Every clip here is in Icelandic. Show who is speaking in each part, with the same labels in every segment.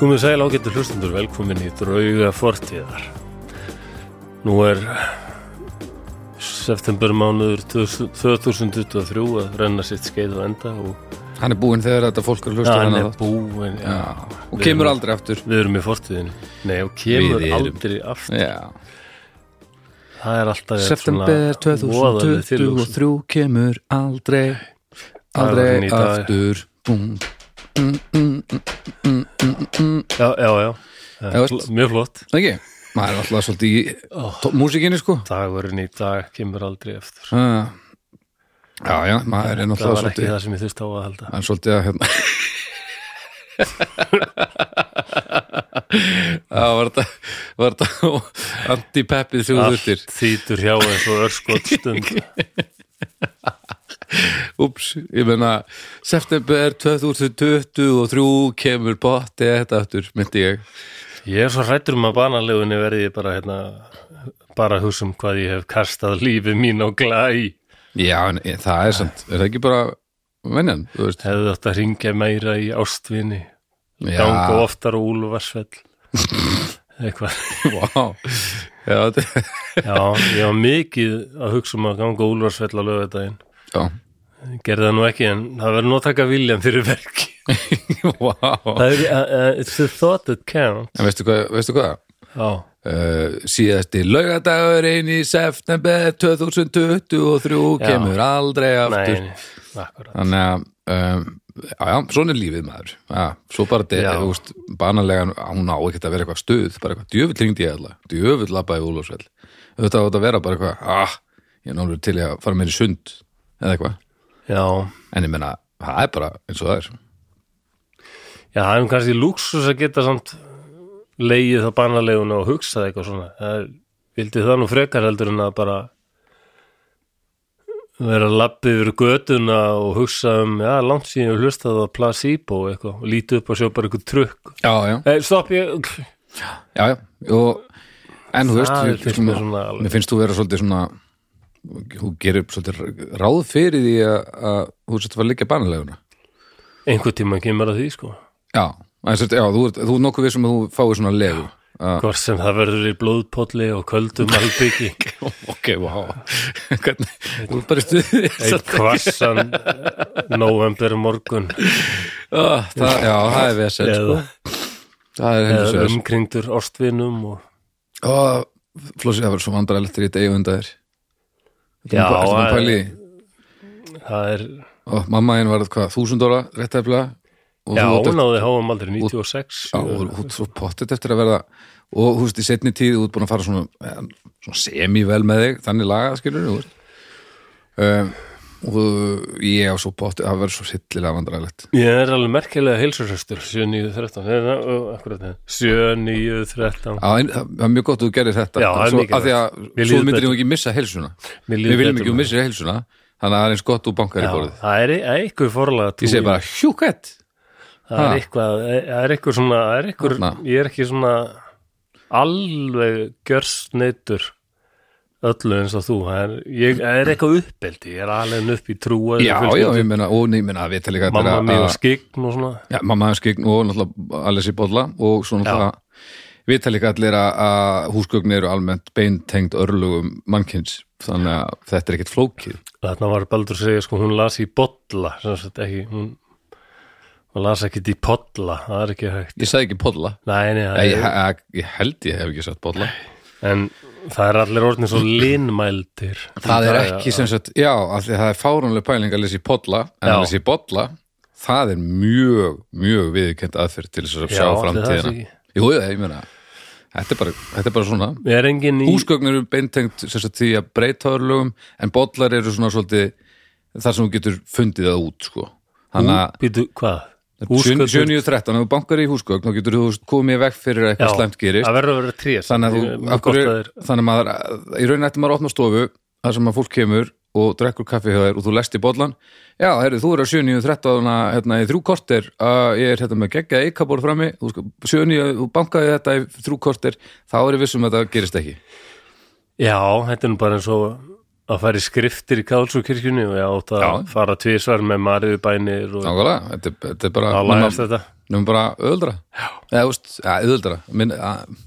Speaker 1: Komið sæl ágættu hlustundur, velkomin í drauga fortíðar. Nú er september mánuður 2023 að renna sitt skeið og enda og
Speaker 2: Hann er búinn þegar þetta fólk er að hlusta á
Speaker 1: hann
Speaker 2: hana
Speaker 1: er
Speaker 2: þátt.
Speaker 1: búin.
Speaker 2: Já,
Speaker 1: Já.
Speaker 2: og
Speaker 1: Við
Speaker 2: kemur
Speaker 1: erum-
Speaker 2: aldrei aftur
Speaker 1: Við erum í fortíðinu. Nei, og kemur
Speaker 2: Við erum.
Speaker 1: aldrei aftur.
Speaker 2: Já.
Speaker 1: Það er alltaf
Speaker 2: September
Speaker 1: voðaleg tilhugsun.
Speaker 2: 2023 kemur aldrei
Speaker 1: var henni
Speaker 2: aldrei
Speaker 1: í dag.
Speaker 2: aftur Búm.
Speaker 1: Já, já, já. Það
Speaker 2: Já,
Speaker 1: er
Speaker 2: veist.
Speaker 1: fl- Mjög flott.
Speaker 2: Það ekki? maður er alltaf svolítið í
Speaker 1: Oh.
Speaker 2: oh. músikinni sko
Speaker 1: Dagurinn í dag kemur aldrei aftur.
Speaker 2: Ah. Já, já, maður er
Speaker 1: Það
Speaker 2: náttúrulega
Speaker 1: var ekki
Speaker 2: svolítið
Speaker 1: það sem ég þurfti á að halda.
Speaker 2: hann er svolítið að hérna Það var þetta var þetta anti-peppið
Speaker 1: Ah.
Speaker 2: sem þú þurftir
Speaker 1: þýtur hjá eins og örskot stund
Speaker 2: Úps, ég meina september 2023 kemur botti þetta aftur, myndi ég
Speaker 1: Ég er svo hrættur um að banalegunni verði ég bara hérna bara að hugsa um hvað ég hef kastað lífi mín á glæ
Speaker 2: Já, en e- það er samt, er það ekki bara venjan, þú veist
Speaker 1: hefði þátt að ringja meira í ástvinni
Speaker 2: Já,
Speaker 1: ganga oftar á úlfarsfell eitthvað
Speaker 2: vá Já, þetta-
Speaker 1: Já, ég var mikið að hugsa um að ganga á úlfarsfell á lögudaginn
Speaker 2: já,
Speaker 1: gerði það nú ekki en það verður nú að taka viljan fyrir verki
Speaker 2: vá
Speaker 1: Það er, uh, uh, it's the thought that counts
Speaker 2: En veistu hvað, veistu hvað?
Speaker 1: Já,
Speaker 2: Uh, síðasti laugardagurinn í september 2023
Speaker 1: Já.
Speaker 2: kemur aldrei aftur
Speaker 1: nei, akkurat
Speaker 2: Þannig að, um, já, já, svona er lífið maður. Já, svo bara, de,
Speaker 1: Já.
Speaker 2: þú veist, banalega, hún á ekkert að vera eitthvað stuð, bara eitthvað djöfull ringdi ég alltaf, djöfull labbaði úlfarsveld. Þetta átt að vera bara eitthvað, ah, ég er náttúrulega til í að fara mér í sund, eða eitthvað.
Speaker 1: Já,
Speaker 2: En ég meina, það er bara eins og það er.
Speaker 1: Já, það er nú kannski lúksus að geta samt leigið þá banaleguna og hugsað eitthvað svona. Það er, vildi það nú frekar heldur en að bara vera lappið yfir götuna og hugsa um, já, langt síðan ég hlustað á placebo eitthvað og lítið upp og sjá bara eitthvað trukk.
Speaker 2: Já, já,
Speaker 1: Nei, stopp, ég...
Speaker 2: já, já, og, en þú veist,
Speaker 1: Það
Speaker 2: ég-
Speaker 1: finnst
Speaker 2: svona-
Speaker 1: mér svona alveg.
Speaker 2: mér finnst þú vera svolítið svona, þú gerir svolítið ráð fyrir því að, að þú sett að fara að liggja banaleguna.
Speaker 1: Einhvern tíma kemur að því, sko.
Speaker 2: Já, en sérst, já, þú, ert- þú er nokkuð við sem þú fáið svona legu. Já,
Speaker 1: Hvort sem það verður í blóðpolli og köldum albyggi.
Speaker 2: ok, wow hvernig, þú er bara í stuði
Speaker 1: Eitt kvassan november morgun.
Speaker 2: Ah, það, já, það er vesen sko.
Speaker 1: Eða,
Speaker 2: það er hendur
Speaker 1: eða
Speaker 2: sér
Speaker 1: umkringdur ástvinum og...
Speaker 2: flósið það var svo vandrarlegt þegar ég degi undar
Speaker 1: Já,
Speaker 2: þér pæli,
Speaker 1: það er,
Speaker 2: og mamma henn var hvað, þúsund óra rétt efla og
Speaker 1: já,
Speaker 2: þú
Speaker 1: hún
Speaker 2: átt
Speaker 1: náði háum aldrei 96
Speaker 2: Já, og hún svo pottet eftir að verða og þú veist, í setni tíð, þú ert búin að fara svona, eh, svona semi-vel með þig, þannig laga skilur þú veist um, og ég á svo pottet það verður svo sillilega vandrarlegt
Speaker 1: ég er alveg merkilega heilsurhöstur 7.9.13 Nei, nei, ó, akkurat það. 7.9.13
Speaker 2: Já, en það það er mjög gott að þú gerir þetta
Speaker 1: Já, það er
Speaker 2: svo,
Speaker 1: mikilvægt.
Speaker 2: af því að
Speaker 1: Mér
Speaker 2: svo
Speaker 1: líður
Speaker 2: myndir
Speaker 1: betur.
Speaker 2: ég ekki missa heilsuna
Speaker 1: Mér líður
Speaker 2: við viljum
Speaker 1: betur
Speaker 2: ekki
Speaker 1: með
Speaker 2: missa heilsuna þannig að það er eins gott úr bankar í borðið
Speaker 1: það er e- eitthvað forlega
Speaker 2: ég segi bara hjúkett
Speaker 1: það
Speaker 2: ha.
Speaker 1: er eitthvað, e- það er eitthvað svona það er eitthvað,
Speaker 2: Þarna.
Speaker 1: ég er ekki svona alveg gjörsneittur öllu eins og þú það er, ég, það er eitthvað uppeldi ég er alveg upp í trúa
Speaker 2: já, já, ég meina, og nei, ég meina að við tala líka
Speaker 1: mamma mig
Speaker 2: að,
Speaker 1: og skikn og svona
Speaker 2: já, mamma hans skikn og náttúrulega Alessi Bolla og svo náttúrulega við tala líka allir að, að húsgögn eru almennt beintengt örlugum mannkins þannig að þetta er ekkert flókið
Speaker 1: Þarna var Baldur að segja sko hún las í bolla sem sagt ekki hún, hún las ekki í podla það er ekki hægt
Speaker 2: ég sagði ekki Bolla
Speaker 1: Nei, nei, það
Speaker 2: ég,
Speaker 1: er,
Speaker 2: ég, ég held ég hef ekki sagt Bolla
Speaker 1: en það er allir orðin svo linmældir
Speaker 2: það er ekki sem sagt, já, af því að það er fáránlega pæling að lesa í podla, en
Speaker 1: Já.
Speaker 2: að lesa í bolla það er mjög, mjög viðkend aðferð til þess að
Speaker 1: Já, ætli
Speaker 2: sjá
Speaker 1: það
Speaker 2: framtíðina
Speaker 1: sé ekki.
Speaker 2: Jú, ég meina, þetta er bara, þetta er bara svona
Speaker 1: er engin í
Speaker 2: húsgögn eru beintengt sem sagt, því að breyta örlögum, en bollar eru svona svolítið þar sem þú getur fundið það út, sko þannig að
Speaker 1: býtu, hvað? Húsgögn-
Speaker 2: 713, ef þú bankar í húsgögn þá getur þú komið vekk fyrir að
Speaker 1: Já,
Speaker 2: eitthvað slæmt gerist
Speaker 1: það verður að vera trés
Speaker 2: þannig að þú,
Speaker 1: Mjög
Speaker 2: af hverju,
Speaker 1: gott að þeir-
Speaker 2: þannig að maður í raunin eftir maður að opna stofu þar sem að fólk kemur og drekkur kaffi hjá þér og þú lest í bollan já, herri, þú er að 7.13 hérna, í þrjú korter að ég er hérna með geggja eikabor frammi, þú sko, 7.9 þú bankaði þetta í þrjú korter þá er ég vissum að þetta gerist ekki
Speaker 1: Já, þetta er nú bara eins og að fara í skriftir í Kálsúkirkjunni og ég átt að
Speaker 2: Já.
Speaker 1: fara tvisvar með mariðu bænir og
Speaker 2: Nákvæmlega, þetta, er- þetta er bara
Speaker 1: að lægast þetta
Speaker 2: nefnum bara öðuldra eða, þú veist, ja, öðuldra minn, að,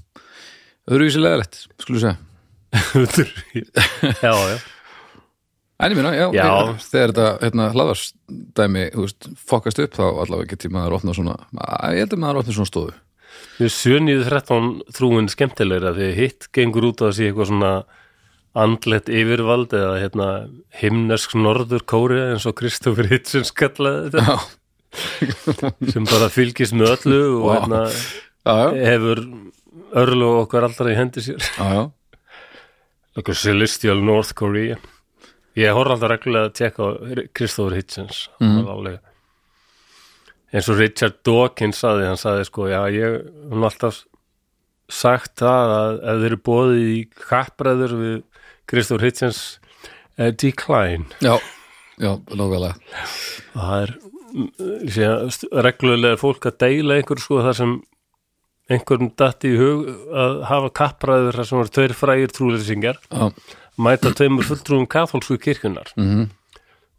Speaker 2: öðruvísi leðalegt, skulum segja
Speaker 1: Já, já,
Speaker 2: En ég minna, já,
Speaker 1: Já.
Speaker 2: Ég, þegar þetta hérna, hlaðarsdæmi þú veist, fokast upp þá allavega geti maður opna svona, að, ég held að maður opna svona stofu
Speaker 1: við 7.13 þrúin skemmtilegra því hitt gengur út á að sé eitthvað svona andlett yfirvald eða hérna himnesk norður kóri eins og Kristoffer Hitchens kallaði þetta
Speaker 2: Já,
Speaker 1: sem bara fylgist með öllu og
Speaker 2: Vá.
Speaker 1: hérna
Speaker 2: já, já,
Speaker 1: hefur örlu okkar allra í hendi sér
Speaker 2: já, já.
Speaker 1: Like a celestial North Korea Ég horf alltaf reglulega að tjekka á Kristofur Hitchens mm. eins og Richard Dawkins saði, hann saði sko já, ég hann alltaf sagt það að ef þeir eru bóðið í kappræður við Kristofur Hitchens eh, decline
Speaker 2: já, já nákvæmlega
Speaker 1: og það er mm, ég sé, að st- reglulega er fólk að deila einhver sko þar sem einhverjum datti í hug að hafa kappræður þar sem eru tveir frægir trúleysingar
Speaker 2: Já,
Speaker 1: mæta tveimur fulltrúum katholsku kirkjunar
Speaker 2: Mhm.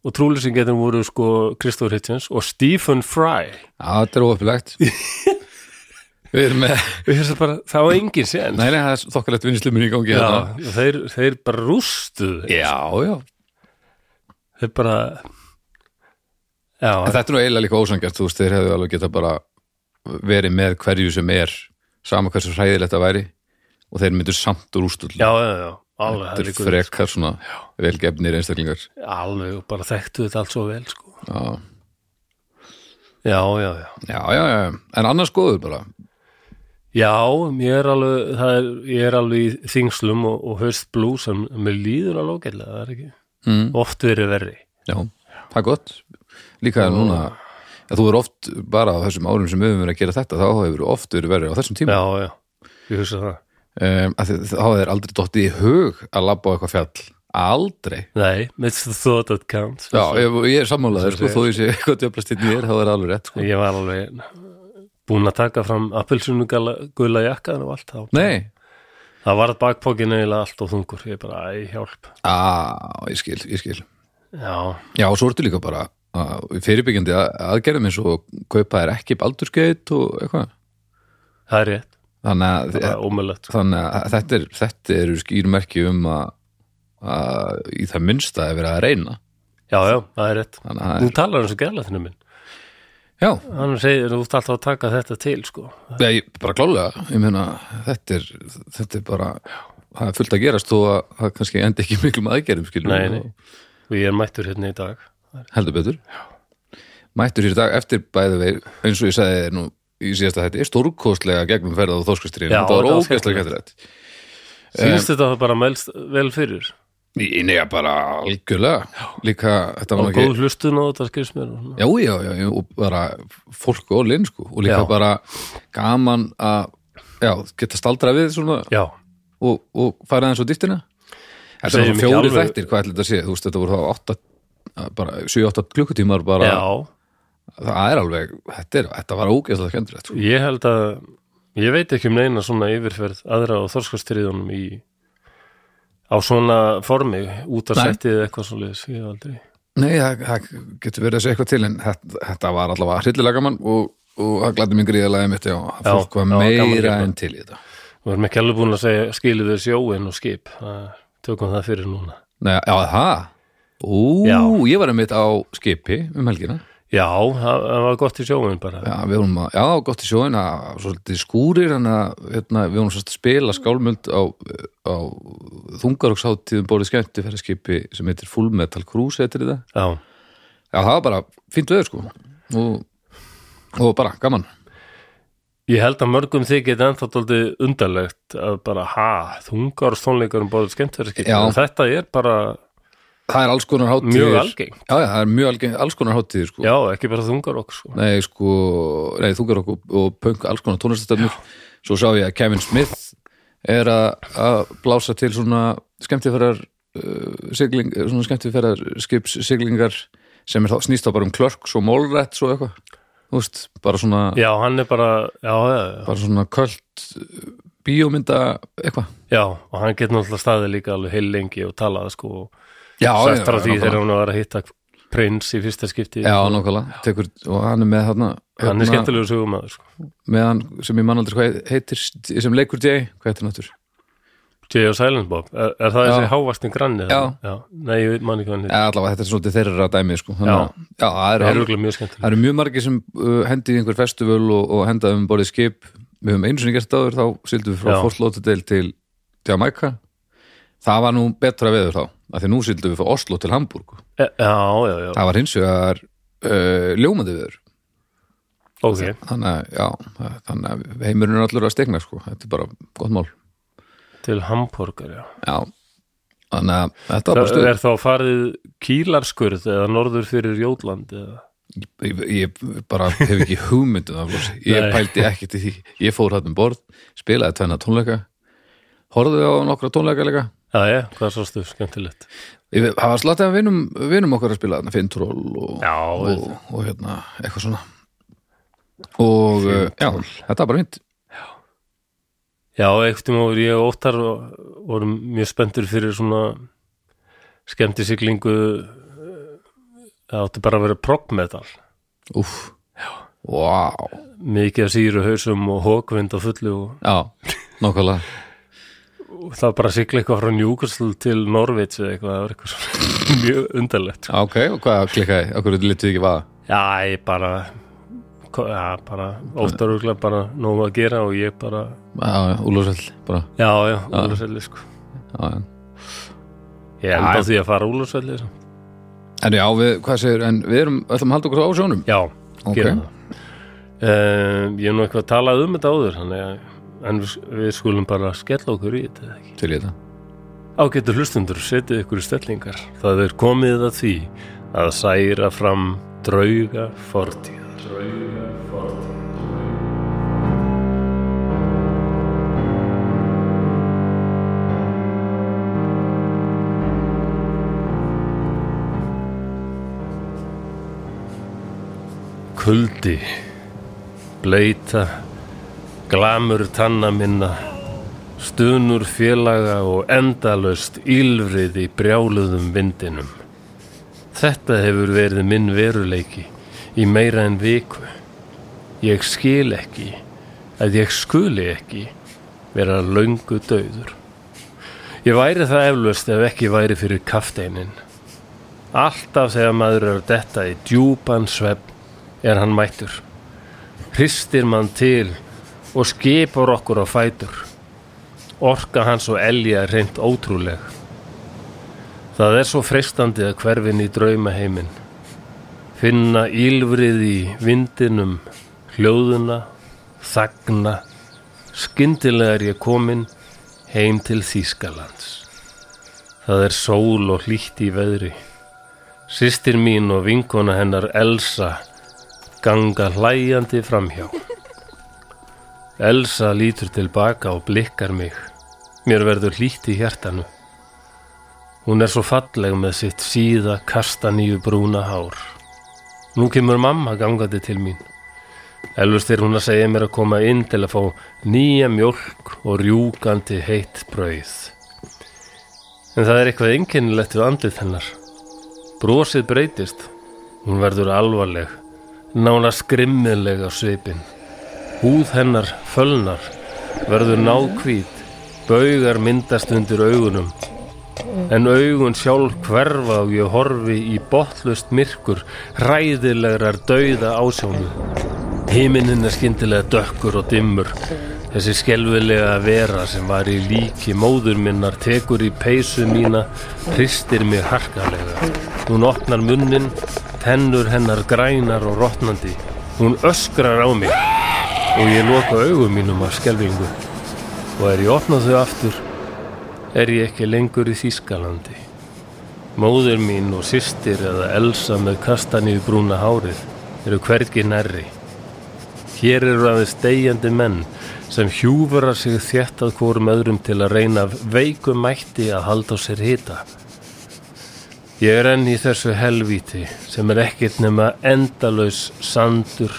Speaker 1: og trúlýsingetum voru sko Kristofur Hitchens og Stephen Fry
Speaker 2: já þetta er óöfilegt Við erum með
Speaker 1: og ég hugsa bara, það var engin sen
Speaker 2: Nei, nei, það er þokkalegt vinnislumur í gangi
Speaker 1: Já,
Speaker 2: hérna.
Speaker 1: þeir, þeir bara rústuð
Speaker 2: já, já.
Speaker 1: þeir bara já,
Speaker 2: En Þetta er nú eiginlega líka ósangjart, þú veist, þeir hefðu alveg geta bara verið með hverju sem er sama hversu hræðilegt að væri og þeir myndu samt úr ústull
Speaker 1: já, já, já alveg, það
Speaker 2: Þetta er
Speaker 1: liggur-
Speaker 2: frekar svona velgefnir einstaklingar
Speaker 1: alveg og bara þekktu þetta allt svo vel sko.
Speaker 2: Já,
Speaker 1: já, já, já
Speaker 2: já, já, já. en annars góður bara
Speaker 1: já, ég er alveg, það er, ég er alveg í þingslum og, og höst blú sem mér líður alveg ágætlega, það er ekki
Speaker 2: Mm.
Speaker 1: oft verið verri
Speaker 2: Já, það er gott Líka er núna að þú er oft bara á þessum árum sem við höfum verið að gera þetta þá hefur þú oft verið verið á þessum tíma
Speaker 1: já, já, ég hugsa það
Speaker 2: um, að þið, þá hefur aldrei dottið í hug að labba á eitthvað fjall Aldrei
Speaker 1: Nei, it's the thought that counts
Speaker 2: Já, ég, ég er sammálaður,
Speaker 1: Svo
Speaker 2: sko,
Speaker 1: segir.
Speaker 2: þó ég sé eitthvað djöflast hérna ég er, þá er það alveg rétt, sko
Speaker 1: Ég var alveg búin að taka fram appelsunugala gula jakkaðan og allt þá
Speaker 2: Nei,
Speaker 1: Það varð bakpókin eiginlega allt og þungur Ég bara, æ, hjálp
Speaker 2: á, ég skil, ég skil
Speaker 1: Já,
Speaker 2: Já, og svo ertu líka bara að- fyrirbyggjandi að- aðgerðum eins og kaupa þér ekki baldurskeitt og eitthvað
Speaker 1: það er rétt,
Speaker 2: Þannig að
Speaker 1: það er ómöðlegt
Speaker 2: þannig að þetta, er, þetta eru skýrmerki um að, að í það minnsta er verið að reyna
Speaker 1: Já, já, það er rétt
Speaker 2: þannig að,
Speaker 1: Þú talar eins og gerlætinu minn
Speaker 2: já,
Speaker 1: Hann segir, þú ert alltaf að taka þetta til sko.
Speaker 2: ég, bara klálega ég meina, þetta er, þetta er bara það er fullt að gerast þó að það kannski endi ekki miklum aðgerðum skilur
Speaker 1: Nei, nei, og ég er mættur hérna í dag
Speaker 2: heldur betur mættur hér í dag eftir bæði vei eins og ég sagði þér nú í síðasta þetta er stórkostlega gegnum ferðað á þorskastrýn
Speaker 1: Já,
Speaker 2: þetta var
Speaker 1: þetta var
Speaker 2: ógeðslega
Speaker 1: skemmtilegt.
Speaker 2: kættilegt
Speaker 1: Sýnst þetta bara melst vel fyrir
Speaker 2: í nega bara algjörlega líka, þetta var
Speaker 1: Og
Speaker 2: nú ekki
Speaker 1: góð hlustun á þetta skils mér og svona.
Speaker 2: Já, já, já, já, og bara fólk og linn, sko, og líka
Speaker 1: Já.
Speaker 2: bara gaman að, já, geta staldra við svona
Speaker 1: Já,
Speaker 2: og, og fara eins og dýttina. Þetta
Speaker 1: Segjum
Speaker 2: er
Speaker 1: ekki
Speaker 2: fjóri
Speaker 1: alveg-
Speaker 2: þættir, hvað ætli þetta sé, þú veist, þetta voru þá átta, bara 7-8 klukkutímar bara,
Speaker 1: já
Speaker 2: það er alveg, þetta, er, þetta var ógeðslega skemmtilegt, sko.
Speaker 1: Ég held að ég veit ekki um neina svona yfirferð aðra á þorskastriðunum í á svona formi út að
Speaker 2: Nei.
Speaker 1: setja eða eitthvað svo liðis ég hef aldrei
Speaker 2: Nei, það, það getur verið að segja eitthvað til, en þetta, þetta var allavega hryllilega gaman og, og það glædi mig gríðalega mitt, já, að
Speaker 1: Já,
Speaker 2: fólk var
Speaker 1: já, gaman hérna.
Speaker 2: meira
Speaker 1: gert.
Speaker 2: en til í þetta.
Speaker 1: við erum ekki alveg búin að segja skilið við sjóin og skip Það- tökum það fyrir núna
Speaker 2: Nei, já, það, ú,
Speaker 1: Já.
Speaker 2: ég var einmitt á skipi um helgina.
Speaker 1: Já, það það var gott í sjóin bara
Speaker 2: Já, við vorum að, já, gott í sjóin að svolítið skúrir en að hérna, við vorum svolítið að spila skálmöld á, á um þungaroksháttíðum borðið skemmtifæraskipi sem heitir Full Metal Cruise heitir þetta.
Speaker 1: Já,
Speaker 2: Já, það var bara fínt veður sko og, og bara gaman.
Speaker 1: ég held að mörgum þykir þetta ennþá tóldi undarlegt að bara, ha, þungar stónleikar um bóðið skemmtverðarskip
Speaker 2: Já.
Speaker 1: Þetta er bara,
Speaker 2: Það er alls konar hátíðir.
Speaker 1: Mjög algengt.
Speaker 2: Já, já, það er mjög algengt, alls konar hátíðir sko.
Speaker 1: já, ekki bara þungar okkur sko.
Speaker 2: Nei, sko, nei, þungarokk og, og punk, alls konar tónlistastöfnur. Svo sá ég að Kevin Smith er að að blása til svona skemmtifærar uh, sigling, svona skemmtifærar skips siglingar sem er þá, snýst þá bara um klörk svo mólrætt svo eitthvað. Þú veist, bara svona,
Speaker 1: Já, hann er bara, já, já, já,
Speaker 2: bara svona kvöld uh, bíómynda eitthvað.
Speaker 1: já og hann getur náttúrulega staðið líka alveg heil lengi og talað sko og
Speaker 2: Já,
Speaker 1: sættar á því
Speaker 2: nákvæmlega.
Speaker 1: þegar hún var að hitta prins í fyrsta skipti
Speaker 2: Já, nákvæmlega, tekur, og hann er með þarna
Speaker 1: Hann er
Speaker 2: hérna,
Speaker 1: skemmtilegur sögumæður sko.
Speaker 2: með hann sem ég man aldrei hvað heitir sem leikur Jay, hvað heitir hann áttur
Speaker 1: J.O. Silent Bob, er, er það
Speaker 2: Já.
Speaker 1: þessi hávastin granni?
Speaker 2: Já.
Speaker 1: já Nei, ég man ekki hvað hann
Speaker 2: Já, allavega þetta er svona þeirra dæmi sko. Þannig að- já, það
Speaker 1: er
Speaker 2: eru alveg-
Speaker 1: Eruglega mjög
Speaker 2: það
Speaker 1: skemmtileg
Speaker 2: eru mjög margir sem uh, hendi í einhver festival og, og henda um borðið skip við höfum einu sinni gert áður, þá sildum við frá
Speaker 1: Já.
Speaker 2: Fort Lauderdale til Jamaica það var nú betra veður þá af því nú sildum við frá Oslo til Hamburg
Speaker 1: E- Já, já, já,
Speaker 2: það var hins vegar uh, ljómandi veður
Speaker 1: ok
Speaker 2: þannig að, já, það- þannig að heimurinn er allur að stegna sko. þetta er bara gott mál
Speaker 1: Til Hamburger, já
Speaker 2: Já, þannig að þetta var bara
Speaker 1: Það
Speaker 2: stuð
Speaker 1: er þá farið kýlarskurð eða norður fyrir Jótland eða
Speaker 2: ég, ég bara hef ekki hugmynd um það Flosi. ég
Speaker 1: Nei.
Speaker 2: pældi ekki til því ég fór hann um borð, spilaði tvenna tónleika horfðu á nokkra tónleika leika
Speaker 1: Já, já, hvað sástu, skemmtilegt
Speaker 2: Ég- það var slattið af vinum, vinum okkar að spila þarna Fintról og,
Speaker 1: Já,
Speaker 2: og, og hérna, eitthvað svona og uh, já, þetta var bara fint
Speaker 1: Já, einhvern tíma voru ég og óttar og vorum mjög spenntur fyrir svona skemmtisiglingu eh, það átti bara að vera progmetal
Speaker 2: Úff, vá
Speaker 1: mikið af síru hausum og hókvind og fullu og,
Speaker 2: já, nákvæmlega
Speaker 1: og það bara að sigla eitthvað frá Newcastle til Norvits eða eitthvað, það var eitthvað svona mjög undarlegt sko.
Speaker 2: Já, ok, og hvað klikkaði, okkur litið ekki vaða
Speaker 1: Já, ég bara ko- já, bara, óttar úrlega bara nóg að gera og ég bara
Speaker 2: já, já, úlfarsveld, bara
Speaker 1: já, já, úlfarsvelli sko
Speaker 2: já, já.
Speaker 1: ég enda á því að fara úlfarsvelli sko.
Speaker 2: en já, við, hvað segir, en við erum ætlum að halda okkur á sjónum
Speaker 1: Já,
Speaker 2: Ok.
Speaker 1: gerum það um, Ég hef nú eitthvað talað um þetta áður þannig að, en við, við skulum bara skella okkur í þetta eða ekki
Speaker 2: til í þetta
Speaker 1: Ágættu hlustundur, setið ykkur í stellingar Það er komið að því að særa fram drauga fortíðar Drauga fortíðar Kuldi Bleita Glamur tanna minna Stunur félaga og endalaust ílfrið í brjáluðum vindinum Þetta hefur verið minn veruleiki í meira en viku Ég skil ekki að ég skuli ekki vera löngu dauður Ég væri það eflaust ef ekki væri fyrir kafteinin Alltaf þegar maður er að detta í djúpan svepp er hann mættur. Hristir mann til og skipar okkur á fætur. Orka hans og elja er reynd ótrúleg. Það er svo freistandi að hverfin í draumaheimin. Finna ílfrið í vindinum, hljóðuna, þagna. Skyndilega er ég komin heim til Þýskalands. Það er sól og hlýtt í veðri. Systir mín og vinkona hennar Elsa ganga hlæjandi framhjá. Elsa lítur tilbaka og blikkar mig. Mér verður hlýtt í hjartanu. Hún er svo falleg með sitt síða kastaníu brúna hár. Nú kemur mamma gangandi til mín. Elvist er hún að segja mér að koma inn til að fá nýja mjólk og rjúkandi heitt brauð. En það er eitthvað einkennilegt við andlið hennar. Brosið breytist. Hún verður alvarleg, nána skrimmileg á svipin. Húð hennar fölnar, verður nákvít, baugar myndast undir augunum. en augun sjálf hverfa og ég horfi í botlust myrkur ræðilegrar dauða ásjónu himinin er skyndilega dökkur og dimmur þessi skelfilega vera sem var í líki móður minnar tekur í peysu mína hristir mig harkalega hún opnar munnin tennur hennar grænar og rotnandi hún öskrar á mig og ég loka augum mínum af skelfingu og er ég opna þau aftur er ég ekki lengur í Þýskalandi. Móður mín og systir eða Elsa með kastanið brúna hárið eru hvergi nærri. Hér eru aðeins deyjandi menn sem hjúfara sig þétt að hvorum öðrum til að reyna af veikum mætti að halda á sér hita. Ég er enn í þessu helvíti sem er ekkert nema endalaus sandur,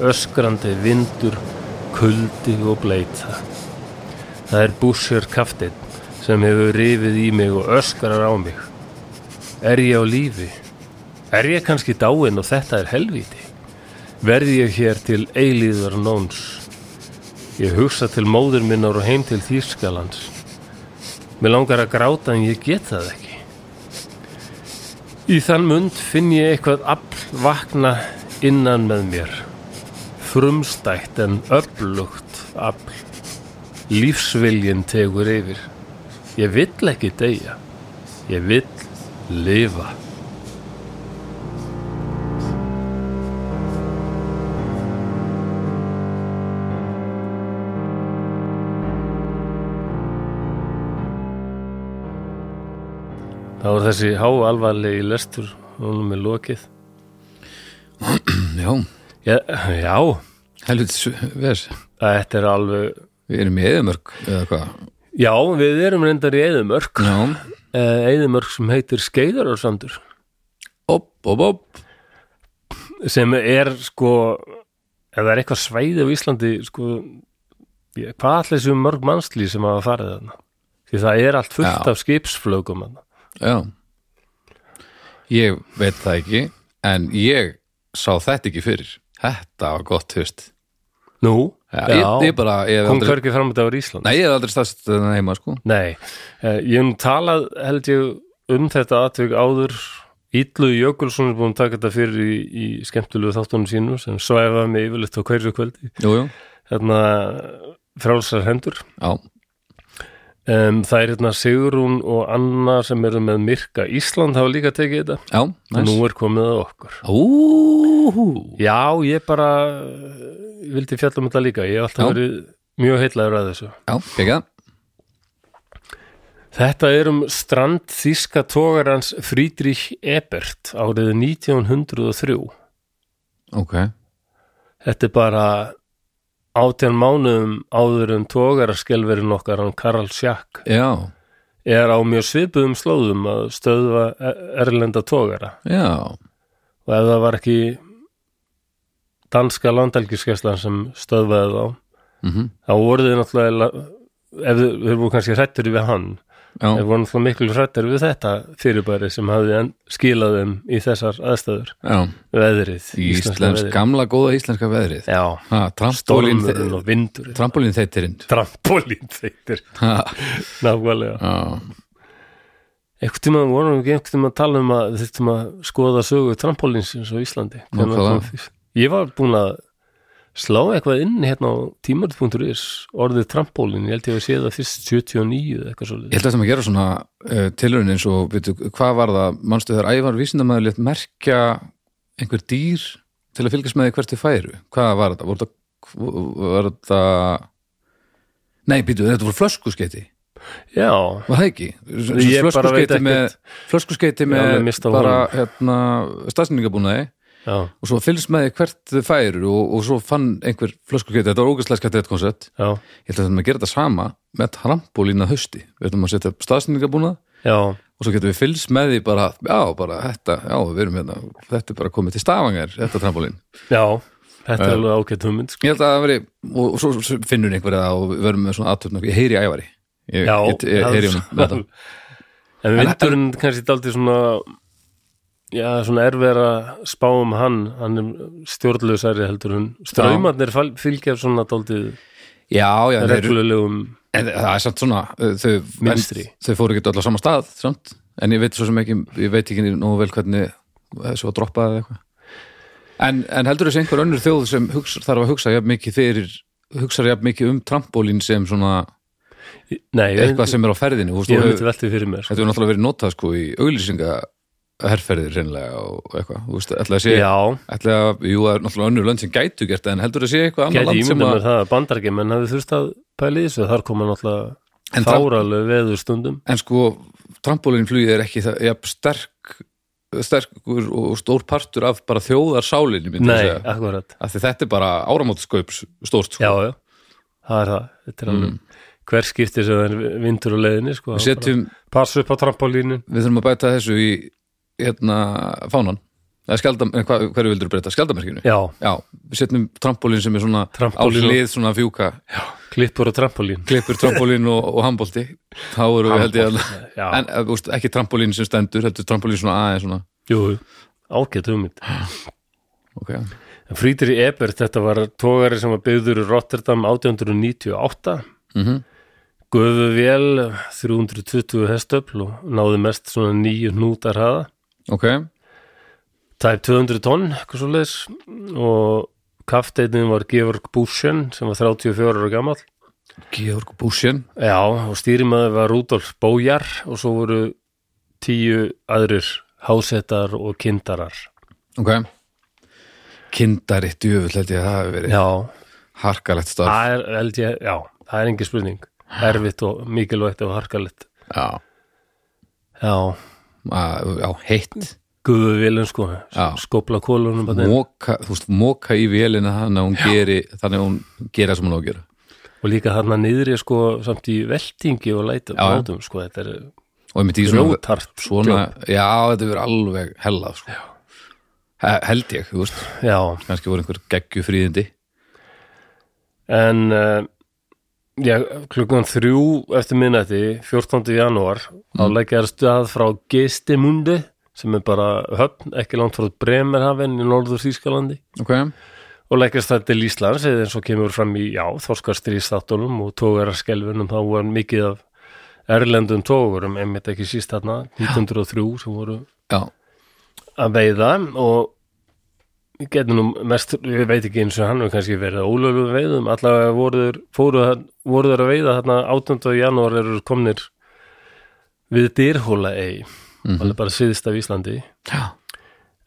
Speaker 1: öskrandi vindur, kuldi og bleita. Það er Bússjör kaftinn sem hefur rifið í mig og öskarar á mig. Er ég á lífi? Er ég kannski dáin og þetta er helvíti? Verði ég hér til eilíðar nóns? Ég hugsa til móður minnar og heim til Þýrskalands. Mér langar að gráta en ég get það ekki. Í þann mund finn ég eitthvað afl vakna innan með mér. Frumstætt en öflugt afl. Lífsviljin tegur yfir. Ég vill ekki deyja. Ég vill lifa. Það var þessi háalvarlegi lestur, núna með lokið.
Speaker 2: Já,
Speaker 1: Já, já,
Speaker 2: helvitis vers
Speaker 1: þetta er alveg,
Speaker 2: Við erum í eðumörk eða hvað
Speaker 1: já, við erum reyndar í Eðumörk,
Speaker 2: Já,
Speaker 1: Eðumörk sem heitir Skeiðararsandur.
Speaker 2: opp, opp, opp
Speaker 1: sem er sko ef það er eitthvað svæði á Íslandi sko, ég- hvað allir sem mörg mannslý sem hafa farið þarna því það er allt fullt
Speaker 2: Já.
Speaker 1: af skipsflögum þarna.
Speaker 2: Já Ég veit það ekki En ég sá þetta ekki fyrir Þetta var gott höst
Speaker 1: nú,
Speaker 2: Já, ég, ég bara, ég hef
Speaker 1: kom
Speaker 2: aldrei
Speaker 1: hvergi fram þetta á Ísland
Speaker 2: Nei, ég hef aldrei staðsett þetta heima, sko
Speaker 1: Nei, eh, ég hef nú talað held ég um þetta atvik áður Ítlu Jökulsson er búin að taka þetta fyrir í, í skemmtulegu þáttunum sínum sem svæfa mig yfirleitt á hverju kvöldi
Speaker 2: Jú, jú,
Speaker 1: þarna frálsar hendur
Speaker 2: já,
Speaker 1: Um, það er hérna Sigrún og Anna sem eru með Myrka Ísland hafa líka tekið þetta
Speaker 2: já,
Speaker 1: og
Speaker 2: næs
Speaker 1: nú er komið að okkur
Speaker 2: Úhú
Speaker 1: Já, ég bara eh, vildi fjalla um þetta líka ég hef alltaf
Speaker 2: Já.
Speaker 1: verið mjög heitlaður að þessu
Speaker 2: Já, ekki
Speaker 1: Þetta er um strand þíska tógarans Friedrich Ebert árið 1903
Speaker 2: Ok,
Speaker 1: Þetta er bara átján mánuðum áður en tógaraskelverinn okkar hann Karl Schack
Speaker 2: já,
Speaker 1: er á mjög svipuðum slóðum að stöðva eh, erlenda tógara
Speaker 2: já
Speaker 1: og ef það var ekki danska landhelgiskeslan sem stöðvaði þá
Speaker 2: mm
Speaker 1: þá voru þið náttúrulega la- ef þið þið voru kannski hrættir við hann
Speaker 2: Já,
Speaker 1: þeir voru náttúrulega miklu hrættir við þetta fyrirbæri sem hafði en- skilað þeim í þessar aðstæður
Speaker 2: já
Speaker 1: veðrið,
Speaker 2: Íslensk,
Speaker 1: veðrið.
Speaker 2: gamla góða íslenska veðrið
Speaker 1: já,
Speaker 2: Ha, trampólín
Speaker 1: stormurinn og vindurinn
Speaker 2: Trampólín þeittirinn
Speaker 1: trampolín þeittir,
Speaker 2: Ha,
Speaker 1: nákvæmlega
Speaker 2: já,
Speaker 1: einhvern tíma vorum við einhvern tíma að tala um að þurftum að skoða sögu trampolínsins á Íslandi Hvenær
Speaker 2: Nákvæmlega.
Speaker 1: kom fyrst? ég var búin að slá eitthvað inn hérna á tímarit.is orðið trampólin, ég held ég að sé það fyrst 79 eða eitthvað
Speaker 2: Ég
Speaker 1: svolítið
Speaker 2: held að sem að gera svona uh, tilraunin eins og, veitu, hvað var það, manstu þegar ævar vísindamæður létt merkja einhver dýr til að fylgjast með því hvert þið færu? Hvað var þetta? Voru þetta, var þetta, nei, býtu, þetta voru flöskuskeiti,
Speaker 1: já,
Speaker 2: var það ekki? S- s-
Speaker 1: Ég bara veit
Speaker 2: Flöskuskeyti
Speaker 1: ekkert.
Speaker 2: með, flöskuskeiti með
Speaker 1: með mist á
Speaker 2: bara,
Speaker 1: honum.
Speaker 2: hérna, staðsendingabúnaði
Speaker 1: já,
Speaker 2: og svo fylgst með því hvert þið færu og, og svo fann einhver flöskuskeiti, þetta var ógæslega skattið þetta koncept,
Speaker 1: já,
Speaker 2: ég held að þetta með gera þetta sama með trampolín að hausti, við ætlum að setja staðsendingabúnað
Speaker 1: já
Speaker 2: og svo getum við fylgst með því bara, já, bara þetta, já, við erum hérna þetta er bara komið til stafangar, þetta trampolín
Speaker 1: já, þetta
Speaker 2: Eh,
Speaker 1: er alveg ágætt hugmynd sko.
Speaker 2: ég held að það veri, og, og svo, svo finnur einhverja það og við verum með svona aðtöfn ég heyri í ævari ég,
Speaker 1: já,
Speaker 2: ég, ég,
Speaker 1: það-
Speaker 2: heyri um honum með það
Speaker 1: en vindurinn kannski daldið svona já, svona erfið að spá um hann hann er stjórnlausari heldur hún straumarnir fal- fylgja svona daldið
Speaker 2: já, já, en þeir,
Speaker 1: reglulegum
Speaker 2: en það er samt svona uh, þau,
Speaker 1: Mynstri.
Speaker 2: en þau fóru ekki allar sama stað samt, en ég veit svo sem ekki ég veit ekki nógu vel hvernig þessu var droppað eða eitthvað en, en heldur þessi einhver önnur þjóð sem hugsa, þarf að hugsa jafn mikið fyrir hugsar jafn mikið um trampólín sem svona
Speaker 1: Nei, ég,
Speaker 2: eitthvað sem er á ferðinu þú veist,
Speaker 1: ég
Speaker 2: þú
Speaker 1: hef
Speaker 2: hefur-
Speaker 1: þetta veltið fyrir mér sko.
Speaker 2: þetta er náttúrulega verið notað sko í auglýsinga herrferðir reynlega og eitthvað, þú veist, ætla að sé
Speaker 1: Já,
Speaker 2: ætla að, jú, það er náttúrulega önnur lönd sem gætu gert það, en heldur að sé eitthvað annað
Speaker 1: gæti
Speaker 2: land sem
Speaker 1: ímynda mér
Speaker 2: að
Speaker 1: það að bandargemenn hafi þurft að pæli þessu, þar koma náttúrulega
Speaker 2: En það-
Speaker 1: fáralegu veður stundum
Speaker 2: en sko, trampolínflugið er ekki það, jafn, sterk sterkur og stór partur af bara þjóðarsálinni, myndi ég
Speaker 1: Nei,
Speaker 2: segja
Speaker 1: akkurat,
Speaker 2: af því þetta er bara áramótskaup stórt, sko,
Speaker 1: já, já það er það, þetta er alveg hver skipti sem það er vindur á leiðinni sko,
Speaker 2: Mm. við setjum
Speaker 1: bara passa upp á trampolínu
Speaker 2: við þurfum að bæta þessu í hérna, fánan eða skjaldam, eh, hva, hverju vildur breyta, skjaldamerkinu
Speaker 1: Já,
Speaker 2: við setjum trampolín sem er svona á
Speaker 1: Trampólín og-
Speaker 2: hlið svona fjúka
Speaker 1: klippur á trampolín
Speaker 2: klippur trampolín og, og handbólti þá eru við held ég að
Speaker 1: Já,
Speaker 2: en, eh, úst, ekki trampolín sem stendur, heldur trampolín svona aðeins svona
Speaker 1: jú, jú, ágætt hugmynd
Speaker 2: okay.
Speaker 1: Frýtir í Ebert, þetta var tógari sem var byggður í Rotterdam 1898
Speaker 2: mm
Speaker 1: Gufu vél 320 hestöfl og náði mest svona nýju hnútar hraða
Speaker 2: ok,
Speaker 1: tæp 200 tonn, eitthvað svo leis og kafteitin var Georg Buschen sem var 34 ára gamall
Speaker 2: Georg Buschen
Speaker 1: já, og stýrimaður var Rudolf Bójar og svo voru tíu aðrir hásetar og kindarar
Speaker 2: ok kindari djöfull held ég að það hafi verið
Speaker 1: já,
Speaker 2: harkalegt starf
Speaker 1: það er, held ég, já, það er engin spurning erfitt og mikilvægt og harkalett
Speaker 2: já,
Speaker 1: já,
Speaker 2: að, já heitt
Speaker 1: guðu vilin sko
Speaker 2: Já.
Speaker 1: skopla kólunum bara inn.
Speaker 2: moka, þú veist, moka í vélina þannig að hún geri þannig að hún gera sem hún á að gera
Speaker 1: og líka þarna niðri sko samt í veltingi og lætum
Speaker 2: Já.
Speaker 1: látum, sko, þetta er
Speaker 2: og einmitt í svona,
Speaker 1: grjótart
Speaker 2: svona já, þetta verið alveg hella sko. He- held ég, þú veist
Speaker 1: já,
Speaker 2: kannski voru einhver geggju fríðindi
Speaker 1: En uh, já, klukkan þrjú eftir minnætti, 14. janúar þá
Speaker 2: Mm.
Speaker 1: leggjar stað frá Geistimundi sem er bara höfn, ekki langt frá Bremerhaven í norður Þýskalandi
Speaker 2: ok,
Speaker 1: og leggjast það til Íslands eða eins og kemur fram í, já, þorskastríðstáttunum og tógaraskelfunum, þá var mikið af erlendum tógurum, einmitt ekki síst þarna, 1903 sem voru
Speaker 2: já,
Speaker 1: að veiða og við getum nú mest, við veit ekki eins og hann hefur kannski verið að ólöfum veiðum allavega voruður, fóruður, voruður að veiða þarna 18. janúar eru þeir komnir við dyrhóla ei alveg bara syðst af Íslandi
Speaker 2: já,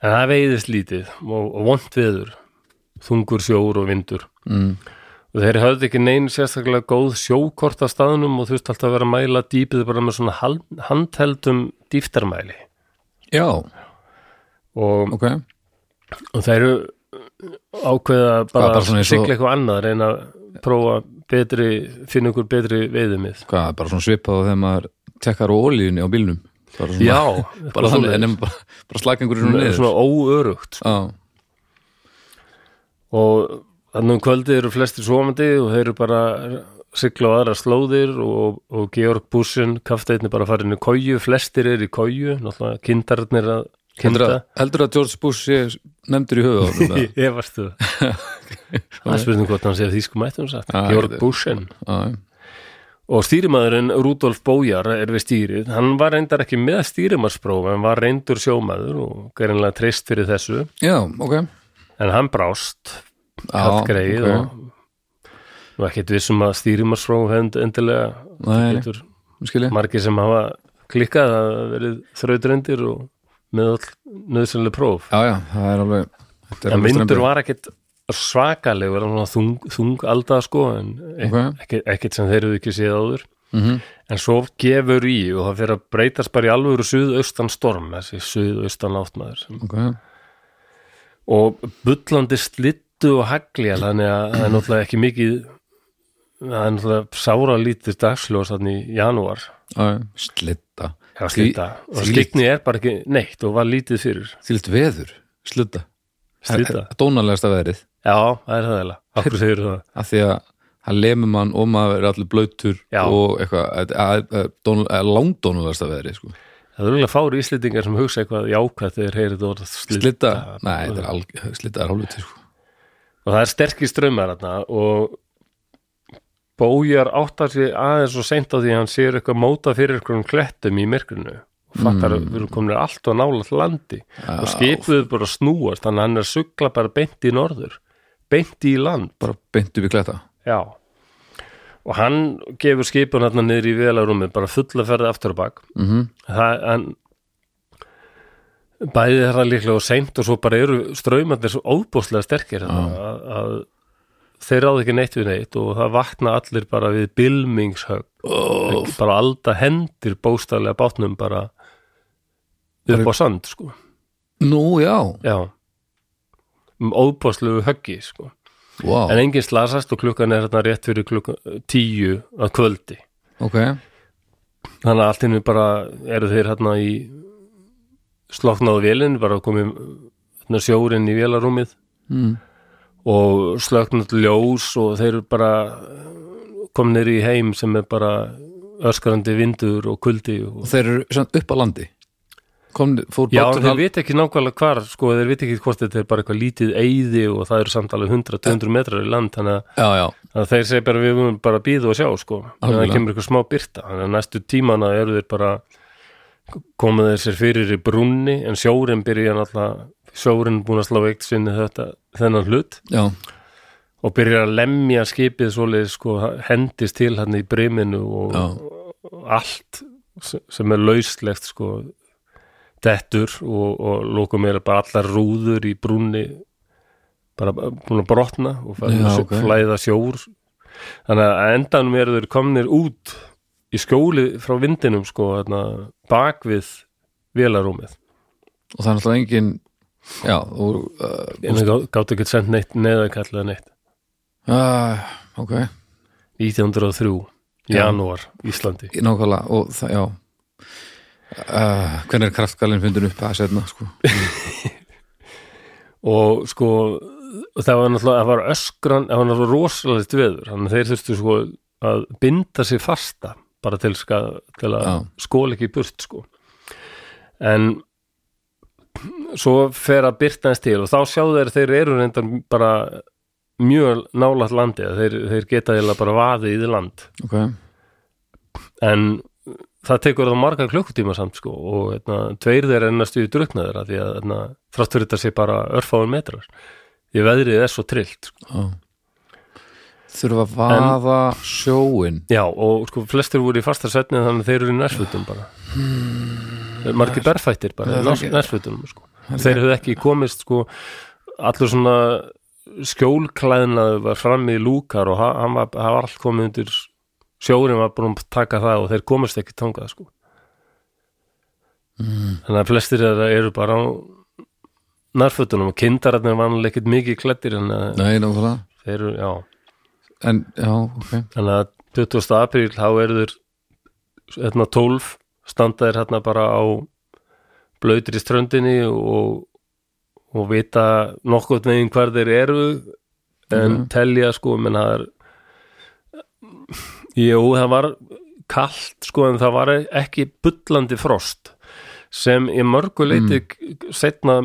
Speaker 1: en það veiðist lítið og, og vond veður þungur sjór og vindur
Speaker 2: mm.
Speaker 1: og þeir höfðu ekki neinu sérstaklega góð sjókort að staðnum og þurfti alltaf að vera að mæla dýpið bara með svona hand- handheldum dýftarmæli
Speaker 2: já
Speaker 1: og
Speaker 2: ok,
Speaker 1: og það eru ákveða bara,
Speaker 2: bara
Speaker 1: bara
Speaker 2: svona
Speaker 1: sigla
Speaker 2: eins og-
Speaker 1: eitthvað annað reyna að prófa betri finna ykkur betri veiðumið
Speaker 2: hvað, bara svona svipað á þegar maður tekkar á olíunni á bílnum bara svona,
Speaker 1: Já,
Speaker 2: bara,
Speaker 1: eitthvað
Speaker 2: þannig,
Speaker 1: svoleiðis.
Speaker 2: nema bara, bara slaka einhverjum niður
Speaker 1: svona óörugt sko.
Speaker 2: já,
Speaker 1: og þannig um kvöldi eru flestir svomandi og þeir eru bara að sigla á aðra slóðir og, og Georg Bussen kafteitni bara farin í kóju, flestir eru í kóju náttúrulega kindarnir að
Speaker 2: heldur,
Speaker 1: kinda
Speaker 2: að, heldur að George Bush sé nefndur í höfu á honum, eða?
Speaker 1: ég varstu það er spurning hvort hann sé að því sko mættum satt
Speaker 2: Ah,
Speaker 1: Georg
Speaker 2: þetta-
Speaker 1: Bussen
Speaker 2: Já,
Speaker 1: Og stýrimaðurinn Rudolf Bójar er við stýrið. Hann var reyndar ekki með stýrimarspróf en var reyndur sjómaður og gerinlega treyst fyrir þessu.
Speaker 2: já, ok
Speaker 1: En hann brást,
Speaker 2: Já,
Speaker 1: kallt greið
Speaker 2: ok.
Speaker 1: og nú ekkert vissum að stýrimarspróf hefnd endilega
Speaker 2: Nei, nei,
Speaker 1: getur
Speaker 2: skil ég
Speaker 1: margir sem hafa klikkað að hafa verið þrautrendir og með all nöðsynlega próf.
Speaker 2: Já, já, það er alveg þetta er
Speaker 1: En
Speaker 2: alveg
Speaker 1: vindur
Speaker 2: strembið.
Speaker 1: var ekkert svakalegur, hann var þung, þung alda sko, en
Speaker 2: Ok.
Speaker 1: ekkert, ekkert sem þeir eru ekki séð áður.
Speaker 2: Mhm.
Speaker 1: En svo gefur í og það fyrir að breytast bara í alvöru suðaustan storm, þessi suðaustan áttmaður.
Speaker 2: Ok,
Speaker 1: Og bullandi slittu og hagljál, þannig að það er náttúrulega ekki mikið, það er náttúrulega sára lítið dagsljós þannig í janúar.
Speaker 2: já, já, slitta
Speaker 1: Já, slita. Og
Speaker 2: því-
Speaker 1: slitni er bara ekki neitt og var lítið fyrir.
Speaker 2: Þýlt veður, slutta
Speaker 1: Slita.
Speaker 2: Dónalegasta veðrið,
Speaker 1: Já, það er það eða. Akkur segir það.
Speaker 2: af því að hann lemur mann og maður er allir blöytur
Speaker 1: Já.
Speaker 2: og eitthvað langdónalegasta veðrið, sko
Speaker 1: Það er alveg fári íslendingar sem hugsa eitthvað jákvæð þegar heyrið orð slita.
Speaker 2: Slitta, nei, þetta er alg, slitta er hálfviti sko.
Speaker 1: og það er sterkir strömmar þarna og Bójar áttar sig aðeins og seint á því að hann sér eitthvað móta fyrir einhverjum klettum í myrkrinu og fattar að við erum komin allt og nála landi og skipuðu bara að snúast þannig að hann er að sugla bara beint í norður beint í land
Speaker 2: bara beint upp í kletta
Speaker 1: Já og hann gefur skipun hérna niður í velarúmið bara fulla ferði aftur á bak mm
Speaker 2: Mhm.
Speaker 1: -hmm. það, en bæði þetta líklega og seint og svo bara eru straumarnir svo óbúslega sterkir hérna, að, að þeir ráð ekki neitt við neitt og það vakna allir bara við bylmingshögg oh. bara alda hendir bóstaflega bátnum bara upp á sand sko
Speaker 2: Nú, já,
Speaker 1: Já um óbúslegu höggi sko
Speaker 2: wow,
Speaker 1: en enginn slasast og klukkan er hérna rétt fyrir klukkan tíu að kvöldi
Speaker 2: ok
Speaker 1: þannig að allt henni bara eru þeir hérna í sloknaðu vélinn bara komið hérna, sjórinn í vélarúmið
Speaker 2: Mm.
Speaker 1: og slöknat ljós og þeir eru bara komnir í heim sem er bara öskarandi vindur og kuldi og
Speaker 2: Og þeir eru samt upp á landi Kom, fór
Speaker 1: Já,
Speaker 2: báturinn
Speaker 1: þeir
Speaker 2: al-
Speaker 1: vita ekki nákvæmlega hvar, sko, þeir vita ekki hvort þetta er bara eitthvað lítið eyði og það eru samt alveg 100-200 metrar í land, þannig að
Speaker 2: Já, já,
Speaker 1: Þannig að þeir segja bara við munum bara býða og sjá sko, þannig að það
Speaker 2: Algjörlega.
Speaker 1: kemur eitthvað smá byrta þannig að næstu tímana eru þeir bara komið þeir sér fyrir í brúnni en sjórin byrja náttúrulega sjórin er búin að slá eitt sinni þetta þennan hlut
Speaker 2: já,
Speaker 1: og byrja að lemja skipið svoleiðis sko, hendist til hann í briminu og,
Speaker 2: já
Speaker 1: og allt sem- sem er lauslegt sko dettur og, og lókum er bara allar rúður í brúnni bara búin að brotna og
Speaker 2: Já,
Speaker 1: fara-
Speaker 2: ok.
Speaker 1: flæða sjór þannig að á endanum eru þeir komnir út í skjóli frá vindinum sko, þarna, bak við vélarúmið
Speaker 2: Og það er náttúrulega engin Já, og uh,
Speaker 1: en það gátt ekki sent neitt neðakall eða neitt
Speaker 2: uh, Ok,
Speaker 1: 1903,
Speaker 2: Já.
Speaker 1: janúar Íslandi,
Speaker 2: Í nákvæmlega Og það, já uh, Hvernig er kraftgalinn fundin upp að setna sko.
Speaker 1: og sko og það var náttúrulega, það var öskran það var náttúrulega rosalegt veður þannig að þeir þurftu sko að binda sig fasta bara til, ska, til að
Speaker 2: Já.
Speaker 1: skóla ekki í burt sko en svo fer að byrta hans til og þá sjáðu þeir að þeir eru reyndar bara mjög nálægt landi að þeir, þeir geta eiginlega bara vaðið í land
Speaker 2: Ok,
Speaker 1: en það tekur það marga klukkutíma samt sko og hérna, tveir þeir ennastu í druknaður af því að hérna, þrátt fyrir þetta sé bara örfáin metrar því veðrið er svo trillt sko.
Speaker 2: já Þurfa að vaða sjóin
Speaker 1: já og sko flestir voru í fasta setni þannig að þeir eru í nærsfutum bara hmm, margir berfættir bara
Speaker 2: Það er
Speaker 1: í
Speaker 2: ekki-
Speaker 1: nærsfutum sko. þeir hefðu ekki komist sko allur svona skjólklæðnaðu var fram í lúkar og ha- hann var, hann var allt komið undir sjórin var búin að taka það og þeir komist ekki tangað sko
Speaker 2: Hmm.
Speaker 1: þannig að flestir þeirra eru bara á nærfötunum og kindararnir vanlega ekkert mikið klættir þannig að
Speaker 2: Nei, nákvæmlega
Speaker 1: þeir eru, já
Speaker 2: En, já, ok
Speaker 1: þannig að 20. apríl þá eru þeir hérna 12 standa þeir hérna bara á blöytir í ströndinni og, og vita nokkurt veginn hver þeir eru en telja sko menn það er jú það var kalt sko en það var ekki bullandi frost sem í mörgu leiti mm. setna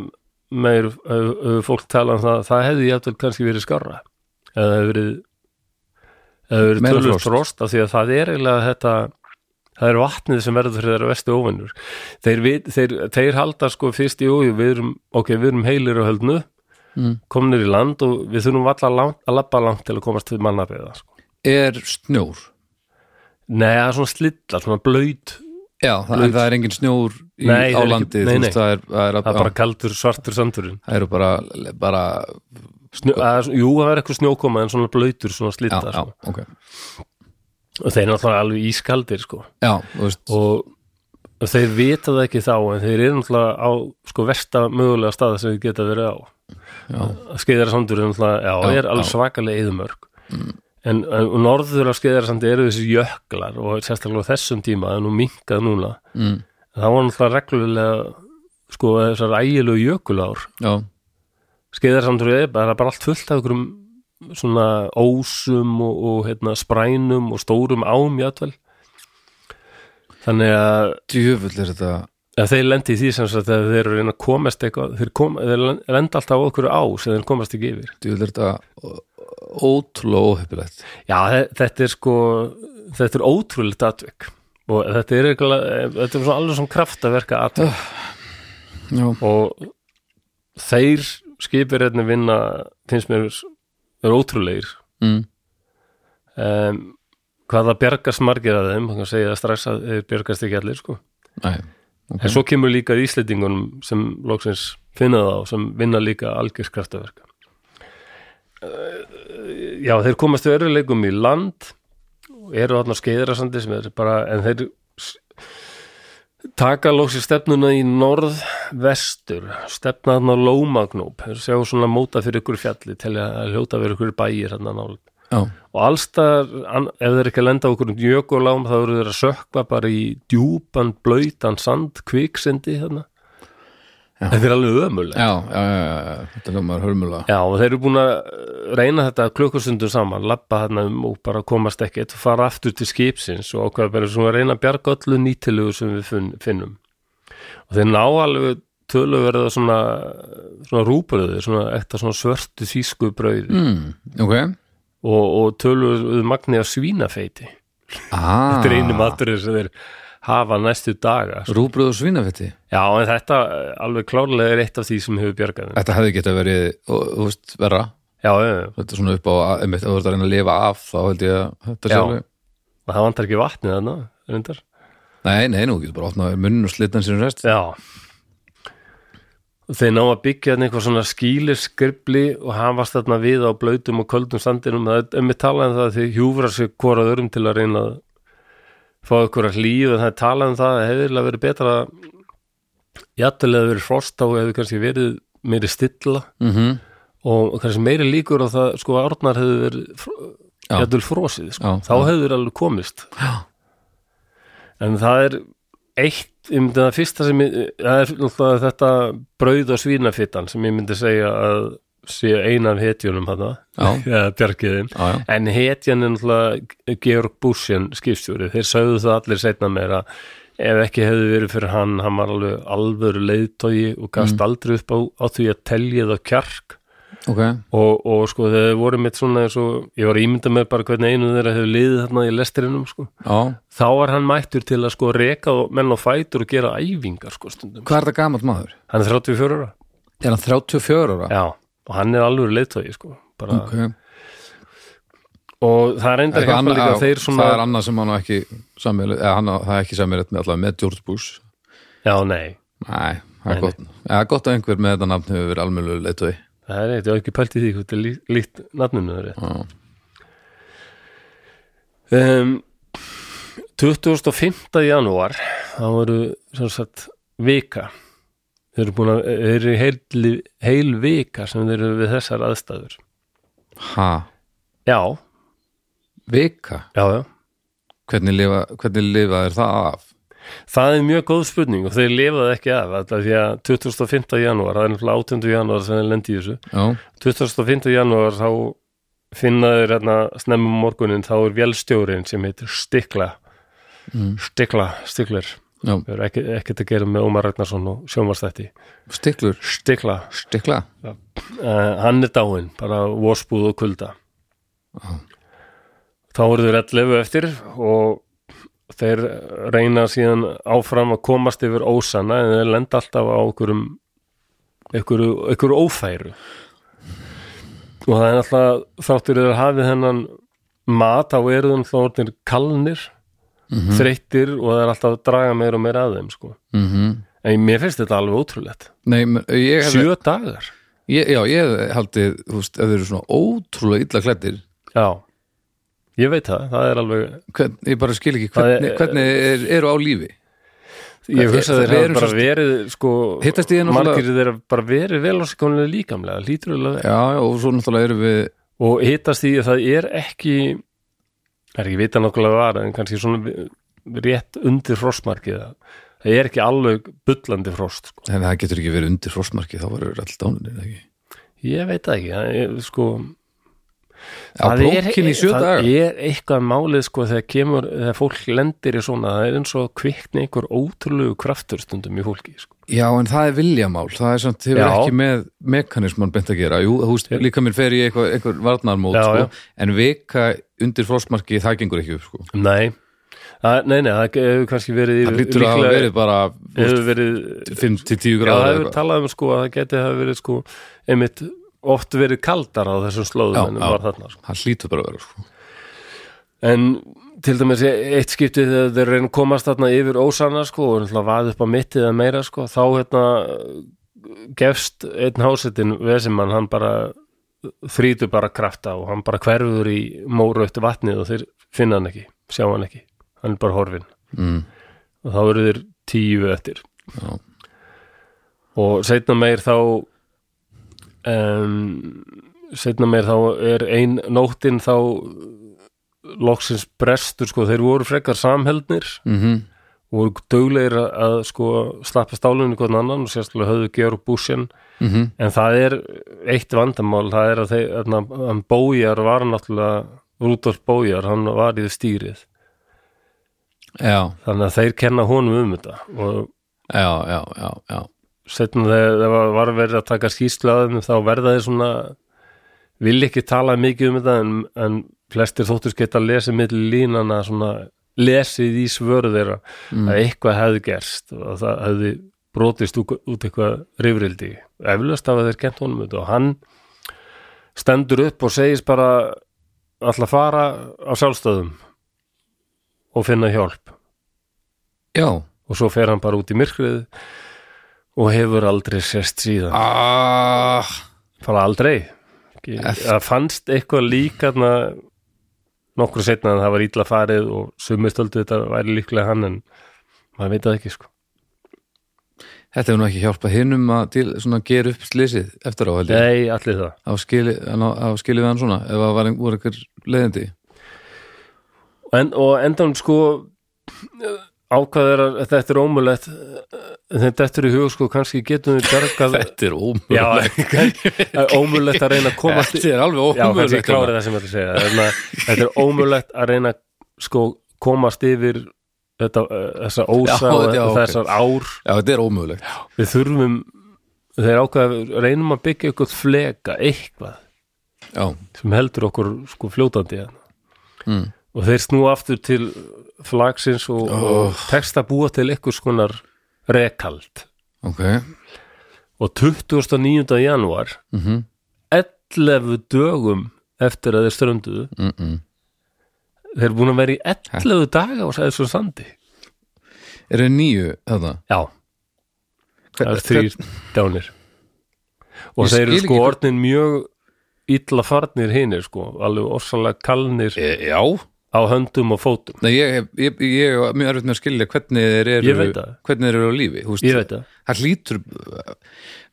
Speaker 1: meir uh, fólk tala um það það hefði jafnvel kannski verið skarra eða hefði verið eða hefði verið
Speaker 2: Meira
Speaker 1: tölvöld
Speaker 2: frost.
Speaker 1: frost af því að það er eiginlega þetta það er vatnið sem verður fyrir þeirra vestu óvinnur þeir, vit- þeir, þeir halda sko fyrst í ójú, við erum, ok, við erum heilir á höldnu
Speaker 2: Mm.
Speaker 1: komnir í land og við þurfum alltaf langt, að labba langt til að komast til mannabæða sko.
Speaker 2: Er snjór
Speaker 1: Nei, það er svona slitta, svona blöyt
Speaker 2: Já, það, en það er engin snjór í,
Speaker 1: Nei,
Speaker 2: á
Speaker 1: það er ekki-
Speaker 2: landi
Speaker 1: nei,
Speaker 2: þú
Speaker 1: nei.
Speaker 2: veist, Það er, það er,
Speaker 1: það er
Speaker 2: já,
Speaker 1: bara kaldur svartur sandurinn
Speaker 2: það eru bara, bara
Speaker 1: Snjó, að, Jú, það er eitthvað snjókoma en svona blöytur, svona
Speaker 2: Já,
Speaker 1: slitta
Speaker 2: já,
Speaker 1: sko.
Speaker 2: ok
Speaker 1: og þeir eru náttúrulega alveg ískaldir sko.
Speaker 2: Já, þú veist,
Speaker 1: og, og þeir vita það ekki þá en þeir eru náttúrulega á sko versta mögulega staða sem þeir geta verið á skeiðara sandur er náttúrulega, já,
Speaker 2: Já,
Speaker 1: er alveg
Speaker 2: já.
Speaker 1: svakalega eðumörk en, en og norður af skeiðara sandi eru þessi jöklar og sérstaklega á þessum tíma, það er nú minkað núna
Speaker 2: Mm.
Speaker 1: það var náttúrulega reglulega sko þessar ægilegu jökulár
Speaker 2: já,
Speaker 1: skeiðarsandur er bara, bara allt fullt af einhverjum svona ósum og, og hérna, sprænum og stórum ám játvel þannig að,
Speaker 2: djöfull er þetta
Speaker 1: að þeir lendi í því sem sagt að þeir eru að reyna að komast eitthvað þeir, kom, þeir lenda alltaf á okkur á sem þeir komast ekki yfir
Speaker 2: djöfull er þetta ó- ótrúlega óheppilegt
Speaker 1: Já, þe- þetta er sko þetta er ótrúlegt atvik og þetta er, eitthvað, þetta er svona alveg svona kraftaverka atvik
Speaker 2: Já.
Speaker 1: og þeir skipirreitni vinna finnst mér er ótrúlegir
Speaker 2: mm.
Speaker 1: um, hvað það bjargast margir að þeim, þannig að segja það strax að þeir bjargast ekki allir sko
Speaker 2: Nei,
Speaker 1: en svo kemur líka íslendingunum sem loksins finna það og sem vinna líka algjörskraftaverka Eh, já, þeir komast við erfiðleikum í land og eru þarna á skeiðarasandi sem er bara, en þeir s- taka loksins stefnuna í norðvestur stefna þarna á Lómagnóp þeir sjá svona móta fyrir ykkur fjalli til að hljóta fyrir ykkur bæir hann að nála
Speaker 2: já,
Speaker 1: og allstaðar, an- ef þeir ekki að lenda á okkur um jökulám, þá eru þeir að sökva bara í djúpan, blöytan sand, hérna. kviksindi þarna
Speaker 2: Já.
Speaker 1: þetta er alveg ömuleg
Speaker 2: já, já, já, já. þetta ljómaður hörmulega
Speaker 1: Já, og þeir eru búin að reyna þetta klukkustundum saman, labba þarna um og bara komast ekkert og fara aftur til skipsins og ákveða bara svona að reyna að bjarga öllu nýtilegu sem við finn, finnum. Og þeir ná alveg töluverða svona, svona rúbröði, svona eftir svona svörtu þýsku brauði
Speaker 2: mm, ok
Speaker 1: og, og töluverðu magni af svínafeiti.
Speaker 2: ah,
Speaker 1: Þetta er einu maturinn sem þeir hafa næstu daga. sko.
Speaker 2: Rúbröð Ah, og svínafetti
Speaker 1: Já, en þetta eh, alveg klárlega er eitt af því sem hefur bjargað þeim.
Speaker 2: Þetta hefði geta verið, og, þú veist, verra
Speaker 1: Já, já, já.
Speaker 2: Þetta er svona upp á, einmitt, ef þú ert að reyna að lifa af þá held ég að þetta sé
Speaker 1: Já.
Speaker 2: alveg
Speaker 1: Og það vantar ekki vatnið þarna, reyndar.
Speaker 2: Nei, nei, nú getur bara opnað munn og slitna sér um rest
Speaker 1: Já. Og Þeir ná að byggja þarna eitthvað svona skýliskribli og hafast þarna við á blautum og köldum sandinum. Það er með talað um það að þið hjúfra sig hvorað örum til að reyna að fá ykkur að hlýju og það er talað um það að hefðirlega verið betra að jættulega verið frost á hefði kannski verið meiri stilla
Speaker 2: mm
Speaker 1: og kannski meiri líkur á það sko að árnar hefðu verið
Speaker 2: Já.
Speaker 1: jættul frosið sko.
Speaker 2: Já,
Speaker 1: þá hefðu þeir alveg komist já. en það er eitt, ég myndi það fyrsta sem ég, það er náttúrulega þetta brauð og svínafittan sem ég myndi segja að sé eina af hetjunum hann
Speaker 2: Já.
Speaker 1: eða bjargiðin
Speaker 2: Já, já.
Speaker 1: en hetjan er náttúrulega Georg Bussian skipstjóri, þeir sögðu það allir seinna meira ef ekki hefði verið fyrir hann, hann var alveg alvöru leiðtogi og gafst
Speaker 2: Mm.
Speaker 1: aldrei upp á, á því að telja það kjark
Speaker 2: Ok,
Speaker 1: og, og sko þegar þeir voru mitt svona eins og ég var að ímynda mér bara hvernig einu þeirra hefur liðið þarna í lestrinum sko
Speaker 2: já
Speaker 1: þá var hann mættur til að sko reka og- menn á fætur og gera æfingar sko stundum
Speaker 2: Hvað er þetta gamalt maður?
Speaker 1: hann er 34 ára
Speaker 2: Er hann 34 ára?
Speaker 1: já og hann er alveg leiðtogi sko bara,
Speaker 2: Ok,
Speaker 1: og það er enda
Speaker 2: Eitthvað
Speaker 1: hjálpa
Speaker 2: annað-
Speaker 1: líka
Speaker 2: já,
Speaker 1: að þeir svona
Speaker 2: það er annað sem hann á ekki sammeilið, eða hann á, það er ekki sammeilið með allavega með George Bush
Speaker 1: já nei,
Speaker 2: Nei, það
Speaker 1: Nei,
Speaker 2: er gott, ja, gott að einhver með þetta nafn hefur verið almjölu leitói
Speaker 1: það er eitthvað ekki pælt í því hvað þetta er lí- líkt nafninu þeirri um, 25. janúar þá voru sem sagt vika þeir eru búin að þeir eru í heil, heil vika sem þeir eru við þessar aðstæður
Speaker 2: Ha,
Speaker 1: já,
Speaker 2: vika,
Speaker 1: já, já
Speaker 2: hvernig lifa, hvernig lifa er það af?
Speaker 1: það er mjög góð spurning og þeir lifaði ekki af alltaf því að 25. janúar það er náttúrulega 18. janúar sem þeir lendi í þessu
Speaker 2: Já,
Speaker 1: 25. janúar þá finnaður hérna snemmum morgunin þá er vélstjórin sem heitir Stikla Stikla, Stikler
Speaker 2: já,
Speaker 1: Það er ekki, ekkert að gera með Ómar Ragnarsson og sjónvarstætti
Speaker 2: stiklur,
Speaker 1: Stikla,
Speaker 2: stikla
Speaker 1: uh, hann er dáinn bara vósbúð og kulda þá voru þeir 11 eftir og þeir reyna síðan áfram að komast yfir ósanna en þeir lenda alltaf á einhverjum einhverju, einhverju ófæru og það er alltaf þáttur þeir hafið hennan mat á erðum þá orðnir kalnir þreyttir og það er alltaf að draga meira og meira að þeim sko.
Speaker 2: mm
Speaker 1: en mér finnst þetta alveg ótrúlegt
Speaker 2: Nei, men- ég hefði,
Speaker 1: sjö dagar
Speaker 2: ég, já, ég hefði haldið, þú veist, ef þeir eru svona ótrúlega illa klættir
Speaker 1: Já, ég veit það, það er alveg
Speaker 2: hvern, ég bara skil ekki
Speaker 1: Það er-
Speaker 2: hvernig, hvernig er, eru á lífi
Speaker 1: Ég hugsa að
Speaker 2: það-
Speaker 1: þeir
Speaker 2: við
Speaker 1: hafa
Speaker 2: erum
Speaker 1: bara
Speaker 2: svo-
Speaker 1: verið sko,
Speaker 2: Hittast í þeir náttúrulega-
Speaker 1: margir þeir hafa bara verið vel ásikonlega líkamlega, lítur vel að vera
Speaker 2: já, já, og svo náttúrulega eru við
Speaker 1: og hittast því að það er ekki það er ekki vita nákvæmlega var en kannski svona vi- rétt undir frostmarkið það er ekki alveg bullandi frost sko.
Speaker 2: en það getur ekki verið undir frostmarki, þá verður alltaf dánunir ekki
Speaker 1: ég veit það ekki, það er sko
Speaker 2: á blókin í sjö
Speaker 1: það
Speaker 2: daga
Speaker 1: er eitthvað málið sko þegar kemur, þegar fólk lendir í svona það er eins og kvikni einhver ótrúlegu kraftur stundum í fólki sko.
Speaker 2: Já, en það er viljamál, það er samt hefur
Speaker 1: Já.
Speaker 2: ekki með mekanisman bent að gera Jú, húst, líka minn fer í eitthvað, eitthvað varnarmót
Speaker 1: Já,
Speaker 2: sko,
Speaker 1: já.
Speaker 2: en vika undir frostmarki það gengur ekki upp sko.
Speaker 1: Nei, það, nei, nei, það hefur kannski verið
Speaker 2: Það
Speaker 1: yfir-
Speaker 2: lítur að hafa
Speaker 1: líklega-
Speaker 2: verið bara
Speaker 1: hefur verið
Speaker 2: 5-10
Speaker 1: Já, það
Speaker 2: gráður
Speaker 1: hefur
Speaker 2: eitthvað.
Speaker 1: talað um sko að það geti hafa verið sko einmitt oft verið kaldar á þessum slóðum
Speaker 2: Já,
Speaker 1: en
Speaker 2: já.
Speaker 1: var þarna sko.
Speaker 2: Það hlýtur bara að vera sko.
Speaker 1: En til dæmis eitt skiptið þegar þeir reynum komast þarna yfir ósanna sko og náttúrulega vaði upp á mittið eða meira sko þá hérna gefst einn hásetin vesimann hann bara þrýtur bara krafta og hann bara hverfur í mórautt vatnið og þeir finna hann ekki, sjá hann ekki hann er bara horfinn
Speaker 2: mm,
Speaker 1: og þá eru þeir tíu eftir
Speaker 2: já.
Speaker 1: og setna meir þá um, setna meir þá er ein nóttin þá loksins brestur sko, þeir voru frekar samheldnir
Speaker 2: Mm
Speaker 1: og voru duglegir að, að sko slappa stálunni hvern annan og sérstaklega höfðu gjör búsinn
Speaker 2: Mhm.
Speaker 1: en það er eitt vandamál það er að þeir, þarna, hann Bójar var náttúrulega, Rúdolf Bójar hann var í stýrið
Speaker 2: já,
Speaker 1: þannig að þeir kenna honum um þetta og
Speaker 2: já, já, já, já.
Speaker 1: setna þegar það var- var verið að taka skýrslaðum þá verða þeir svona vil ekki tala mikið um þetta en, en flestir þóttur geta lesið milli línana svona lesið í svöru þeirra að eitthvað hefði gerst og það hefði brotist út, út eitthvað rifrildi eflaust hafa þeir kent honum þetta og hann stendur upp og segist bara alltaf fara á sjálfstöðum og finna hjálp
Speaker 2: já.
Speaker 1: og svo fer hann bara út í myrkrið og hefur aldrei sérst síðan
Speaker 2: Ah,
Speaker 1: bara aldrei Ekki- það fannst eitthvað líka nokkru setna en það var ítla farið og sumistöldu þetta væri líklega hann en maður veit það ekki sko
Speaker 2: þetta hefur nú ekki hjálpað hinum að til, svona, gera upp slysið eftir á heldur
Speaker 1: nei, allir það
Speaker 2: á skili, á, á skili við hann svona ef það var ein- voru einhver leiðindi
Speaker 1: en, og endan sko ákvaður að þetta er ómulegt þetta er í hug sko kannski getum við bergað
Speaker 2: Þetta er
Speaker 1: Já,
Speaker 2: ómögulegt
Speaker 1: ómulegt að reyna að komast
Speaker 2: Þetta er alveg
Speaker 1: Já, kannski ég
Speaker 2: ómögulegt
Speaker 1: klári það sem ég ætla að segja Þarna, Þetta er ómögulegt að reyna sko, komast yfir þetta, eh, þessa ósa
Speaker 2: Já,
Speaker 1: og
Speaker 2: já, ok.
Speaker 1: þessar ár
Speaker 2: Já, þetta er ómögulegt
Speaker 1: Við þurfum þeir ákveða, við reynum að byggja eitthvað fleka, eitthvað
Speaker 2: Já,
Speaker 1: sem heldur okkur sko fljótandi hérna.
Speaker 2: Mm.
Speaker 1: og þeir snú aftur til flagsins og,
Speaker 2: Oh.
Speaker 1: og tekst að búa til eitthvað skonar rekald
Speaker 2: ok
Speaker 1: og 29. janúar
Speaker 2: mm
Speaker 1: 11 dögum eftir að þeir strönduðu
Speaker 2: mm -mm.
Speaker 1: Þeir eru búin að vera í 11 daga og sagði svo sandi
Speaker 2: Er það nýju þetta?
Speaker 1: Já, það er þrýr dánir Og
Speaker 2: Ég
Speaker 1: þeir eru
Speaker 2: skil
Speaker 1: sko
Speaker 2: ekki-
Speaker 1: orðin mjög illa farnir hinir sko, alveg orsalega kalnir
Speaker 2: E, já
Speaker 1: á höndum og fótum
Speaker 2: Nei, ég, hef- ég, ég er mjög erfitt með að skilja hvernig þeir eru
Speaker 1: Ég veit það.
Speaker 2: Hvernig þeir eru á lífi húst,
Speaker 1: Ég veit það,
Speaker 2: Það hlýtur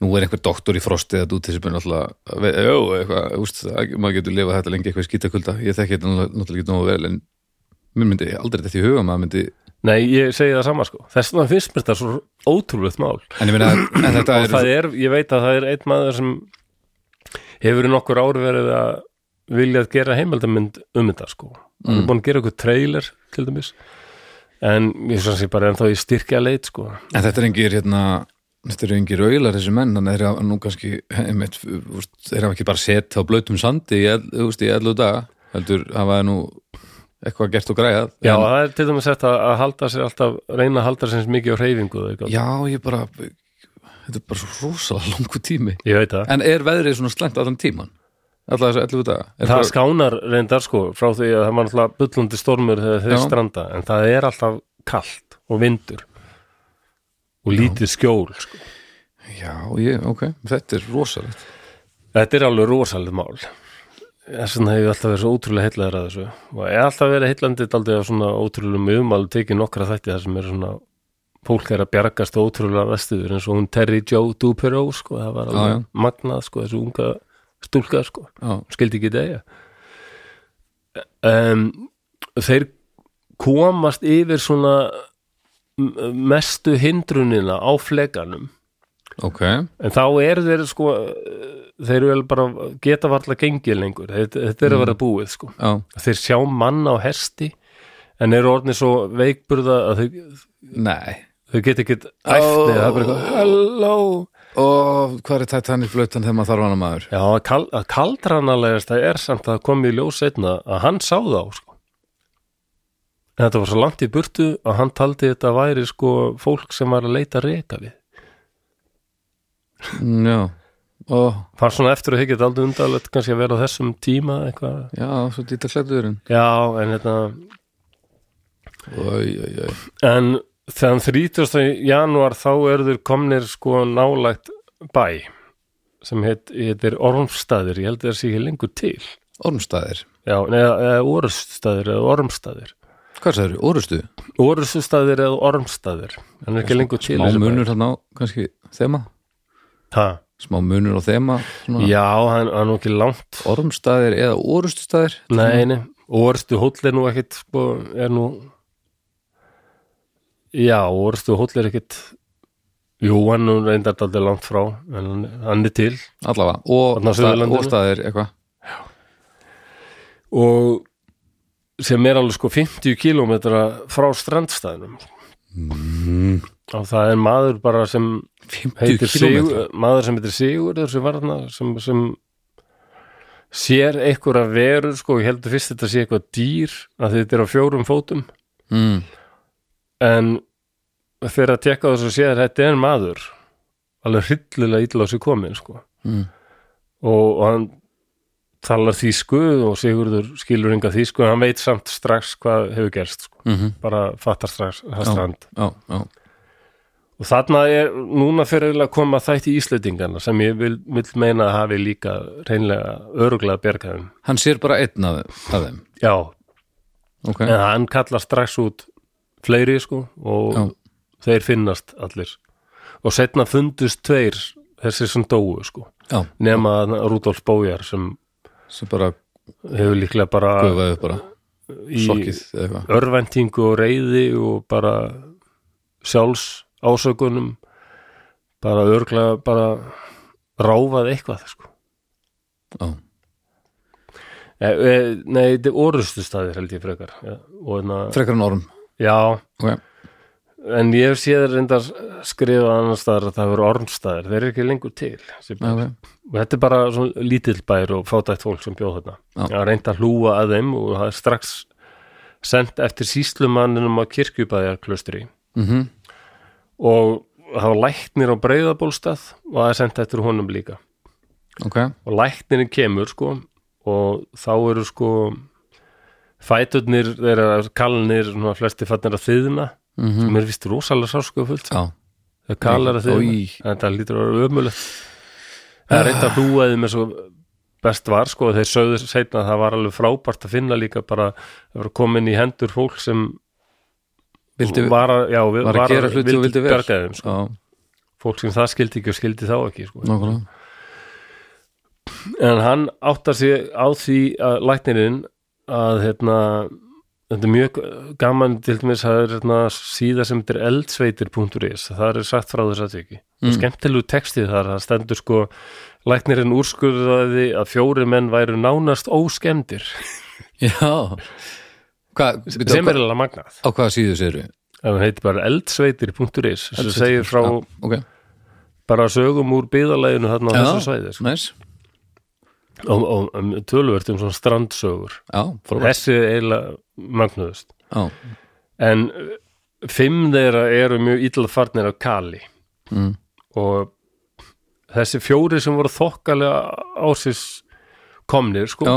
Speaker 2: Nú er einhver doktor í frosti að út þessi byrja alltaf Jó, eitthvað, húst, það- maður getur lifað þetta lengi eitthvað skítakulda Ég þekki þetta náttúrulega náttúrulega ekki nógu vel en mér myndi aldrei þetta í huga maður myndi
Speaker 1: nei ég segi það sama sko Þess vegna finnst mér þetta svo ótrúlegt mál
Speaker 2: En ég meina, en þetta
Speaker 1: Og
Speaker 2: er
Speaker 1: það er, ég veit að það er einn maður sem hefur í nokkur ár verið að vilja að gera heimaldamynd um þetta sko hann
Speaker 2: Mm.
Speaker 1: er búin að gera eitthvað trailer til dæmis en ég svo að sé bara ennþá í styrkja leit sko
Speaker 2: En þetta er engir hérna Þetta eru engir auðlar þessi menn þannig þeir hafa nú kannski einmitt, úst, þeir hafa ekki bara sett á blautum sandi í, ell- þú veist, í ellu daga heldur hafa þeir nú eitthvað gert og græjað
Speaker 1: Já,
Speaker 2: en,
Speaker 1: það er til dæmis þetta að halda sér alltaf, reyna að halda sér eins mikið á hreyfingu og þau gátu.
Speaker 2: já, ég bara þetta er bara svo rosalega langu tími
Speaker 1: Ég veit það.
Speaker 2: En er veðrið svona slæmt allan tíman? Alla þessi ellu daga? Er
Speaker 1: það
Speaker 2: bara-
Speaker 1: skánar reyndar sko frá því að það var alltaf bullandi stormur þegar þeir
Speaker 2: Já.
Speaker 1: stranda, en það er alltaf kalt og vindur og lítið skjól sko.
Speaker 2: Já, ég, ok, þetta er rosalegt
Speaker 1: Þetta er alveg rosalega mál. Þess vegna hefur alltaf verið svo ótrúlega heillæður að þessu og er alltaf verið heillandi daldið af svona ótrúlega mjögum alveg tekið nokkra þætti þar sem er svona fólk er að bjargast og ótrúlega vestuður eins og hún Terry Jo Duperó sko, það var
Speaker 2: Já,
Speaker 1: alveg
Speaker 2: já.
Speaker 1: magnað sko, þessu unga stúlka sko.
Speaker 2: Já,
Speaker 1: skildi ekki degja um, þeir komast yfir svona m- mestu hindrunina á flekanum
Speaker 2: ok,
Speaker 1: en þá eru þeir sko eh, þeir eru vel bara geta varla gengið lengur, þetta, þetta er að vera búið sko.
Speaker 2: já,
Speaker 1: þeir sjá mann á hesti en eru orðni svo veikburða að þau,
Speaker 2: nei
Speaker 1: þau geta ekkert æft
Speaker 2: Ó.
Speaker 1: eða það er bara eitthvað, hello
Speaker 2: og hvað er Titanic flautan þegar maður þarf hana maður
Speaker 1: já, að kal, að kaldranalegast það er samt að kom í ljós einna að hann sá þá sko. en þetta var svo langt í burtu að hann taldi þetta væri sko fólk sem var að leita reka við
Speaker 2: Mm, já, og
Speaker 1: fannst svona eftir að higgja aldrei undarlegt kannski að vera á þessum tíma eitthvað
Speaker 2: já, svo dýta klættuðurinn
Speaker 1: já, en hérna, þetta
Speaker 2: oi, oi, oi,
Speaker 1: en þegar 30. janúar þá eru þeir komnir sko nálægt bæ sem heit, heitir Ormstaðir ég held að það sé ekki lengur til
Speaker 2: ormstæðir
Speaker 1: já, neða, eða Oruststaðir eða Ormstaðir
Speaker 2: hvað sagður, orustu?
Speaker 1: Oruststaðir eða Ormstaðir hann er ekki lengur til
Speaker 2: smá
Speaker 1: þessi bær.
Speaker 2: munur hann á, kannski, þema
Speaker 1: ha,
Speaker 2: smá munur á þema svona,
Speaker 1: já, hann hann er nú ekki langt
Speaker 2: ormstæðir eða orustustæðir
Speaker 1: nei, nei, Orustu hóll er nú ekkit sko, er nú já, Orustu hóll er ekkit jú, hann er nú reyndar aldrei langt frá en hann- hann er til
Speaker 2: allavega, og
Speaker 1: Þarna á
Speaker 2: stað-
Speaker 1: Suðurlandinu.
Speaker 2: og staðir eitthvað
Speaker 1: og sem er alveg sko 50 kílómetra frá strandstæðinum
Speaker 2: Mm.
Speaker 1: og það er maður bara sem
Speaker 2: 50
Speaker 1: heitir
Speaker 2: km
Speaker 1: Sigur maður sem heitir Sigur sem, varna, sem, sem sér einhverja veru sko, ég heldur fyrst þetta sé eitthvað dýr að þetta er á fjórum fótum
Speaker 2: mm.
Speaker 1: en þegar að tekka þess að sé að þetta er maður alveg hryllilega illa á sig komin sko.
Speaker 2: Mm.
Speaker 1: og, og hann talar þýsku og Sigurður skilur enga þýsku en hann veit samt strax hvað hefur gerst sko.
Speaker 2: Mm
Speaker 1: bara fattar strax það strand
Speaker 2: já, já,
Speaker 1: og þarna er núna fyrir eiginlega að koma þætti íslendingana sem ég vil, vil meina að hafi líka reynlega öruglega bjargaðum
Speaker 2: hann sér bara einn af, af þeim
Speaker 1: já,
Speaker 2: ok,
Speaker 1: en hann kallar strax út fleiri sko og
Speaker 2: Já.
Speaker 1: þeir finnast allir og setna fundust tveir þessi sem dóu sko
Speaker 2: já,
Speaker 1: nema þarna Rudolf Bójar sem
Speaker 2: sem bara
Speaker 1: hefur líklega bara
Speaker 2: gufaði upp bara
Speaker 1: í
Speaker 2: sokkið eða eitthvað
Speaker 1: örvæntingu og reyði og bara sjálfs ásökunum bara örgla bara ráfað eitthvað sko.
Speaker 2: Já.
Speaker 1: e, e, nei, þetta er orustu staðir held ég frekar ja, og enna,
Speaker 2: frekar en orm
Speaker 1: já,
Speaker 2: ok,
Speaker 1: en ég hef séð reyndar skrifa annar staðar að það verður ormstaðir þeir eru ekki lengur til þessi bær.
Speaker 2: ok,
Speaker 1: og þetta er bara svona lítill bær og fátætt fólk sem bjóð þarna
Speaker 2: Já.
Speaker 1: það er reynd að hlúa að þeim og það er strax sendt eftir síslumanninum á kirkjubæðarklaustri
Speaker 2: mhm
Speaker 1: og það var læknir á breyðabólstað og það er sendt eftir honum líka
Speaker 2: ok,
Speaker 1: og læknirinn kemur sko og þá eru sko fæturnir, þeirra kalnir svona, flesti fannir að þiðna
Speaker 2: mhm
Speaker 1: sem er vist rosalega sárskufullt
Speaker 2: já,
Speaker 1: þau kallar að þiðna,
Speaker 2: Oj.
Speaker 1: þetta lítur að vera ömulegt það er reynda hlúaði með svo best var sko þeir sögðu seinna að það var alveg frábært að finna líka bara að vera komin í hendur fólk sem
Speaker 2: vildi
Speaker 1: var að, já,
Speaker 2: var að gera hluti og vildi vel.
Speaker 1: bjarga þeim sko.
Speaker 2: já,
Speaker 1: fólk sem það skildi ekki og skildi þá ekki sko.
Speaker 2: nákvæmlega
Speaker 1: en hann áttar sig á því að læknirinn að hérna, þetta er mjög gaman til dæmis að það er hérna, síða sem þetta er eldsveitir.is það er sagt frá þess að ekki mm. skemmtilegu textið þar, það stendur sko læknirinn úrskurðaði að fjóri menn væru nánast óskemmdir
Speaker 2: já hvað, byrja,
Speaker 1: sem er alveg magnað
Speaker 2: á hvaða síðu séru
Speaker 1: ef hann heitir bara eldsveitir.is sem segir frá
Speaker 2: ok,
Speaker 1: bara sögum úr byðalæginu þarna á
Speaker 2: Já.
Speaker 1: þessu svæði sko.
Speaker 2: næs,
Speaker 1: og, og, og tölvert um svona strandsögur
Speaker 2: já, frábært
Speaker 1: þessi er eiginlega magnuðust
Speaker 2: já,
Speaker 1: en uh, fimm þeirra eru mjög illa farnir af Kali
Speaker 2: Mm.
Speaker 1: og þessi fjóri sem voru þokkalega ásins komnir sko,
Speaker 2: já,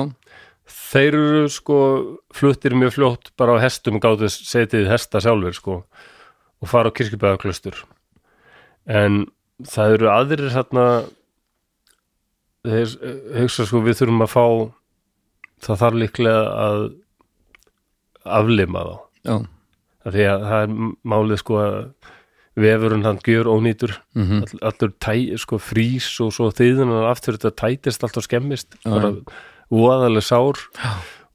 Speaker 1: þeir eru sko fluttir mjög fljótt bara á hestum gátu setið hesta sjálfur sko og fara á kirkjubæðaklustur en það eru aðrir þarna þeir eh, hugsa sko við þurfum að fá það þarf líklega að aflima þá
Speaker 2: já
Speaker 1: Af því að það er m- málið sko að vefurinn hann gjör ónýtur mm
Speaker 2: Mhm.
Speaker 1: -hmm. allur tæ, sko, frís og svo þýðin hann aftur þetta tætist allt og skemmist bara voðalega sár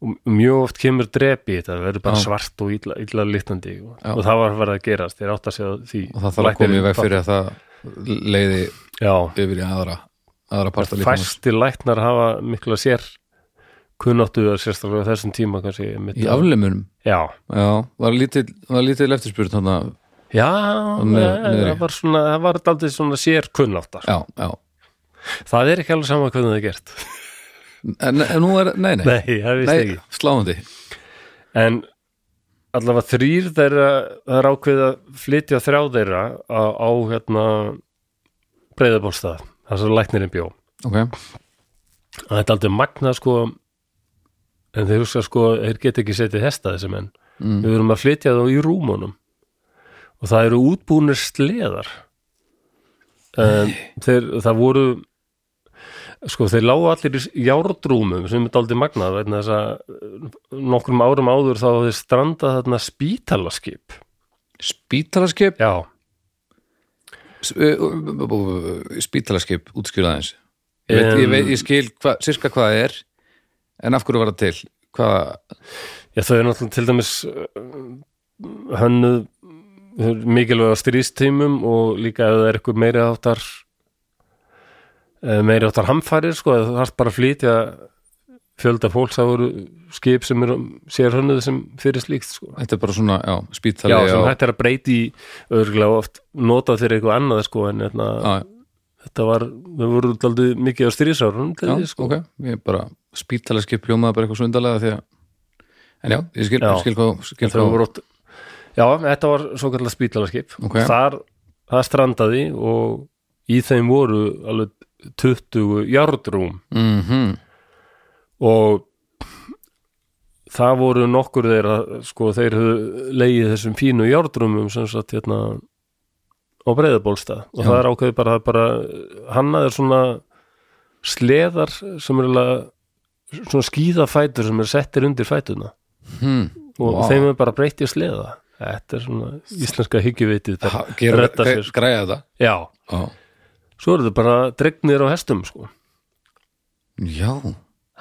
Speaker 1: og mjög oft kemur drepi í þetta það verður bara
Speaker 2: Já.
Speaker 1: svart og illa, illa litandi og,
Speaker 2: Já.
Speaker 1: og það var verið að gerast, þeir átt að segja því
Speaker 2: og það þarf að koma í
Speaker 1: Læknirinn
Speaker 2: veg fyrir að það leiði
Speaker 1: já,
Speaker 2: yfir í aðra aðra parta líkamans
Speaker 1: fæsti læknar hafa mikla sér kunnáttu að sérstaklega á þessum tíma kannski einmitt
Speaker 2: í
Speaker 1: að-
Speaker 2: afleimunum,
Speaker 1: já,
Speaker 2: já, var lítill var lítill eftirspurð þannig að,
Speaker 1: já
Speaker 2: niður-
Speaker 1: eh,
Speaker 2: niðri.
Speaker 1: það var svona, það var daldið svona sér kunnátt
Speaker 2: já, já
Speaker 1: það er ekki alveg sama hvernig það er gert
Speaker 2: en, en nú er, nei, nei,
Speaker 1: nei, það vist
Speaker 2: nei
Speaker 1: ekki
Speaker 2: sláandi
Speaker 1: en allavega þrýr þeirra það er ákveðið að flytja þrjá þeirra á, á hérna breyðabólstað, það sem læknirinn bjó
Speaker 2: ok,
Speaker 1: að þetta er aldrei magnað sko en þeir hugsa sko, þeir geta ekki setið hesta þessi menn,
Speaker 2: Mm.
Speaker 1: við verum að flytja þá í rúmunum og það eru útbúnir sleðar um, þeir, það voru sko, þeir lágu allir í járdrúmum sem er aldrei magnað vegna þess að eh, nokkrum árum áður þá þeir strandað þarna spítalaskip
Speaker 2: spítalaskip
Speaker 1: já,
Speaker 2: S- ö, ö, ö, ö, ö, spítalaskip útskýrða aðeins ég, veit, ég, veit, ég skil hva, sirka hvað það er en af hverju var það til hvað,
Speaker 1: já þau eru náttúrulega til dæmis eh, hönnuð þau eru mikilvæg á stríðstímum og líka ef það er eitthvað meiri áttar meiri áttar hamfærir sko, það þarf bara að flytja fjölda fólks að voru skip sem eru sér hönnuð sem fyrir slíkt sko.
Speaker 2: þetta er bara svona já,
Speaker 1: já,
Speaker 2: spítali
Speaker 1: sem
Speaker 2: og-
Speaker 1: hægt er að breyti í örgulega oft notað fyrir eitthvað annað sko, en etna,
Speaker 2: Já,
Speaker 1: þetta var, við vorum aldrei mikið á stríðsárunum til
Speaker 2: já,
Speaker 1: því sko.
Speaker 2: ok, ég bara spítalaskip hljómaði bara eitthvað svo undarlega því að en já, ég skil,
Speaker 1: Já.
Speaker 2: skil hvað skil
Speaker 1: þau
Speaker 2: hvað,
Speaker 1: voru ótt já, þetta var svo kallar spítalarskip
Speaker 2: Ok.
Speaker 1: þar, það strandaði og í þeim voru alveg 20 járnrúm
Speaker 2: mm
Speaker 1: og það voru nokkur þeirra sko, þeir höfðu legið þessum fínu járnrúmum sem satt hérna á breyðabólstað og
Speaker 2: Já.
Speaker 1: það er ákveðið bara, það er bara hannaður svona sleðar sem er alveg svona skíðafætur sem er settir undir fætuna
Speaker 2: hmm.
Speaker 1: og
Speaker 2: Vá.
Speaker 1: þeim er bara breytt í sleða þetta er svona íslenska hyggjuvitið
Speaker 2: Ha,
Speaker 1: bara
Speaker 2: gera,
Speaker 1: redda
Speaker 2: græ,
Speaker 1: sér sko.
Speaker 2: græja þetta
Speaker 1: já,
Speaker 2: já,
Speaker 1: svo eru þau bara dregnir á hestum sko,
Speaker 2: já.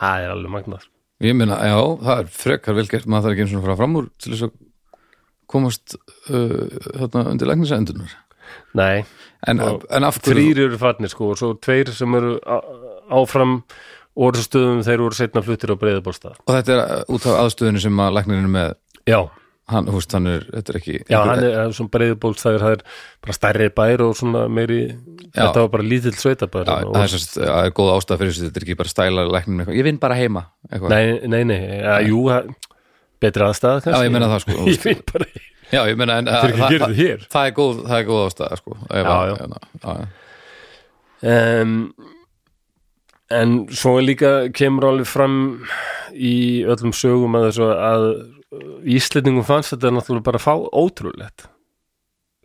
Speaker 1: það er alveg magnað
Speaker 2: ég meina, já, það er frekar velgert maður þarf ekki eins og að fara fram úr til þess að komast uh, þarna undir læknisendunar
Speaker 1: nei,
Speaker 2: en,
Speaker 1: Og
Speaker 2: en af hverju
Speaker 1: þrýr eru farnir sko og svo tveir sem eru á- áfram orðstöðum þeir voru setna fluttir á breyðabólstað
Speaker 2: og þetta er uh, út af aðstöðinu sem að læknirinn er með
Speaker 1: já,
Speaker 2: hann, húst, hann er, þetta er ekki
Speaker 1: já hann er, hann er svona breyðabólstaður það er bara stærri bær og svona meiri
Speaker 2: Já.
Speaker 1: þetta var bara lítill sveitabær
Speaker 2: Já,
Speaker 1: og-
Speaker 2: það er, sérst, það er góð ástæð fyrir þessu, þetta er ekki bara stæla læknum eitthvað, ég vinn bara heima eitthvað.
Speaker 1: nei, nei, nei, ja, jú það- betri aðstæða
Speaker 2: Já,
Speaker 1: kannski
Speaker 2: ég meina það sko
Speaker 1: ég veit bara,
Speaker 2: Já, ég meina en
Speaker 1: þeir eru ekki að
Speaker 2: það,
Speaker 1: gera þetta hér
Speaker 2: það er góð, það er góð ástæða sko Ef
Speaker 1: Já,
Speaker 2: að-
Speaker 1: já.
Speaker 2: hérna, já, já.
Speaker 1: um, en svo er líka kemur alveg fram í öllum sögum að þessu að uh, Íslendingum fannst þetta náttúrulega bara fá ótrúlegt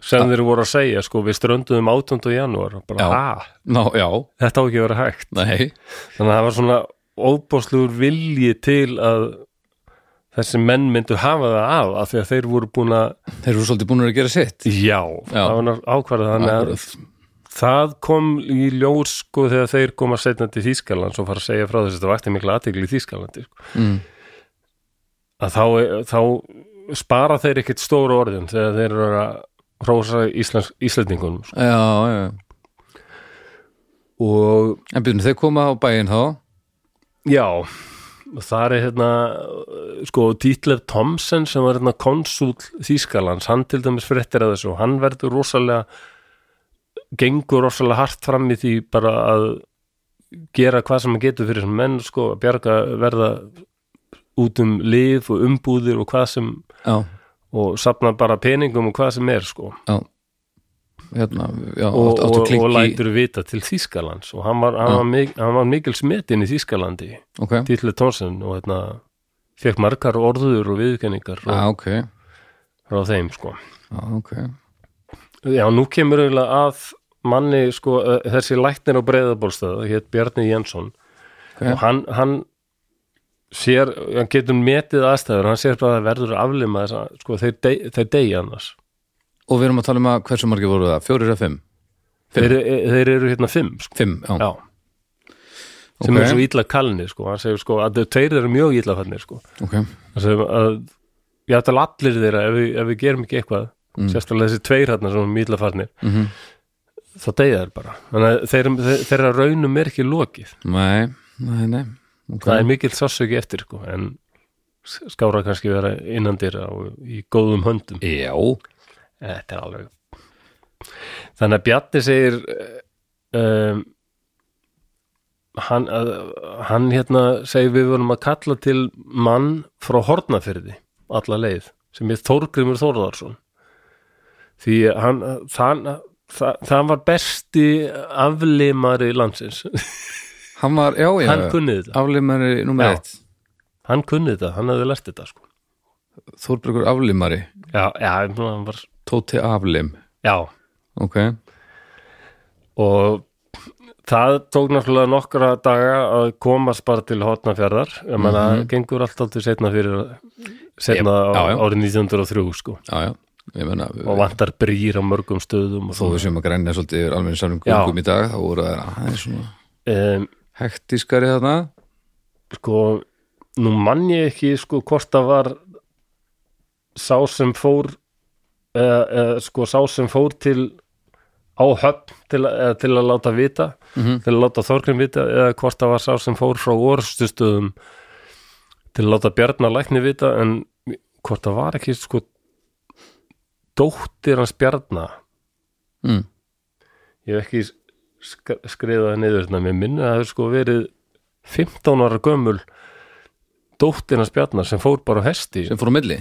Speaker 1: sem
Speaker 2: Ja.
Speaker 1: þeir voru að segja sko við strönduðum 18. janúar og bara,
Speaker 2: Já.
Speaker 1: ah,
Speaker 2: Ná, já,
Speaker 1: þetta á ekki að vera hægt
Speaker 2: nei
Speaker 1: þannig að það var svona óbáslugur vilji til að þessi menn myndu hafa það af af því að þeir voru búin að
Speaker 2: Þeir eru svolítið búin að gera sitt
Speaker 1: já,
Speaker 2: Já.
Speaker 1: það var ná- ákvarðað þannig að
Speaker 2: Akkurat.
Speaker 1: það kom í ljós sko þegar þeir koma setna til Þýskaland og fara að segja frá þess að þetta vakti mikla aðtegli í Þýskalandi sko.
Speaker 2: Mm.
Speaker 1: að þá, þá spara þeir ekkit stóru orðin þegar þeir eru að hrósa Íslands, Íslandingunum sko.
Speaker 2: Já, já, já
Speaker 1: og
Speaker 2: En byrjum, þeir koma á bæinn þá
Speaker 1: já það er hérna sko Dietlef Thomsen sem var hérna konsúl Þýskalands, hann til dæmis fréttir að þessu og hann verður rosalega gengur rosalega hart fram í því bara að gera hvað sem hann getur fyrir sem menn sko, að bjarga verða út um lif og umbúðir og hvað sem
Speaker 2: Já,
Speaker 1: og safna bara peningum og hvað sem er sko
Speaker 2: já Hérna, já,
Speaker 1: og,
Speaker 2: áttu, áttu
Speaker 1: og,
Speaker 2: klink
Speaker 1: og
Speaker 2: í
Speaker 1: lætur vita til Þýskalands og hann var, hann
Speaker 2: Já.
Speaker 1: var, mik hann var mikil smetin í Þýskalandi
Speaker 2: Ok,
Speaker 1: Dýtli Tónsen og hérna fekk margar orður og viðkenningar
Speaker 2: já,
Speaker 1: frá,
Speaker 2: Ah, ok Já,
Speaker 1: frá þeim sko
Speaker 2: ok
Speaker 1: Já, nú kemur eiginlega að manni sko, eh, þessi læknir á breyðabólstöð hétt Bjarni Jensson
Speaker 2: Ok.
Speaker 1: og hann, hann sér, hann getur metið aðstæður hann sér bara að það verður að aflima þess að sko, þeir, dey, þeir deyja annars
Speaker 2: Og við erum að tala um að hversu margir voru það? Fjórir að fimm? Fimm.
Speaker 1: þeir, e- þeir eru hérna fimm sko.
Speaker 2: Fimm, já,
Speaker 1: Já. sem
Speaker 2: Ok.
Speaker 1: eru svo illa kalni sko. hann segir sko, að þeir tveir eru mjög illa fannir sko.
Speaker 2: ok
Speaker 1: hann segir að ég ætla allir þeirra ef við, ef við gerum ekki eitthvað sérstaklega þessi tveir hérna sem eru mjög illa fannir
Speaker 2: Mm. Mhm.
Speaker 1: þá deyja þeir bara þannig að þeir, þeir, þeirra raunum er ekki lokið
Speaker 2: Nei, nei, nei Ok.
Speaker 1: það er mikill sársöki eftir sko, en s- skára kannski vera innan dyra og í góðum höndum
Speaker 2: Já,
Speaker 1: Eh, þetta er alveg þannig að Bjarni segir eh, um, hann, að, hann hérna segir við vorum að kalla til mann frá Hornafyrði alla leið sem er Þórgrimur Þórðarsson því að hann þann, það, það var besti aflimari landsins
Speaker 2: hann var, já, já
Speaker 1: hann kunni þetta
Speaker 2: Aflimari
Speaker 1: Já.
Speaker 2: nummer eitt
Speaker 1: hann kunni þetta, hann hefði lært þetta sko
Speaker 2: Þórbergur aflimari
Speaker 1: já, já, hann var
Speaker 2: Tóti aflim
Speaker 1: já,
Speaker 2: Ok,
Speaker 1: og það tók náttúrulega nokkra daga að komast bara til hotnafjörðar ég menna, mm gengur alltaf til setna fyrir setna
Speaker 2: Ég- Mhm. já, já.
Speaker 1: á, árið 1903 sko
Speaker 2: já, já Ég menna,
Speaker 1: og vantar brýr á mörgum stöðum og
Speaker 2: þó við séum að grænja svolítið yfir alveg samum
Speaker 1: Já.
Speaker 2: gungum í dag þá voru það aðeins svona
Speaker 1: um,
Speaker 2: hektiskari þarna
Speaker 1: sko, nú mann ég ekki sko hvort það var sá sem fór eða, eða sko sá sem fór til á höfn til, að- eða, til að láta vita
Speaker 2: Mhm.
Speaker 1: til að láta Þorgrim vita eða hvort það var sá sem fór frá orðstustöðum til að láta Bjarnar lækni vita en hvort það var ekki sko dóttir hans Bjarnar
Speaker 2: mm.
Speaker 1: ég hef ekki sk skriðað niður þetta, mér minna að það hefur sko verið 15 ára gömul dóttirnas bjarnar sem fór bara á hesti,
Speaker 2: sem fór á milli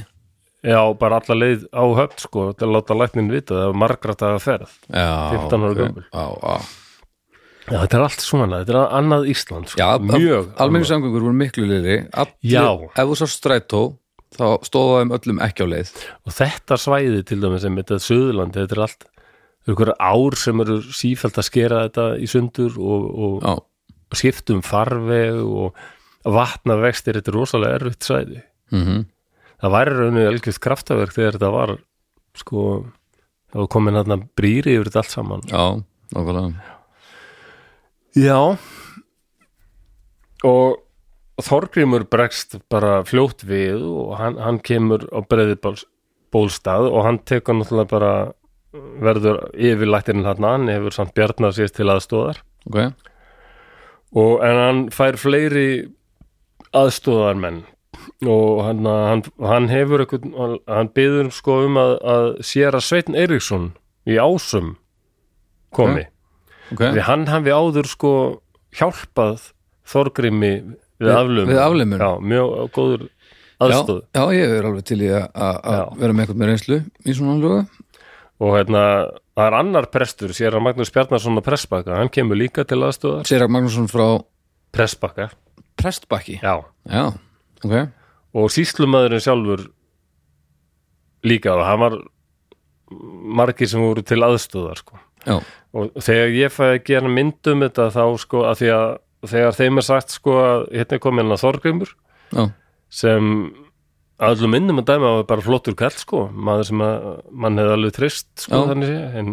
Speaker 1: já bara alla leið á höfn sko, til að láta læknin vita það var margra daga ferð,
Speaker 2: já,
Speaker 1: 15 ára
Speaker 2: ok.
Speaker 1: gömul.
Speaker 2: já, já.
Speaker 1: já þetta er allt svona þetta er annað Ísland sko,
Speaker 2: já
Speaker 1: mjög
Speaker 2: almenning samgöngur voru miklu lýri
Speaker 1: Já.
Speaker 2: ef þú sá strætó þá stóða þeim öllum ekki á leið
Speaker 1: annað. og þetta svæði til dæmis sem þetta Suðurlandi, þetta er allt einhverja ár sem eru sífælt að skera þetta í sundur og, og
Speaker 2: já,
Speaker 1: skiptum farveg og vatnavextir, þetta er rosalega erfitt svæði
Speaker 2: mm
Speaker 1: það væri rauninu elgjöft kraftaverk þegar þetta var sko, það var komin hérna brýri yfir þetta allt saman
Speaker 2: já nákvæmlega
Speaker 1: Já og Þorgrímur bregst bara fljótt við og hann, hann kemur á breiðibóls bólstað og hann tekur náttúrulega bara verður yfirlættirinn hann hann hefur samt bjarnar sér til aðstóðar
Speaker 2: ok,
Speaker 1: og en hann fær fleiri aðstóðarmenn og hann, hann, hann hefur eitthvað, hann, hann byður sko um að, að sér að Sveitn Eiríksson í ásum komi,
Speaker 2: okay.
Speaker 1: því hann hafi áður sko hjálpað Þorgrimi við
Speaker 2: Við-
Speaker 1: aflum
Speaker 2: við aflömun.
Speaker 1: já, mjög góður aðstóð
Speaker 2: já, já, ég er alveg til í að- að að
Speaker 1: Já.
Speaker 2: vera með eitthvað með reynslu í svona lögu
Speaker 1: og hérna, það er annar prestur sér að Magnús Bjarnarsson að pressbakka hann kemur líka til aðstóðar
Speaker 2: Sérak Magnússon frá
Speaker 1: pressbakka,
Speaker 2: Prestbakki
Speaker 1: já
Speaker 2: já, ok,
Speaker 1: og síslumadurinn sjálfur líka og hann var margir sem voru til aðstöðar sko.
Speaker 2: já,
Speaker 1: og þegar ég fæði að gera myndum þetta þá sko að því að þegar þeim er sagt sko að hérna er komin að Þorgrymur
Speaker 2: já
Speaker 1: sem að öllum myndum að dæma var bara flottur kall sko, maður sem að mann hefði alveg trist sko
Speaker 2: Já.
Speaker 1: þannig sé, en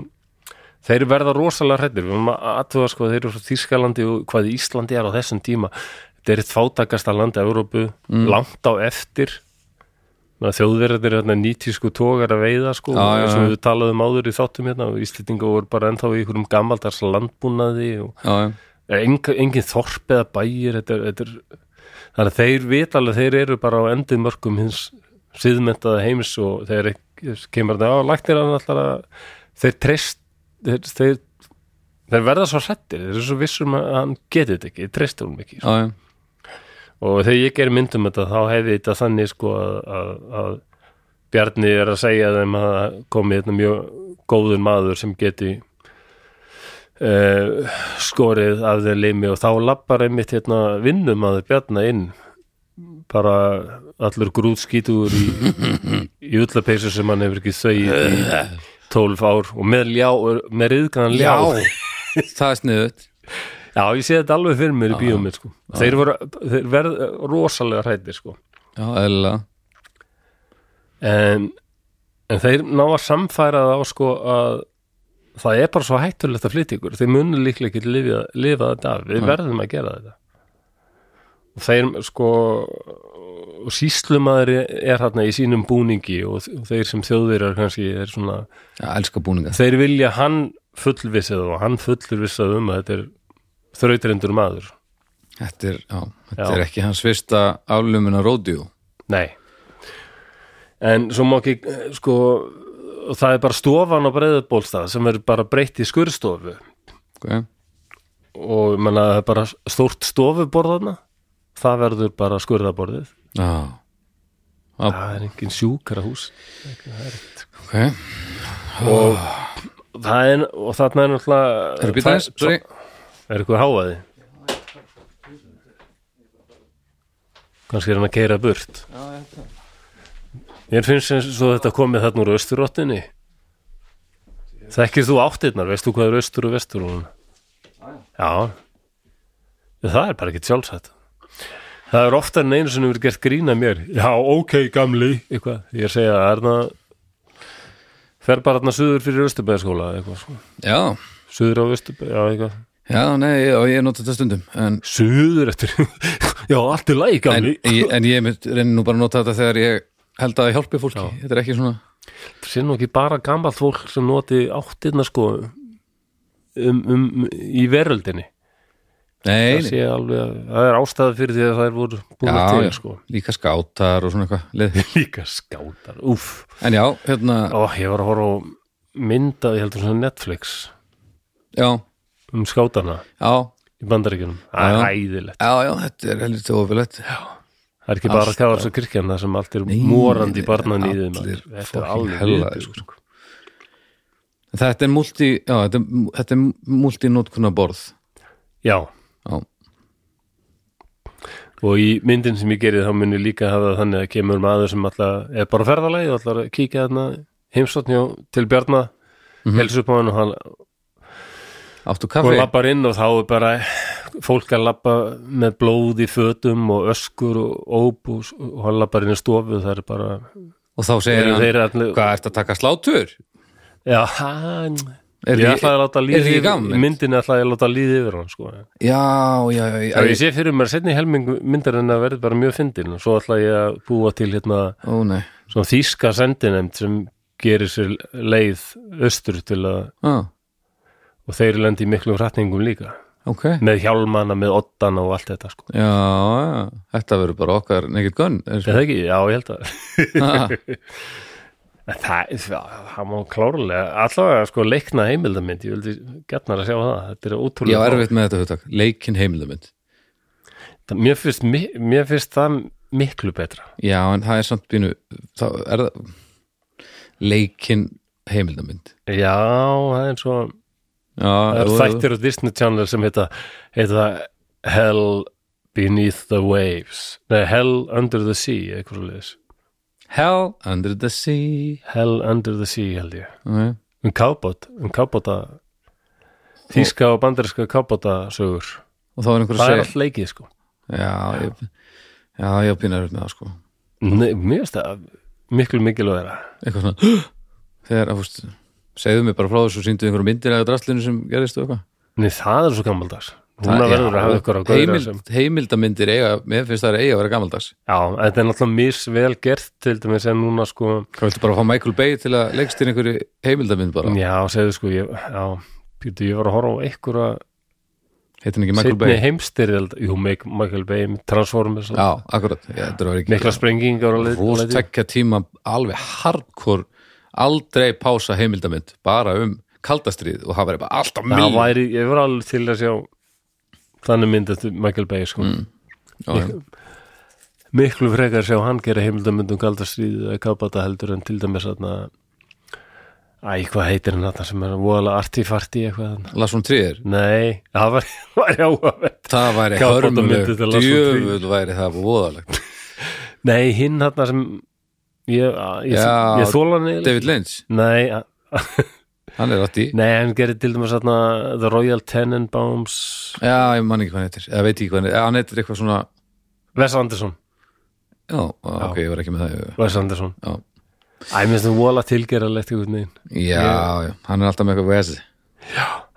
Speaker 1: þeir verða rosalega hrættir, við erum að aðtuga sko þeir eru frá Þýskalandi og hvað Íslandi er á þessum tíma, þetta er eitt fátakasta land Evrópu,
Speaker 2: Mm.
Speaker 1: langt á eftir Ná, þjóðverðir hérna nýtísku tógar að veiða sko
Speaker 2: Já, já,
Speaker 1: sem
Speaker 2: já.
Speaker 1: við talaðum áður í þáttum hérna og Íslendinga voru bara ennþá í einhverjum gamaldars landbúnaði og
Speaker 2: já, já.
Speaker 1: enga, engin þorp eða bæir þetta er, þetta er, þannig að þeir vita alveg þeir eru bara á endið mörgum hins síðmentaða heims og þeir ekki- kemur þetta á læknir hann alltaf að þeir treyst þeir, þeir, þeir verða svo hrættir þeir eru svo vissum að hann geti þetta ekki þeir treystur hún ekki
Speaker 2: já, já.
Speaker 1: og þegar ég gerir myndum þetta þá hefði þetta þannig sko að, að, að Bjarni er að segja þeim að það komi þetta mjög góður maður sem geti uh, skorið af þeir limi og þá lappar einmitt hérna vinnum að Bjarni inn bara allur grúðskítur í, í ullapeysu sem hann hefur ekki þauð í 12 ár og með ljá, með riðgan ljá
Speaker 2: það er sniðut
Speaker 1: Já, ég sé þetta alveg fyrir mér í bíómið sko. þeir voru þeir verð rosalega hrættir sko.
Speaker 2: já, eðlilega
Speaker 1: en, en þeir ná að samfæra það á sko að það er bara svo hættulegt að flytja ykkur þeir munur líklega ekki lifa, lifa þetta af við verðum að gera þetta og þeir sko og síslumaður er hérna í sínum búningi og þ- og þeir sem þjóðverjar kannski er svona
Speaker 2: já, elska búninga
Speaker 1: þeir vilja hann fullvissið og hann fullvissið um að þetta er þrautryndur maður
Speaker 2: Þetta er, já, þetta
Speaker 1: Já.
Speaker 2: er ekki hans fyrsta aflumina ródjú
Speaker 1: Nei En svo má ekki eh, sko og það er bara stofan á breiðubólstað sem er bara breytt í skurðstofu
Speaker 2: okay.
Speaker 1: og ég menna það er bara stórt stofuborðana það verður bara skurðaborðið
Speaker 2: Já,
Speaker 1: það er engin sjúkrahús
Speaker 2: ok
Speaker 1: og það er og þarna er náttúrulega
Speaker 2: Erum við þess?
Speaker 1: svo- Er eitthvað háaði? Kannski er hann að keira burt Mér finnst eins og þetta komið þarna úr austurrottinni Þekkir þú áttirnar, veist þú hvað er austur og vestur hún? Já Það er bara ekki sjálfsætt Það er oftar en einu sem hefur gert grína mér Já, ok, gamli eitthvað. Ég er að segja, er það fer bara þarna suður fyrir austurbæðaskóla eitthvað, sko.
Speaker 2: Já,
Speaker 1: suður á austurbæð Já, eitthvað
Speaker 2: já, nei, ég, og ég nota þetta stundum En,
Speaker 1: Suður eftir Já, allt er læg
Speaker 2: en,
Speaker 1: gamli
Speaker 2: ég, en ég mynd- reyni nú bara að nota þetta þegar ég held að það hjálpi fólki Þetta er ekki svona
Speaker 1: Sér nú ekki bara gamalt fólk sem noti áttirna sko um, um, í veröldinni
Speaker 2: Nei,
Speaker 1: það,
Speaker 2: nei.
Speaker 1: sé alveg, að- það er ástæða fyrir því að það er voru búin
Speaker 2: já,
Speaker 1: til
Speaker 2: já,
Speaker 1: sko.
Speaker 2: líka skátar og svona eitthvað lið.
Speaker 1: Líka skátar, úff
Speaker 2: En já, hérna,
Speaker 1: Ó, ég var að horfa á myndaði heldur svona Netflix
Speaker 2: já,
Speaker 1: um skátana
Speaker 2: já
Speaker 1: í bandaríkjunum Það er
Speaker 2: Já.
Speaker 1: hæðilegt,
Speaker 2: Já, já, þetta er helviti ofilegt
Speaker 1: það er ekki bara
Speaker 2: Allt-
Speaker 1: að kafa þessu kirkjan það sem allt er
Speaker 2: Nei,
Speaker 1: morandi
Speaker 2: nei,
Speaker 1: barnan í þeim
Speaker 2: allir
Speaker 1: Þetta er
Speaker 2: fucking
Speaker 1: alveg
Speaker 2: hellaðir,
Speaker 1: viðbjóður,
Speaker 2: sko. Þetta er multi, já, þetta er, þetta er multinótkuna borð
Speaker 1: Já,
Speaker 2: Já,
Speaker 1: og í myndin sem ég gerði þá mun ég líka hafa það þannig að kemur maður sem alltaf er bara á ferðalagi og alltaf að kíkja þarna heimsotnjó til Bjarna
Speaker 2: Mhm.
Speaker 1: mm upp á hann og hann
Speaker 2: áttu
Speaker 1: og
Speaker 2: kaffi
Speaker 1: lappar inn og þá er bara fólk að lappa með blóð í fötum og öskur og óp og, s- og hann lappar inn í stofu það er bara
Speaker 2: og þá segir
Speaker 1: eru
Speaker 2: hann,
Speaker 1: þeir allir-
Speaker 2: hvað ertu að taka slátur?
Speaker 1: já, hann
Speaker 2: Er
Speaker 1: ég
Speaker 2: því-
Speaker 1: ætlaði að láta
Speaker 2: er
Speaker 1: líði
Speaker 2: því
Speaker 1: yfir-
Speaker 2: gaman?
Speaker 1: í myndinni ætlaði ég að láta líði yfir hann sko.
Speaker 2: Já, já, já, já
Speaker 1: og ég sé fyrir mér setni helming myndar en að verði bara mjög fyndin og svo ætlaði ég að búa til hérna
Speaker 2: Ó, nei
Speaker 1: svona þýska sendinemnd sem gerir sér leið austur til að
Speaker 2: ah,
Speaker 1: og þeir lendi í miklu hrætningum líka
Speaker 2: Ok, já,
Speaker 1: með hjálmana, með oddana og allt þetta sko.
Speaker 2: já, þetta verður bara okkar nekkit gunn er,
Speaker 1: er það ekki? Já, ég held að
Speaker 2: ah,
Speaker 1: En það, það, það má klárlega allavega sko leikna heimildamind ég vildi getnar að sjá það, þetta er
Speaker 2: Ég
Speaker 1: ótrúlega
Speaker 2: var erfitt með þetta hugtak, leikin heimildamind
Speaker 1: Það- mér, finnst, mi- mér finnst það miklu betra
Speaker 2: Já, en það er samt bínu þá er það leikin heimildamind
Speaker 1: já, það er svo
Speaker 2: Já,
Speaker 1: það er
Speaker 2: jú, jú.
Speaker 1: þættir á Disney Channel sem heita, heita Hell Beneath the Waves nei, Hell Under the Sea eitthvað svo
Speaker 2: Hell under the sea
Speaker 1: Hell Under the Sea held ég
Speaker 2: okay.
Speaker 1: um kábót, um kábóta þíska og bandaríska kábóta sögur,
Speaker 2: og þá er einhver að
Speaker 1: það er
Speaker 2: segja
Speaker 1: allt leikið sko
Speaker 2: já, ég, já, ég býnar upp með það sko
Speaker 1: Nei, mér finnst það miklu mikilvægara
Speaker 2: eitthvað svona þegar, að fúst, segðu mér bara frá þessu síndu einhverjum myndir eða drastlinu sem gerðist og eitthvað
Speaker 1: Nei, það er svo gammaldags Núna
Speaker 2: Það-
Speaker 1: verður
Speaker 2: já,
Speaker 1: að hafa ykkur á gauðra
Speaker 2: heimild,
Speaker 1: sem
Speaker 2: heimildamindir eiga, mér finnst það er eiga að vera gamaldags
Speaker 1: Já, þetta er náttúrulega misvel gert til dæmis en núna sko
Speaker 2: hvað viltu bara fá Michael Bay til að leggst inn einhverju heimildamind bara,
Speaker 1: Já, segðu sko, ég, já, pítu, ég var að horfa á einhverja
Speaker 2: heitir hann ekki Michael
Speaker 1: setni
Speaker 2: Bay
Speaker 1: heimstyrjöld Jú, Mike- Michael Bay, Transformers
Speaker 2: já, akkurat, ég, þetta var ekki
Speaker 1: Mikla sprengingar og leið- leið-
Speaker 2: rostekja tíma alveg hardcore aldrei pása heimildamind bara um kaldastrið og það verið bara alltaf
Speaker 1: Það
Speaker 2: miljón
Speaker 1: væri, ég var alveg til að sjá þannig mynd eftir Michael Bay sko.
Speaker 2: Mm, Já, já.
Speaker 1: miklu frekar sjá hann gera heimildamöndum galdarsríðið eða kapata heldur en til dæmis aðna Æ, hvað heitir hann þarna sem er voðalega artifarti eitthvað þarna?
Speaker 2: Lars von Trier
Speaker 1: Nei, það var, var áhverð
Speaker 2: Það væri
Speaker 1: Kafbáta
Speaker 2: hörmulegt,
Speaker 1: myndi til Lars von Trier.
Speaker 2: djöfull væri það voðalegt
Speaker 1: Nei, hinn þarna sem ég, ég,
Speaker 2: Já,
Speaker 1: ég þóla hann eiginlega
Speaker 2: David Lynch,
Speaker 1: Nei, a-
Speaker 2: hann er átt í
Speaker 1: nei, hann gerir til dæmis aðna The Royal Tenenbaums
Speaker 2: Já, ég man ekki hvað hann heitir, eða veit ekki hvað hann heitir Já, hann heitir eitthvað svona
Speaker 1: Wes Anderson,
Speaker 2: Já, ok, ég var ekki með það Já,
Speaker 1: Wes Anderson
Speaker 2: Já.
Speaker 1: Æ, mér finnst það voðalega tilgeralegt einhvern veginn
Speaker 2: já, hann er alltaf með eitthvað vesi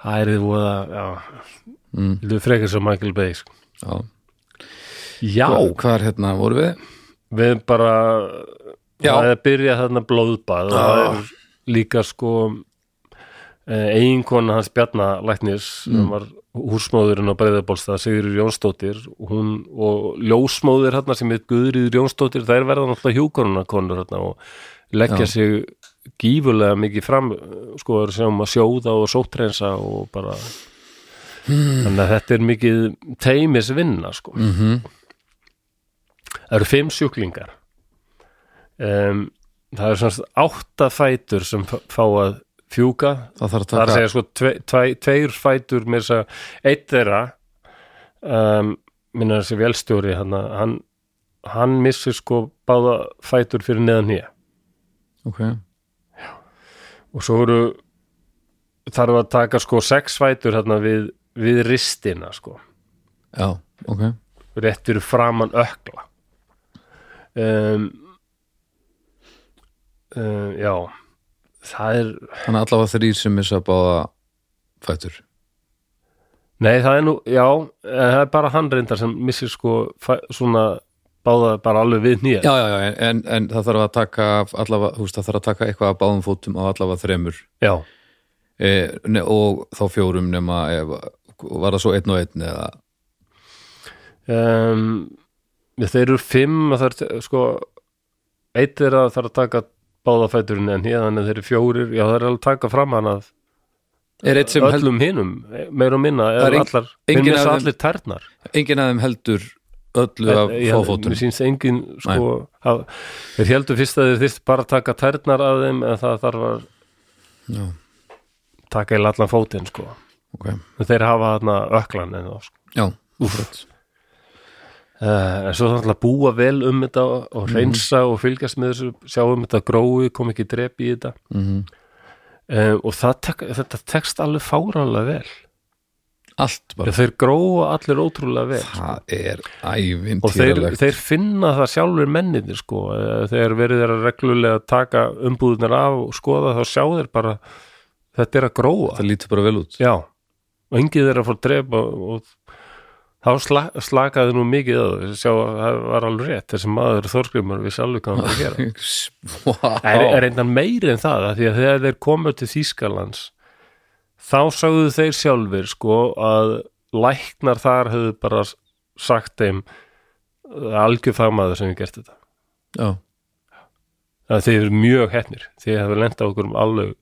Speaker 1: Það er þið voða, já mm. Þú frekar svo Michael Bay sko.
Speaker 2: Já,
Speaker 1: Já,
Speaker 2: hvað er hérna, voru við?
Speaker 1: við bara
Speaker 2: Já.
Speaker 1: það er að byrja þarna blóðbað og það er líka sko eiginkona hans Bjarna Læknis mm. var húsmóðurinn á Breiðabólstað Sigurður Jónsdóttir hún, og ljósmóður hérna sem heit Guðriður Jónsdóttir þær verða náttúrulega hjúkonunakonur hérna, og leggja sig gífulega mikið fram eh, sko er sem að sjóða og sóttrensa og bara þannig að þetta er mikið teimisvinna sko mm -hmm. það eru fimm sjúklingar um, það eru svona átta fætur sem fá- fá að fjúka
Speaker 2: það þarf að
Speaker 1: það er að
Speaker 2: taka
Speaker 1: segja sko tve, tve, tveir fætur með þess að eitt þeirra um, minna þessi velstjóri hann, hann, hann missir sko báða fætur fyrir neðan nýja
Speaker 2: ok,
Speaker 1: og svo eru þarf að taka sko sex fætur hérna við, við ristina sko
Speaker 2: já, ok
Speaker 1: rétt fyrir framan ökla um, um, já það er
Speaker 2: þannig að allavega þrýr sem missa báða fætur
Speaker 1: Nei, það er nú, já, en það er bara hann reyndar sem missir sko fæ, svona báða bara alveg við nýja.
Speaker 2: já, já, já, en, en, en það þarf að taka af allavega, þú veist, það þarf að taka eitthvað af báðum fótum á allavega þremur
Speaker 1: já.
Speaker 2: e, ne, og þá fjórum nema ef, var það svo einn og einn eða,
Speaker 1: Um, þeir eru fimm að það er sko, eitt er að það er að taka báða fæturinn en hér, þannig að þeir eru fjórir, já það er alveg að taka fram hann að
Speaker 2: er eitt sem held,
Speaker 1: öllum hinum, meir og minna,
Speaker 2: Það er
Speaker 1: eru
Speaker 2: eng-
Speaker 1: allar,
Speaker 2: enginn
Speaker 1: þeir
Speaker 2: af
Speaker 1: missa
Speaker 2: þeim-
Speaker 1: allir tærnar.
Speaker 2: enginn af þeim heldur öllu af
Speaker 1: Ég-
Speaker 2: fófótum
Speaker 1: Mér sínst engin sko að, Þeir heldur fyrst að þeir þyrst bara að taka tærnar af þeim en það þarf að
Speaker 2: Já.
Speaker 1: taka í allan fótinn sko
Speaker 2: ok,
Speaker 1: en þeir hafa þarna öklan en þá sko
Speaker 2: já,
Speaker 1: Uh, en svo þannig að búa vel um þetta og
Speaker 2: Mhm.
Speaker 1: reynsa og fylgjast með þessu sjá um þetta grói, kom ekki drep í þetta mm
Speaker 2: Mhm.
Speaker 1: og það tek, þetta tekst alveg fárálega vel
Speaker 2: allt bara
Speaker 1: þeir gróa allir ótrúlega vel
Speaker 2: það er
Speaker 1: og þeir,
Speaker 2: ævintýralegt
Speaker 1: þeir finna það sjálfur menninir sko, Eh, þegar verið þeir að reglulega taka umbúðunar af og skoða þá sjá þeir bara þetta er að gróa
Speaker 2: það lítur bara vel út
Speaker 1: Já, og engið þeirra fór að drepa og, og þá sla, slakaði nú mikið að þau, sjá að það var alveg rétt þessi maður Þorskrimur við sjálfur hvað hann var að gera. Það er,
Speaker 2: wow.
Speaker 1: er einnig meiri en það, af því að þegar þeir komu til Þýskalands þá sagðu þeir sjálfur sko að læknar þar hefðu bara sagt þeim algjör fagmaður sem við gert þetta.
Speaker 2: já,
Speaker 1: Það þeir eru mjög hettnir, þeir hefur lenda okkur um alveg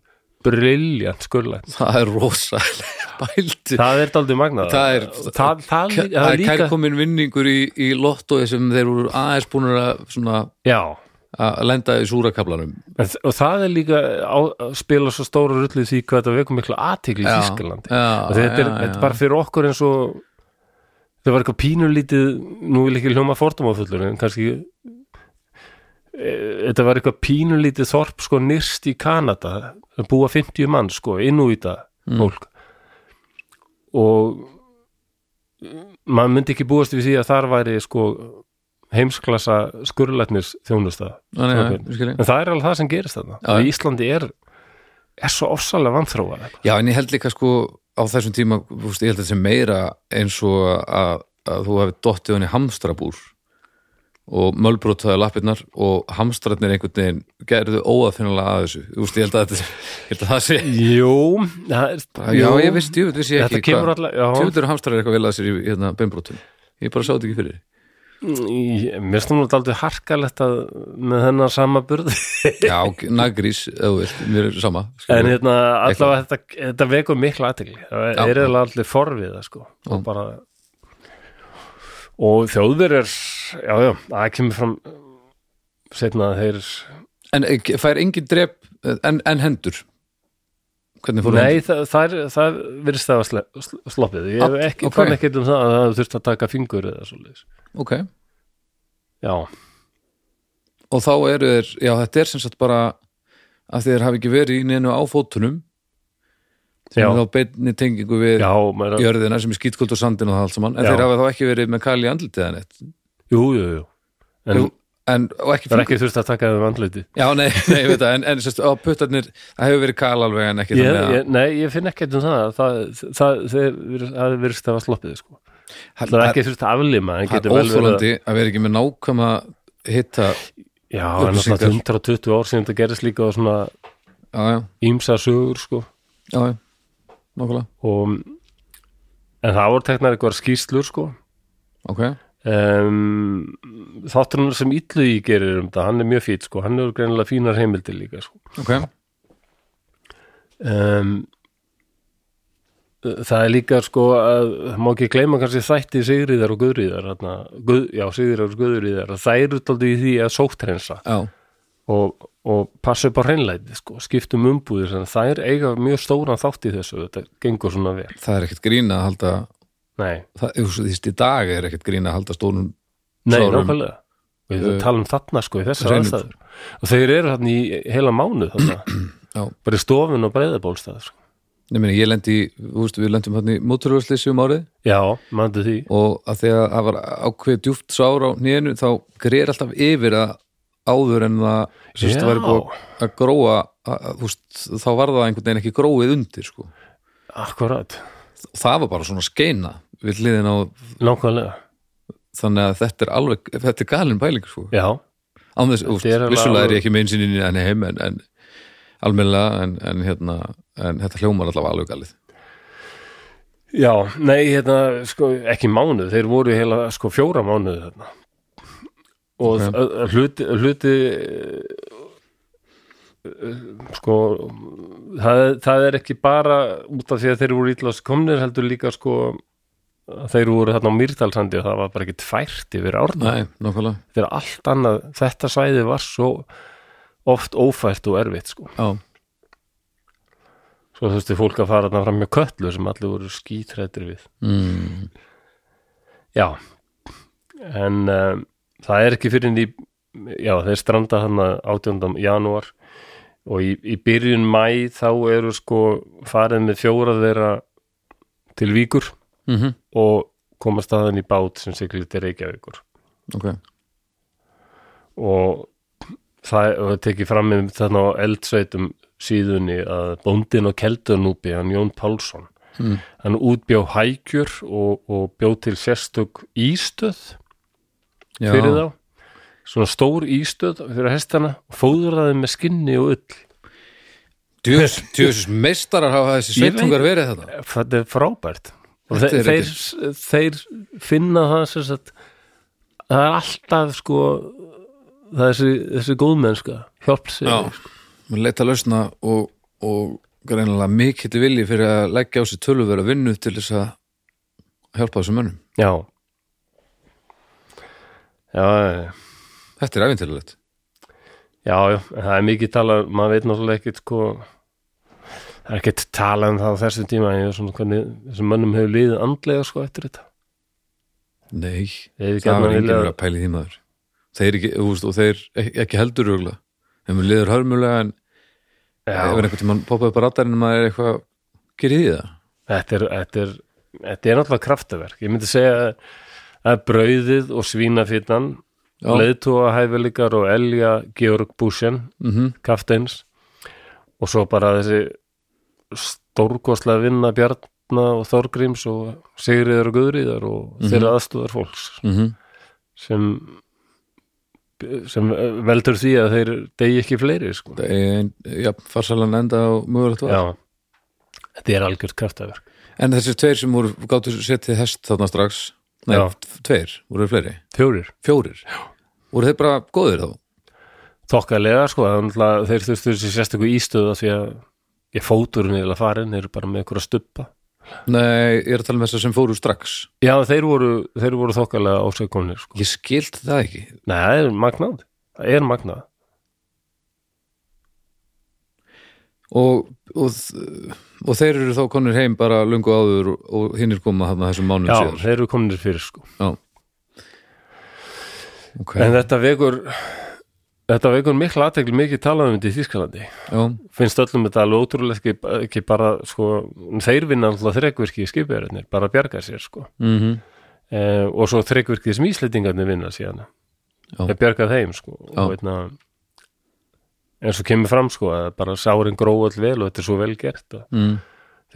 Speaker 1: briljant skurlækn.
Speaker 2: það er rosalega bælti
Speaker 1: Það er daldið magnað
Speaker 2: Það er-
Speaker 1: það, það, það,
Speaker 2: Ka-
Speaker 1: það
Speaker 2: það
Speaker 1: er
Speaker 2: er
Speaker 1: líka
Speaker 2: kærkomin vinningur í, í lottói sem þeir voru aðeins búinir að, svona,
Speaker 1: Já,
Speaker 2: að lenda í súrakablanum
Speaker 1: En þ- og það er líka á, að spila svo stóra rullið því hvað þetta vekum mikla athygli í
Speaker 2: Já,
Speaker 1: Þýskalandi
Speaker 2: já,
Speaker 1: og þetta er,
Speaker 2: já,
Speaker 1: þetta
Speaker 2: já.
Speaker 1: er bara fyrir okkur eins og það var eitthvað pínulítið nú vil ekki hljóma fordómafullur en kannski e, þetta var eitthvað pínulítið þorp sko nyrst í Kanada að búa 50 mann sko inn úr í þetta
Speaker 2: Mm.
Speaker 1: fólk og maður myndi ekki búast við því að þar væri sko heimsklassa skurlætnis þjónustæða
Speaker 2: Nei, nei, nei, ég skil ég.
Speaker 1: en það er alveg það sem gerist þarna
Speaker 2: Já,
Speaker 1: og
Speaker 2: já.
Speaker 1: Íslandi er, er svo ofsalega vanþróað eitthvað.
Speaker 2: Já, en ég held líka sko á þessum tíma, þú veist, ég held þetta sem meira eins og að, að þú hefði dottið henni hamstrabúr og mölbrotaði lappirnar og hamstrarnir einhvern veginn gerðu óaðfinnilega að þessu, þú veist, ég held að, þetta, ég held að það sé
Speaker 1: Jú, það er,
Speaker 2: Já, ég veist, ég veist ég
Speaker 1: Þetta
Speaker 2: ekki
Speaker 1: kemur alla- já.
Speaker 2: Tjöfnir eru hamstrar eitthvað vel að sér í hérna, beinbrotum Ég bara sá þetta ekki fyrir
Speaker 1: Ég- mér stóðum þetta aldrei harkalegt að með þennan samaburð
Speaker 2: Já, ok, nagrís, ef þú veist, mér er sama
Speaker 1: en hérna allavega þetta, þetta vekur mikla athygli það er
Speaker 2: Já.
Speaker 1: eiginlega allir forviða sko og bara og þjóðverjar já, já, það kemur fram setna að þeir
Speaker 2: En eh, fær engin drep, eh, en, en hendur Hvernig fór
Speaker 1: nei, það, það, er, það virðist það að sle, sl- sloppið ég hef
Speaker 2: All-
Speaker 1: ekki,
Speaker 2: Ah, ok.
Speaker 1: okay. fann ekkert um það að það þurft að taka fingur eða svoleiðis
Speaker 2: Ok,
Speaker 1: já,
Speaker 2: og þá eru þeir, já þetta er sem sagt bara að þeir hafi ekki verið í neinu á fótunum sem
Speaker 1: Já.
Speaker 2: er þá beinni tengingu við
Speaker 1: já, maður er að-
Speaker 2: jörðina sem er skýtkult og sandin og það allt saman en
Speaker 1: Já.
Speaker 2: þeir hafi þá ekki verið með kali í andlitið eða neitt
Speaker 1: jú, jú, jú en
Speaker 2: en, og ekki
Speaker 1: það er
Speaker 2: fingur
Speaker 1: ekki þurft að taka um þeim andliti
Speaker 2: já nei, nei, ég veit það, en, en sérst, á puttarnir það hefur verið kal alveg en ekki
Speaker 1: ég,
Speaker 2: þannig
Speaker 1: ég, nei, ég finn ekkert um það það, það, það, það virðist það að sloppið sko.
Speaker 2: að
Speaker 1: það er
Speaker 2: það-
Speaker 1: ekki þurft að aflima en
Speaker 2: það
Speaker 1: getur
Speaker 2: er
Speaker 1: vel verið að
Speaker 2: óþólandi að vera ekki með nákvæma hitta,
Speaker 1: Já, en alltaf
Speaker 2: upplýsingar.
Speaker 1: 120 ár síðan þetta gerist líka á svona
Speaker 2: já já
Speaker 1: ímsa sögur sko
Speaker 2: já, já, nákvæmlega
Speaker 1: og en það voru teknar eitthvað skýslur sko
Speaker 2: ok,
Speaker 1: um, þátturinn sem illu í gerir um þetta, hann er mjög fýtt sko hann er greinilega fínar heimildir líka sko
Speaker 2: ok,
Speaker 1: um, það er líka sko að það má ekki gleyma kannski þætti Sigriðar og Guðriðar hana, Guð, já Sigriðar og Guðriðar að það eru tóldi í því að sóttrensa
Speaker 2: já,
Speaker 1: og, og passa upp á hreinlæti sko, skiptum umbúðir þannig að þær eiga mjög stóran þátt í þessu þetta gengur svona vel
Speaker 2: það er ekkert grín að halda
Speaker 1: nei,
Speaker 2: það, þú veist, þú veist, í dag er ekkert grín að halda stórum
Speaker 1: nei,
Speaker 2: Sárum.
Speaker 1: nákvæmlega við uh,
Speaker 2: Uh,
Speaker 1: talum þarna sko í þessar
Speaker 2: hreinum.
Speaker 1: aðstæður og þeir eru þarna í heila mánu þarna
Speaker 2: Já.
Speaker 1: bara í stofun og breyðabólstæð sko.
Speaker 2: Ég meina, ég lendi, í- þú veist, við lendum hann í móturvöðsleysi um árið
Speaker 1: já, mandu því
Speaker 2: og að því að það var ákveð djúft sár á nýjunu, þá greir alltaf yfir að áður en það sem sagt,
Speaker 1: Já.
Speaker 2: væri búið að gróa að, að, þú veist, þá var það einhvern veginn ekki gróið undir, sko.
Speaker 1: akkurat,
Speaker 2: Og það var bara svona skeina við hliðin á,
Speaker 1: nákvæmlega
Speaker 2: þannig að þetta er alveg, þetta er galin pæling, sko.
Speaker 1: já,
Speaker 2: Án þess, þú
Speaker 1: Þetta er
Speaker 2: veist,
Speaker 1: alveg-
Speaker 2: vissulega er ég ekki með einsýninni en heim, en, en almennilega, en, en hérna, en þetta hljómar allavega alveg galið.
Speaker 1: já, nei hérna, sko, ekki mánuð, þeir voru í heila sko fjóra mánuð þarna og
Speaker 2: Ok.
Speaker 1: okay. hluti, hluti eh, sko það, það er ekki bara út af því að þeir voru ítlas komnir heldur líka sko að þeir voru þarna á Mýrdalsandi og það var bara ekki tvært yfir árna
Speaker 2: Nei, nákvæmlega,
Speaker 1: þetta er allt annað, þetta svæði var svo oft ófært og erfitt sko
Speaker 2: já,
Speaker 1: svo þurfti fólk að fara þarna fram með köllu sem allir voru skítrættir við
Speaker 2: mm,
Speaker 1: já en um, það er ekki fyrir í já þeir stranda hann 18. janúar og í, í byrjun mæ þá eru sko farið með fjóra þeirra til víkur
Speaker 2: mm
Speaker 1: Mhm. og koma staðan í bát sem siglir til Reykjavíkur
Speaker 2: ok,
Speaker 1: og það og það tekið fram með þarna á eldsveitum síðunni að bóndin og keldunúpi hann Jón Pálsson
Speaker 2: Mm.
Speaker 1: hann útbjó hækjur og, og bjó til sérstök ístöð
Speaker 2: já,
Speaker 1: fyrir þá svona stór ístöð fyrir hestana og fóðraði með skinni og ull
Speaker 2: Djöfus, djöfus meistarar hafa þessi
Speaker 1: Ég veit-
Speaker 2: sveitungar verið þetta
Speaker 1: þetta er frábært og
Speaker 2: Þetta
Speaker 1: þeir,
Speaker 2: er
Speaker 1: þeir, þeir finna það sem sagt það er alltaf sko það er þessi, þessi góðmennska hjálp sér
Speaker 2: Mér sko. leita lausna og, og greinlega mikill vilji fyrir að leggja á sig töluvera vinnu til þess að hjálpa þessum mönnum
Speaker 1: já já, já, já
Speaker 2: Þetta er æfintilegt
Speaker 1: Já, já, en það er mikið talað, maður veit náttúrulega ekkit sko, það er ekkit talað um það á þessum tíma, en ég er svona hvernig þessum mönnum hefur liðið andlega sko eftir þetta.
Speaker 2: Nei,
Speaker 1: Ef ekki
Speaker 2: það
Speaker 1: annað
Speaker 2: var enginn
Speaker 1: vilja-
Speaker 2: verið að pæla í því maður Þeir ekki, þú veist, og þeir ek- ekki heldur röglega Þeim liður hörmulega en ef er
Speaker 1: Já,
Speaker 2: einhvern tímann poppaði bara radarinn að maður er eitthvað gerið í það
Speaker 1: þetta er, þetta er, þetta er náttúrulega kraftaverk. Ég myndi segja að- að brauðið og svínafittan,
Speaker 2: Já.
Speaker 1: leiðtúa hæfileikar og elja Georg Búsjan,
Speaker 2: mm
Speaker 1: kafteins, og svo bara þessi stórkoslega vinna Bjarna og Þorgríms og Sigriðar og Guðriðar og þeirra aðstúðar fólks.
Speaker 2: mhm.
Speaker 1: sem sem veldur því að þeir degi ekki fleiri sko.
Speaker 2: Það er ein, ja, farsalan enda og mögulegt var
Speaker 1: já, þetta er algjörð kraftaverk
Speaker 2: En þessir tveir sem voru gáttu setið hest þarna strax Nei,
Speaker 1: Já.
Speaker 2: tveir, voru þeir fleiri
Speaker 1: fjórir,
Speaker 2: Fjórir, Já. voru þeir bara góðir þá
Speaker 1: þokkalega sko, það er náttúrulega- þeir þurftu þessi sérstöku ístöða því að ég fóturinn eða farin eru bara með einhverja stuppa
Speaker 2: Nei, ég er að tala um þessar sem fóru strax
Speaker 1: já, þeir voru, þeir voru þokkalega ásökkomnir sko.
Speaker 2: Ég skilt það ekki
Speaker 1: nei, það er magnað það er magnað
Speaker 2: og, og, og þeir eru þá konur heim bara lungu áður og, og hinn er koma þarna þessum mánum
Speaker 1: já,
Speaker 2: síðar
Speaker 1: þeir eru komnir fyrir sko.
Speaker 2: Já Ok,
Speaker 1: en þetta vekur þetta vekur mikla aðtekli mikið talaðum þetta í Þískalandi
Speaker 2: já,
Speaker 1: finnst öllum þetta alveg ótrúlega ekki, ekki bara sko, þeir vinna alltaf þreikvirki í skipverðinir, bara að bjarga sér sko.
Speaker 2: mm
Speaker 1: eh, og svo þreikvirki sem íslendingarnir vinna síðan
Speaker 2: Já.
Speaker 1: að bjarga þeim sko.
Speaker 2: Já.
Speaker 1: og veitna en svo kemur fram sko að bara sárin gró all vel og þetta er svo vel gert og
Speaker 2: mm.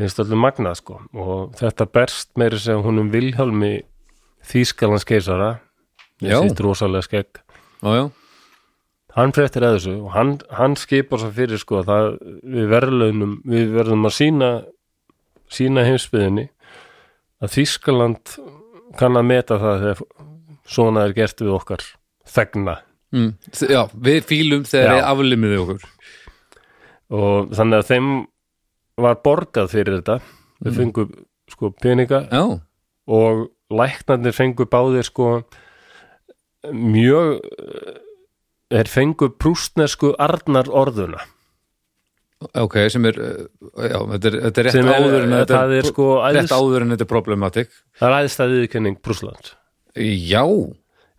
Speaker 1: finnst öllum magnað sko og þetta berst meiri sem húnum Vilhjálmi Þýskalands keisara
Speaker 2: Já.
Speaker 1: þessi rosalega skegg
Speaker 2: já, já,
Speaker 1: hann fréttir að þessu og hann, hann skipar svo fyrir sko að það við verðlaunum, við verðum að sína sína heimsbyðinni að Þýskaland kann að meta það þegar svona er gert við okkar þegna
Speaker 2: mm. Þ- Já, við fílum þegar
Speaker 1: Já.
Speaker 2: við aflimiðu okkur
Speaker 1: og þannig að þeim var borgað fyrir þetta þau
Speaker 2: Mm.
Speaker 1: fengu sko peninga
Speaker 2: Já,
Speaker 1: og læknarnir fengu báðir sko mjög þeir fengu prústnesku arnar orðuna
Speaker 2: ok, sem er eh, Já, þetta er, þetta er rétt
Speaker 1: Sem er-
Speaker 2: áður en þetta
Speaker 1: það er sko
Speaker 2: rétt
Speaker 1: æðst-
Speaker 2: áður en þetta er problematik
Speaker 1: það er aðeins það viðkenning Prúsland
Speaker 2: Já,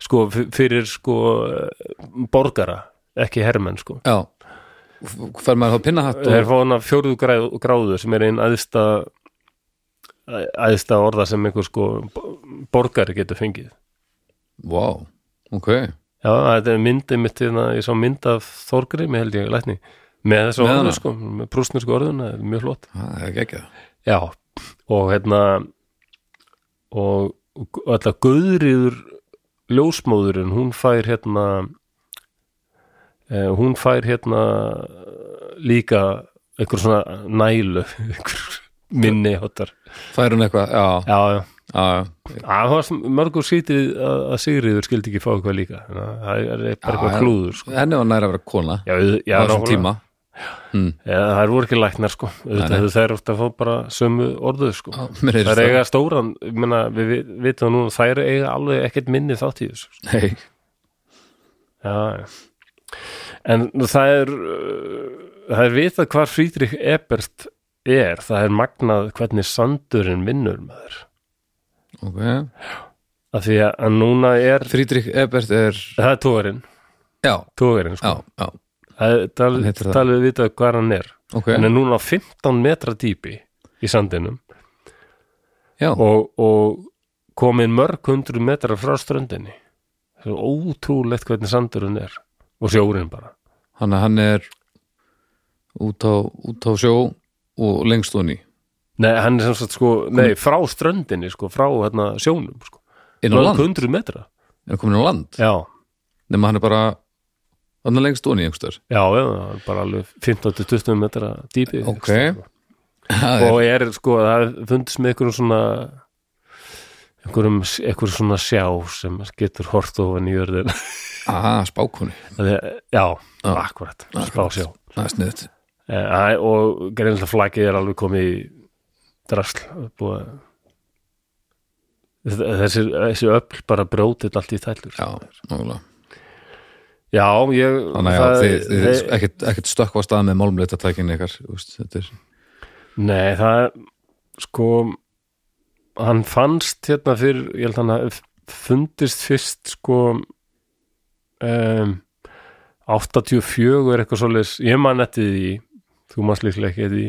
Speaker 1: sko f- fyrir sko borgara, ekki hermenn sko
Speaker 2: já F- Fær maður þá pinnahatt
Speaker 1: þeir
Speaker 2: og...
Speaker 1: fá hana fjórðu gráð- gráðu sem er einn aðsta aðsta orða sem einhver sko bo- borgari getur fengið
Speaker 2: Wow, ok
Speaker 1: Já, þetta er myndið mitt hérna, ég sá mynd af Þorgri, með held ég, lækni með þessu
Speaker 2: Með
Speaker 1: orðu,
Speaker 2: hana?
Speaker 1: sko, með prúsnesku orðuna það er mjög hlott.
Speaker 2: Það er ekki
Speaker 1: Já, og hérna og og alltaf guðriður ljósmóðurinn, hún fær hérna eh, hún fær hérna líka einhver svona nælu einhver minni hóttar
Speaker 2: Fær hún eitthvað, já,
Speaker 1: Já, já,
Speaker 2: já, já.
Speaker 1: Að það var sem- mörgur sýtið að að Sigriður skildi ekki fá eitthvað líka Þannig að það er bara
Speaker 2: já.
Speaker 1: eitthvað klúður sko.
Speaker 2: Henni var nær að vera kona
Speaker 1: Já, við- já,
Speaker 2: á þessum
Speaker 1: nákvæmlega.
Speaker 2: tíma
Speaker 1: Já, það er voru ekki læknar sko auðvitað hefur þær ofta að fá bara sömu orðuð sko
Speaker 2: Já, mér heyrist
Speaker 1: þær
Speaker 2: það.
Speaker 1: eiga stóran, ég meina, við við- vitum nú að þær eiga alveg ekkert minni þátt í þessu sko.
Speaker 2: Nei,
Speaker 1: já, já. en það er uh, það er vitað hvar Friedrich Ebert er, það er magnað hvernig sandurinn vinnur maður
Speaker 2: ok
Speaker 1: af því að að núna er
Speaker 2: Frídrik Ebert er
Speaker 1: það er tógarinn,
Speaker 2: Já,
Speaker 1: tógarinn sko.
Speaker 2: já, já,
Speaker 1: það er tal,
Speaker 2: Hann heitir það.
Speaker 1: talið við vitað hvar hann er
Speaker 2: ok
Speaker 1: hann er núna á 15 metra dýpi í sandinum
Speaker 2: Já,
Speaker 1: og, og komin mörg hundru metrar frá ströndinni það er ótrúlegt hvernig sandurinn er og sjórinn bara
Speaker 2: hann, hann er út á, út á sjó og lengst hún í
Speaker 1: nei, hann er sem sagt sko, nei, frá ströndinni sko, frá hérna sjónum sko.
Speaker 2: inn á land,
Speaker 1: mörg hundru metra
Speaker 2: er hann komin á land
Speaker 1: já,
Speaker 2: nema hann er bara hann er lengst hún í einhverstaðar
Speaker 1: já, já, það er bara alveg 15-20 metra dýpi
Speaker 2: Ok.
Speaker 1: sko. og er sko, það fundist með einhverjum svona einhverjum, einhverjum svona sjá sem getur hort ofan í jörðin
Speaker 2: Aha, spákunni,
Speaker 1: Það er- já,
Speaker 2: Já.
Speaker 1: akkurat, spásjá
Speaker 2: það er sniðt
Speaker 1: Eh, Æ, og greinlega flakið er alveg komið í drasl búið. að- Þ- þessi, þessi öll bara brótið allt í þællur
Speaker 2: Já, nálega
Speaker 1: já ég
Speaker 2: Þannig að
Speaker 1: það-
Speaker 2: þið, þið,
Speaker 1: þe-
Speaker 2: ekkert, ekkert stökkva á stað með málmleitatækinni ykkar úst, þetta er,
Speaker 1: nei það sko hann fannst hérna fyrir ég held hann að fundist fyrst sko um, 84 er eitthvað svoleiðis ég man eftir því þú manst líklega ekki eftir því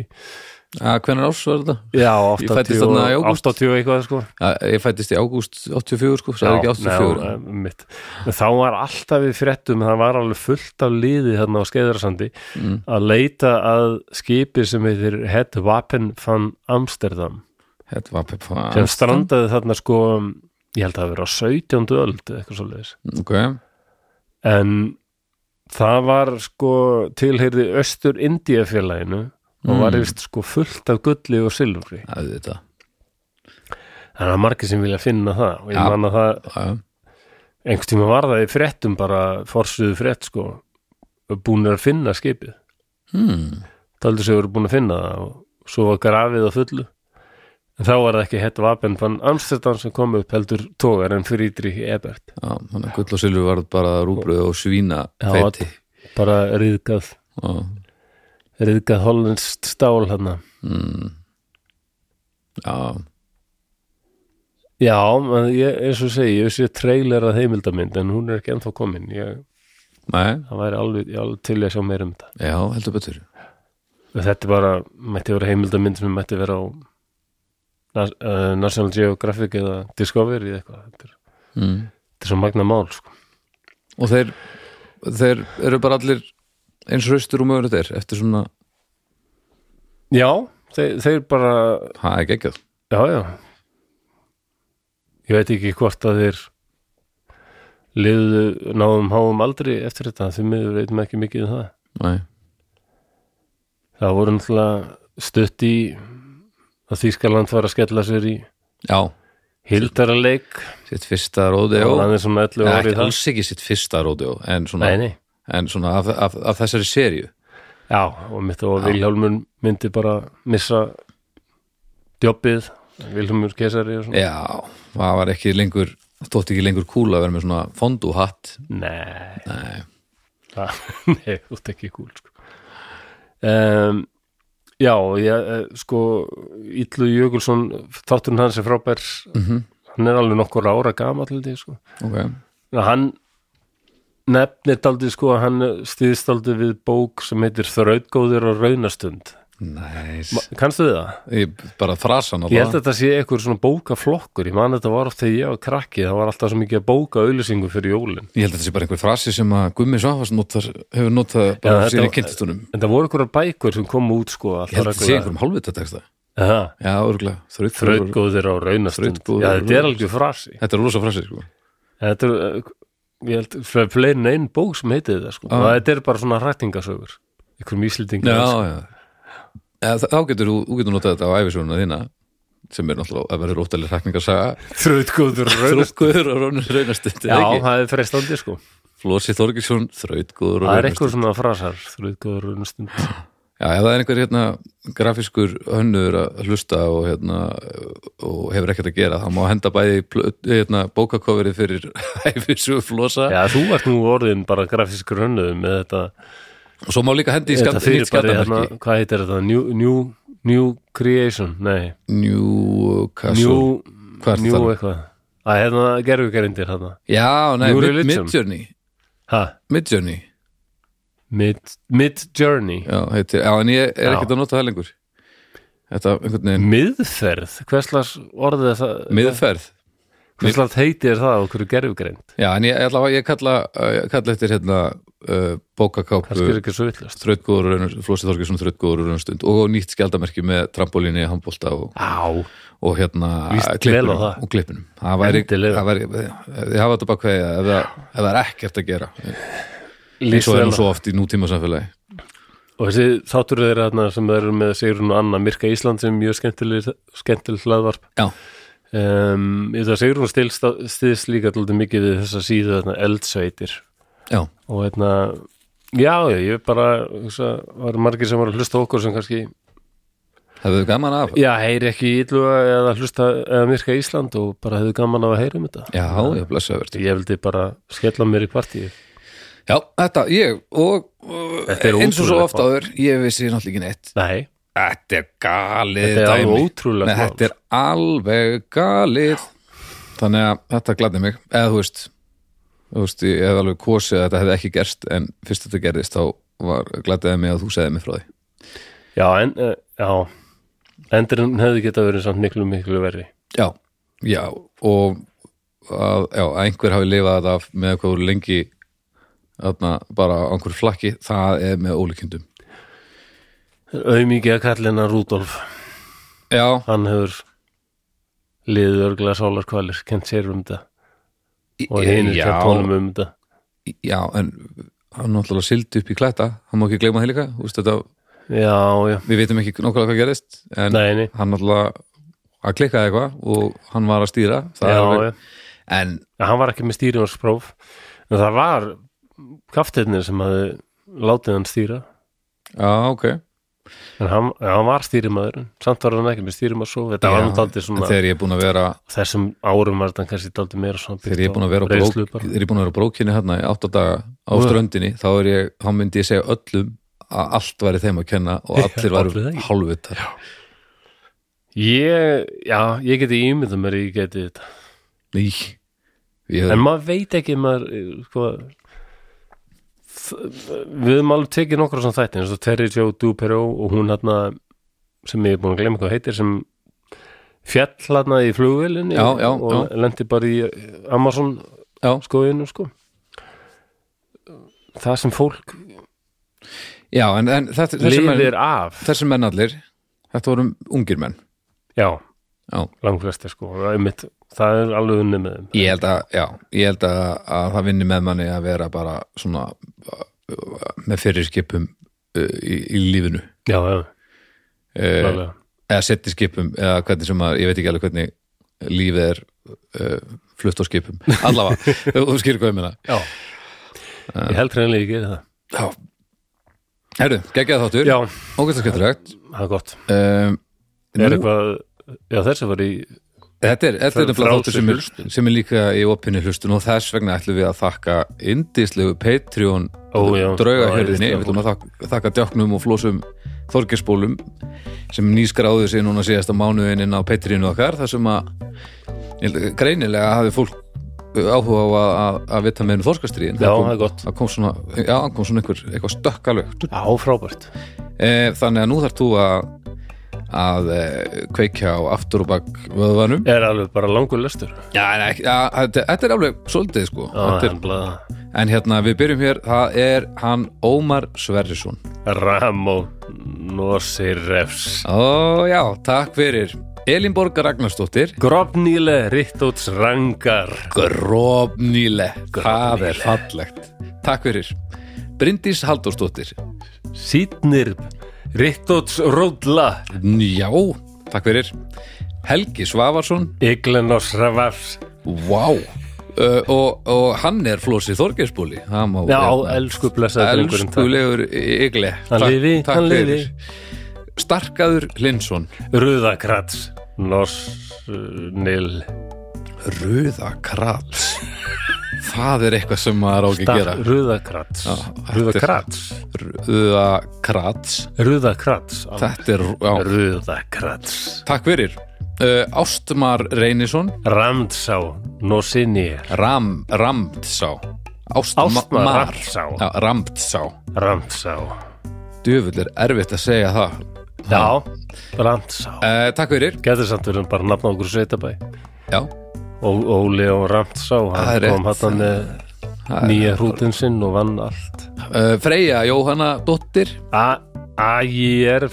Speaker 2: að, Hvenær árs var þetta?
Speaker 1: já,
Speaker 2: Ég fæddist þarna í
Speaker 1: 80,
Speaker 2: ágúst.
Speaker 1: 80 eitthvað sko
Speaker 2: Að, ég fættist í ágúst 84 sko, það er ekki 84
Speaker 1: nei, nei, mitt. eh, En þá var alltaf við fréttum það var alveg fullt af liði þarna á Skeiðarsandi
Speaker 2: Mm.
Speaker 1: að leita að skipi sem heitir Het Wapen van Amsterdam
Speaker 2: Þetta var peppa
Speaker 1: sem strandaði þarna sko ég held að það hafi verið á 17. öld eða eitthvað svoleiðis
Speaker 2: Ok,
Speaker 1: en það var sko tilheyrði Östur Indíafélaginu og
Speaker 2: Mm.
Speaker 1: var vist sko fullt af gulli og silfri
Speaker 2: það er þetta
Speaker 1: þannig að margir sem vilja finna það og ég
Speaker 2: Já.
Speaker 1: man að það
Speaker 2: Já, já.
Speaker 1: einhvern tíma var það í fréttum bara forsuðu frétt sko búin að finna skipið
Speaker 2: Hmm.
Speaker 1: taldur sig voru búin að finna það og svo var grafið á fullu en þá var það ekki hett vapen fann Amsterdam sem kom upp heldur tógar en Friedrich Ebert
Speaker 2: Já, þannig að gull og silfur var bara rúbröð og svína feiti
Speaker 1: bara riðgað
Speaker 2: Já,
Speaker 1: riðgað hollenskt stál hann
Speaker 2: já,
Speaker 1: já, en ég, eins og segi ég sé trailer að heimildamind en hún er ekki ennþá komin ég,
Speaker 2: nei,
Speaker 1: það væri alveg, ég alveg til ég að sjá meira um þetta
Speaker 2: já, heldur betur
Speaker 1: Og þetta er bara, mætti vera heimildamind sem mætti vera á Na- eh, National Geographic eða Discovery eða eitthvað þetta er,
Speaker 2: mm.
Speaker 1: þetta er svo magna mál sko.
Speaker 2: Og þeir, þeir eru bara allir eins raustur og mögulegt er eftir svona,
Speaker 1: já, þeir, þeir bara
Speaker 2: það er geggjað
Speaker 1: já, já ég veit ekki hvort að þeir liðu náðum háum aldrei eftir þetta því miður veitum ekki mikið um það
Speaker 2: Nei.
Speaker 1: það voru náttúrulega stutt í að Þýskaland var að skella sér í
Speaker 2: Já,
Speaker 1: hildaraleik
Speaker 2: sitt fyrsta ródeó
Speaker 1: og hann er sem 11
Speaker 2: Nei,
Speaker 1: árið
Speaker 2: ekki,
Speaker 1: það
Speaker 2: alls ekki sitt fyrsta ródeó en svona,
Speaker 1: nei, nei.
Speaker 2: En svona af, af, af þessari serju
Speaker 1: já, og mitt og Vilhjálmur myndi bara missa djópið Vilhjálmur kesari og svona
Speaker 2: Já, það var ekki lengur það stótt ekki lengur kúla að vera með svona fondúhatt
Speaker 1: nei,
Speaker 2: Nei,
Speaker 1: það, nei, þú ert ekki kúl sko. um, já, ég, eh, sko Ítlu Jökulsson þátturinn hans er frábær
Speaker 2: Mhm.
Speaker 1: hann er alveg nokkur ára gamall held ég, sko.
Speaker 2: ok
Speaker 1: Ná, hann nefnir daldið sko að hann stýðist daldið við bók sem heitir Þrautgóðir og raunastund
Speaker 2: Næs,
Speaker 1: kannstu þið það?
Speaker 2: ég, bara frasan
Speaker 1: Ég held að þetta sé eitthvað svona bókaflokkur ég man þetta var oft þegar ég var krakki það var alltaf svo mikið að bóka auðlýsingu fyrir jólin
Speaker 2: Ég held að þetta sé bara einhver frasi sem að Gummi Svafas notar, hefur notað bara
Speaker 1: þetta
Speaker 2: síðan í
Speaker 1: var-
Speaker 2: kynntistunum.
Speaker 1: en það voru einhverjar bækur sem komu út sko
Speaker 2: Ég held að þetta sé einhverjum hálfvita texta. Já, örgulega. Þrautgóður.
Speaker 1: Þrautgóðir og raunastund
Speaker 2: Þrautgóðir
Speaker 1: Já,
Speaker 2: og
Speaker 1: þetta er
Speaker 2: raunastund.
Speaker 1: alveg frasi
Speaker 2: Þetta er rosa frasi, sko.
Speaker 1: Þetta er, eh, ég held, fle- fleiri en einn bók sem heitið það sko
Speaker 2: Já.
Speaker 1: og þetta er bara svona rætingasögur einhverjum íslendingar
Speaker 2: Já, já. Eða, þa- þá getur þú- þú getur notað þetta á æfisjónuna þína sem er náttúrulega að verður óttalir hrækningarsaga.
Speaker 1: Þrautgóðir og raunastund
Speaker 2: Þrautgóður og rónur raunastundi,
Speaker 1: Já,
Speaker 2: ekki?
Speaker 1: það er freistandi sko
Speaker 2: Flósi Þorgilsson, þrautgóður
Speaker 1: Það
Speaker 2: og
Speaker 1: er
Speaker 2: raunastundi.
Speaker 1: eitthvað svona frasar Þrjóðgóður raunastund
Speaker 2: Já, ef það er einhver hérna grafiskur hönnur að hlusta og hérna og hefur ekkert að gera, þá má henda bæði plö- hérna, bókakoverið fyrir æfisjóð flosa
Speaker 1: Já, þú ert nú orðin bara grafískur hönnuð með þetta,
Speaker 2: og svo má líka hendi í
Speaker 1: þetta
Speaker 2: skat, nýtt
Speaker 1: fyrirbæri hérna,
Speaker 2: skatamerki
Speaker 1: hvað heitir þetta, New, new, new Creation, nei hérna,
Speaker 2: Newcastle
Speaker 1: New,
Speaker 2: hvað ertu að
Speaker 1: new
Speaker 2: tala um?
Speaker 1: eitthvað Það hérna gerfugerindir hérna
Speaker 2: Já, nei,
Speaker 1: New
Speaker 2: Mid-
Speaker 1: Religion.
Speaker 2: Midjourney
Speaker 1: ha,
Speaker 2: Midjourney,
Speaker 1: Mid, Mid Journey
Speaker 2: já, heitir, já, en ég er
Speaker 1: Já.
Speaker 2: ekkert að nota það lengur Þetta, einhvern veginn,
Speaker 1: Miðferð, hverslas orðið er það
Speaker 2: miðferð
Speaker 1: Hverslas heiti er það á hverju gerfugreind
Speaker 2: Já, en ég, allavega, ég kalla, ég kalla eftir hérna uh,
Speaker 1: Það skil
Speaker 2: bókakápu
Speaker 1: ekki svo villast
Speaker 2: þrautgóður, og raunur- Flósi Þorgesson þrautgóður og raunstund og nýtt skjaldamerki með trampolíni, handbólta og,
Speaker 1: Á,
Speaker 2: og hérna
Speaker 1: Víst vel á
Speaker 2: klippinum,
Speaker 1: það.
Speaker 2: og klippinum það væri,
Speaker 1: Endilega.
Speaker 2: það væri, ég hafa þetta bara kveðið ef það- ef það er ekkert að gera eins
Speaker 1: líst
Speaker 2: og
Speaker 1: vel
Speaker 2: er
Speaker 1: á
Speaker 2: nú svo oft í nútíma samfélagi
Speaker 1: Og þessi þáttur þeirra þarna sem þeir eru með Sigrun og Anna Mirka Ísland sem er mjög skemmtileg, skemmtileg hlaðvarp
Speaker 2: Já,
Speaker 1: um, Það Sigrun stilst, stilst líka alltaf mikið við þessa síðu þarna eldsveitir
Speaker 2: já,
Speaker 1: og hérna Já, já, ég er bara, hugsa, var margir sem var að hlusta á okkur sem kannski,
Speaker 2: hefðu gaman af
Speaker 1: já, heyri ekki íllu eða hlusta eða myrka Ísland og bara hefðu gaman af að heyra um þetta.
Speaker 2: Já, já, blessaður
Speaker 1: Ég vildi bara skella mér í partíu.
Speaker 2: Já, þetta, ég og, og
Speaker 1: Þetta er
Speaker 2: eins og svo
Speaker 1: ótrúlegt
Speaker 2: oft áður, ég vissi náttúrulega ekki neitt
Speaker 1: Nei,
Speaker 2: Þetta er galið
Speaker 1: Þetta er alveg
Speaker 2: dæmi.
Speaker 1: ótrúlegt
Speaker 2: Nei,
Speaker 1: mál.
Speaker 2: Þetta er alveg galið Þannig að þetta gladdi mig eða þú veist, þú veist ég hef alveg kosið að þetta hefði ekki gerst en fyrst þetta gerðist þá var gladdiði mig að þú segði mig frá því
Speaker 1: já, en, eh, já, endurinn hefði geta verið samt miklu, miklu verri.
Speaker 2: Já, já og að, já, að einhver hafi lifað þetta af með eitthvað voru lengi þarna, bara á einhverju flakki það er með ólíkindum
Speaker 1: Auðmikið að kallina Rúdolf
Speaker 2: Já,
Speaker 1: hann hefur liðið örgulega sálarkvalir, kent sér um þetta og hinn er kent honum
Speaker 2: já,
Speaker 1: um þetta
Speaker 2: já en hann náttúrulega sildi upp í klæta hann má ekki gleyma það líka þú veist, þetta,
Speaker 1: já, já,
Speaker 2: við veitum ekki nokkulega hvað gerðist en
Speaker 1: nei, nei
Speaker 2: hann náttúrulega að klikkaði eitthvað og hann var að stýra það er
Speaker 1: já,
Speaker 2: alveg-
Speaker 1: já.
Speaker 2: en
Speaker 1: hann var ekki með stýrivarspróf en það var kaftirnir sem hafði látið hann stýra
Speaker 2: já, ok
Speaker 1: en hann, ja, hann var stýrimaður samt var hann ekki með stýrimaðspróf þetta var
Speaker 2: Já,
Speaker 1: hann daldið
Speaker 2: en
Speaker 1: svona
Speaker 2: þegar ég er búin að vera
Speaker 1: þessum árum var þetta kannski daldið meira svona
Speaker 2: þegar ég er búin að vera á
Speaker 1: reynslu
Speaker 2: brók,
Speaker 1: bara.
Speaker 2: þegar ég er búin að vera á brókinni hérna í átta daga á
Speaker 1: Já.
Speaker 2: ströndinni þá, er ég, þá myndi ég segja öllum að allt væri þeim að kenna og allir
Speaker 1: allir
Speaker 2: væru
Speaker 1: það ekki.
Speaker 2: hálfvitar
Speaker 1: ég, já, ég geti ímyndað mér að ég geti þetta
Speaker 2: ný ég,
Speaker 1: En maður veit ekki maður, eh, sko, þ- við höfum alveg tekið nokkra svona þætti eins og Terry Jo Duperó og hún hérna sem ég er búin að glemma hvað heitir sem fjall hérna í flugvélinni
Speaker 2: Já, já,
Speaker 1: og lendi bara í Amazon
Speaker 2: Já.
Speaker 1: skoðinu sko það sem fólk
Speaker 2: já, en, en þetta, þessi menn,
Speaker 1: lifir af
Speaker 2: þessi menn allir þetta voru ungir menn
Speaker 1: já,
Speaker 2: já.
Speaker 1: langflestir sko, og einmitt, það er alveg unni með þeim
Speaker 2: Ég held að, já, ég held að, að það vinni með manni að vera bara svona uh, með fyrirskipum uh, í, í lífinu
Speaker 1: já, já,
Speaker 2: uh,
Speaker 1: klálega.
Speaker 2: eða setti skipum eða hvernig sem að, ég veit ekki alveg hvernig lífið er uh, flutt á skipum allavega, þú skýrir hvað ég meina
Speaker 1: já. ég held reynilega ég geri það
Speaker 2: Já Herru, geggjað þáttur,
Speaker 1: já,
Speaker 2: ógæsta skemmtilegt
Speaker 1: það er gott
Speaker 2: um,
Speaker 1: er eitthvað, já þessi var í
Speaker 2: Þetta er,
Speaker 1: Frá-
Speaker 2: þetta er nefnilega
Speaker 1: frálsir
Speaker 2: þáttur sem er,
Speaker 1: hlustun.
Speaker 2: sem er líka í opinni hlustun og þess vegna ætlum við að þakka indislegu Patreon
Speaker 1: Ó, já.
Speaker 2: draugahjörðinni,
Speaker 1: Já,
Speaker 2: við ætlum að þakka, þakka djáknum og flósum þorgirspólum sem nýskráðu sig núna síðasta mánuðin inn á Patreonu okkar þar sem að ég held- greinilega hafi fólk áhuga á að, að, að vita meðinu þorskastríðin
Speaker 1: Já, það er gott.
Speaker 2: það kom svona, já, það kom svona einhver, eitthvað stökkalögt
Speaker 1: já, frábært
Speaker 2: e, þannig að nú þarf þú að að e, kveikja á aftur og bak vöðvanum
Speaker 1: er alveg bara langur lestur
Speaker 2: Já, nei, ekki- já, þetta þetta er alveg svolítið sko
Speaker 1: já,
Speaker 2: Þetta er,
Speaker 1: en bara
Speaker 2: En hérna, við byrjum hér Það er hann Ómar Sverrisson
Speaker 1: Ramó Nosirefs
Speaker 2: Ó, já, takk fyrir Elín Borgar Ragnarsdóttir
Speaker 1: Grobnýle Rittóts Rangar
Speaker 2: Grofnýle Það er fallegt Takk fyrir Bryndís Halldórsdóttir
Speaker 1: Sýtnir Rittóts Ródla
Speaker 2: Já, takk fyrir Helgi Svavarsson
Speaker 1: Iglenos Ravafs
Speaker 2: Vá Uh, og, og hann er Flósi Þorgeirsbúli
Speaker 1: Já, hérna.
Speaker 2: hérna-
Speaker 1: elsku blessaður drengurinn, takk.
Speaker 2: Elskulegur ygle
Speaker 1: Hann lifi, hann lifi
Speaker 2: Starkaður Linsson
Speaker 1: Rúðakrats Norsnil
Speaker 2: Röðakrats Það er eitthvað sem maður á ekki að gera
Speaker 1: Rúðakrats
Speaker 2: þetta er-
Speaker 1: Rúðakrats
Speaker 2: Röðakrats
Speaker 1: Rúðakrats
Speaker 2: Þetta er, já,
Speaker 1: Rúðakrats
Speaker 2: takk fyrir uh, Ástmar Reynisson
Speaker 1: Ramdsá Nosinir
Speaker 2: Ram, Ramtsá
Speaker 1: Ástmar
Speaker 2: Ástmar
Speaker 1: Ramtsá.
Speaker 2: Já, Ramtsá
Speaker 1: Ramdsá
Speaker 2: Djöfull er erfitt að segja það
Speaker 1: Já, Ramdsá
Speaker 2: uh, Takk fyrir,
Speaker 1: Getur samt verið bara nafn á okkur sveitabæ
Speaker 2: já,
Speaker 1: og Óli og Ramtsá
Speaker 2: Það er
Speaker 1: hann kom
Speaker 2: rétt.
Speaker 1: hann með nýja hrútin sinn og vann allt
Speaker 2: uh, Freyja Jóhanna Dóttir
Speaker 1: A- A.J.R.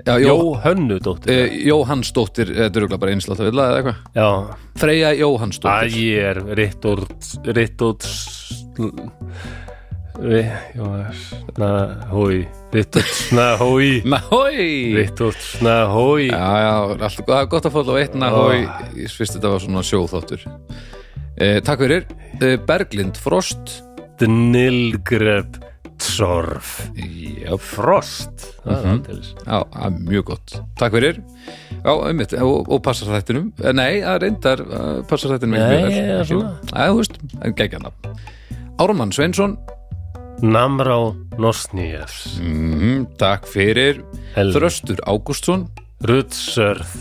Speaker 2: Já, Jó,
Speaker 1: Jóhönnu dóttir
Speaker 2: uh, Jóhannsdóttir Þetta er örugglega bara einslátt að vilja eða eitthvað
Speaker 1: Já,
Speaker 2: Freyja Jóhannsdóttir
Speaker 1: A.J.R. Rittóts Rittóts Hói Rittóts Nahói
Speaker 2: Ná, hói
Speaker 1: Rittóts Nahói
Speaker 2: Já, já, alltaf það er gott að fóla á einna
Speaker 1: Já.
Speaker 2: hói, ég finnst þetta var svona sjóþáttur eh, Takk fyrir eh, Berglind Frost
Speaker 1: Dnilgreb Tsorf
Speaker 2: Jöp,
Speaker 1: Frost Það er aldeilis.
Speaker 2: já, það er mjög gott Takk fyrir, já, einmitt og, og passar þættinum, Eh, nei, það reyndar eh, passar þættinum
Speaker 1: Nei,
Speaker 2: vel.
Speaker 1: ja,
Speaker 2: Jú,
Speaker 1: svona.
Speaker 2: Já, þú veist, en geggja nafn Ármann Sveinsson,
Speaker 1: Namrá Nosnýjafs
Speaker 2: mm, takk fyrir
Speaker 1: Helvi.
Speaker 2: Þröstur Ágústsson
Speaker 1: Rutsörð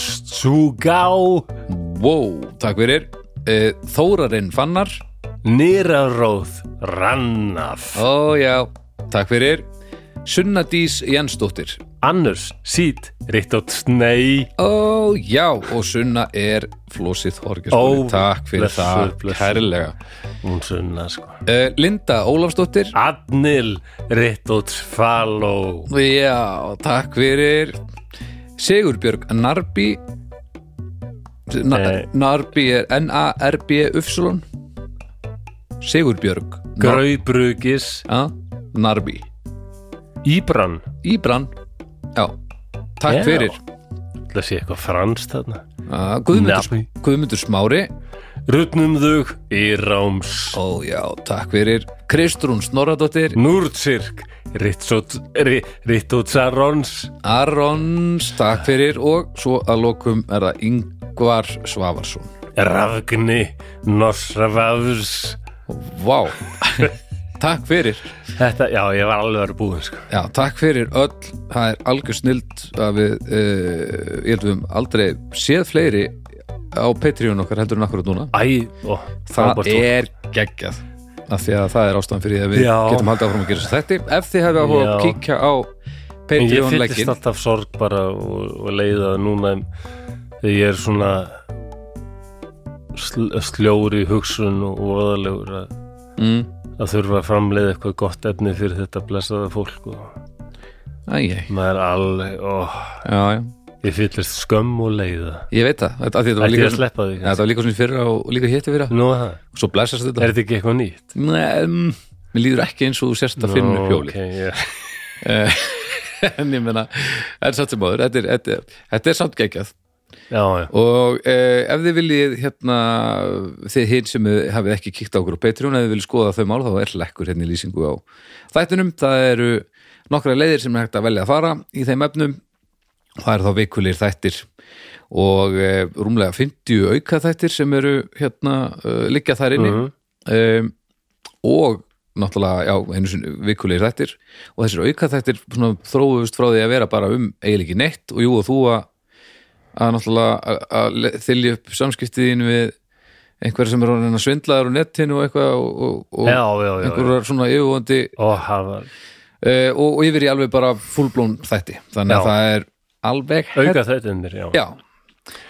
Speaker 1: Nostsúgá
Speaker 2: Wow, takk fyrir eh, Þórarinn Fannar
Speaker 1: Nýraróð Rannaf
Speaker 2: Ó, já, takk fyrir Sunna Dís Jensdóttir
Speaker 1: Annars Sít Rittóts Nei
Speaker 2: Ó, já, og Sunna er flósið
Speaker 1: Ó,
Speaker 2: horgjaskóli. Takk fyrir
Speaker 1: blessuð,
Speaker 2: það,
Speaker 1: blessuð.
Speaker 2: kærlega.
Speaker 1: Hún sunna sko
Speaker 2: Uh, Linda Ólafsdóttir.
Speaker 1: Adnil Rittóts Faló
Speaker 2: Já, takk fyrir. Sigurbjörg Narbi. Na,
Speaker 1: Eh.
Speaker 2: Narbi er N-A-R-B-Y. Sigurbjörg. Ah, Nar-
Speaker 1: Graubrugis
Speaker 2: Já, Narbi.
Speaker 1: Íbran
Speaker 2: Íbran. Já, takk
Speaker 1: Já.
Speaker 2: fyrir.
Speaker 1: Það sé eitthvað franskt þarna
Speaker 2: Uh, Guðmundur,
Speaker 1: Narbi.
Speaker 2: Guðmundur Smári.
Speaker 1: Rutnum þug Íráms
Speaker 2: Ó, já, takk fyrir. Kristrún Snorradóttir.
Speaker 1: Núrtsirk Rittótsarons
Speaker 2: Arons, takk fyrir og svo að lokum er það Ingvar Svavarsson
Speaker 1: Rafgni Norsravavs
Speaker 2: Vá, takk fyrir
Speaker 1: Þetta, já, ég var alveg að vera búinn sko.
Speaker 2: Já, takk fyrir öll, það er algjör snild að við, uh, ég held við höfum aldrei séð fleiri á Patreon okkar heldur en akkurat núna
Speaker 1: Æ, ó,
Speaker 2: Það
Speaker 1: frábært fólk.
Speaker 2: er geggjað af því að það er ástæðan fyrir því að við
Speaker 1: Já.
Speaker 2: getum haldið áfram að gera þessu þetta ef þið hefur áhuga að
Speaker 1: Já.
Speaker 2: kíkja á
Speaker 1: En ég
Speaker 2: Patreon
Speaker 1: fyllist
Speaker 2: leggin
Speaker 1: alltaf sorg bara og, og leiða núna þegar ég er svona sl sljóri í hugsun og voðalegur að,
Speaker 2: mm.
Speaker 1: að þurfa að framleiða eitthvað gott efni fyrir þetta blessaða fólk og
Speaker 2: Æ, ég,
Speaker 1: maður er alveg, ó,
Speaker 2: já, já
Speaker 1: Ég fyllist skömm og leiða
Speaker 2: Ég veit það, þetta, af því þetta var
Speaker 1: Ætti ég
Speaker 2: líka
Speaker 1: að sleppa því
Speaker 2: ja,
Speaker 1: kannski?
Speaker 2: Þetta var líka svona í fyrra og, og líka hétti fyrra
Speaker 1: Nú er það,
Speaker 2: Svo blessast
Speaker 1: er
Speaker 2: þetta
Speaker 1: þetta ekki eitthvað nýtt?
Speaker 2: Nei, mm, Mér líður ekki eins og þú sérst að finna upp hjólið
Speaker 1: okay, yeah.
Speaker 2: En ég meina, en satt sem áður Þetta er, þetta er, þetta er samt geggjað
Speaker 1: Já, já,
Speaker 2: og eh, ef þið viljið hérna, þið hinn sem þið hafið ekki kíkt á okkur á Patreon, ef þið viljið skoða þau mál þá er lekkur hérna í lýsingu á þættinum það eru nokkra leiðir sem er hægt að velja að fara í þeim efnum það eru þá vikulir þættir og eh, rúmlega 50 auka þættir sem eru hérna uh, liggja þær inni
Speaker 1: Mhm.
Speaker 2: um, og náttúrulega, já, einu sinni vikulegir þættir og þessir auka þættir svona, þrófust frá því að vera bara um eiginlega ekki neitt og jú og þú að að náttúrulega að- að þylja upp samskiptiðin við einhverja sem er orðin að svindlaður á netinu og eitthvað og, og, og
Speaker 1: já, já, já, já.
Speaker 2: einhverjar svona yfirvóndi
Speaker 1: Ó, það var
Speaker 2: uh, og, og yfir í alveg bara fullblón þætti þannig
Speaker 1: Já.
Speaker 2: að það er alveg
Speaker 1: auka þættinir, já,
Speaker 2: já,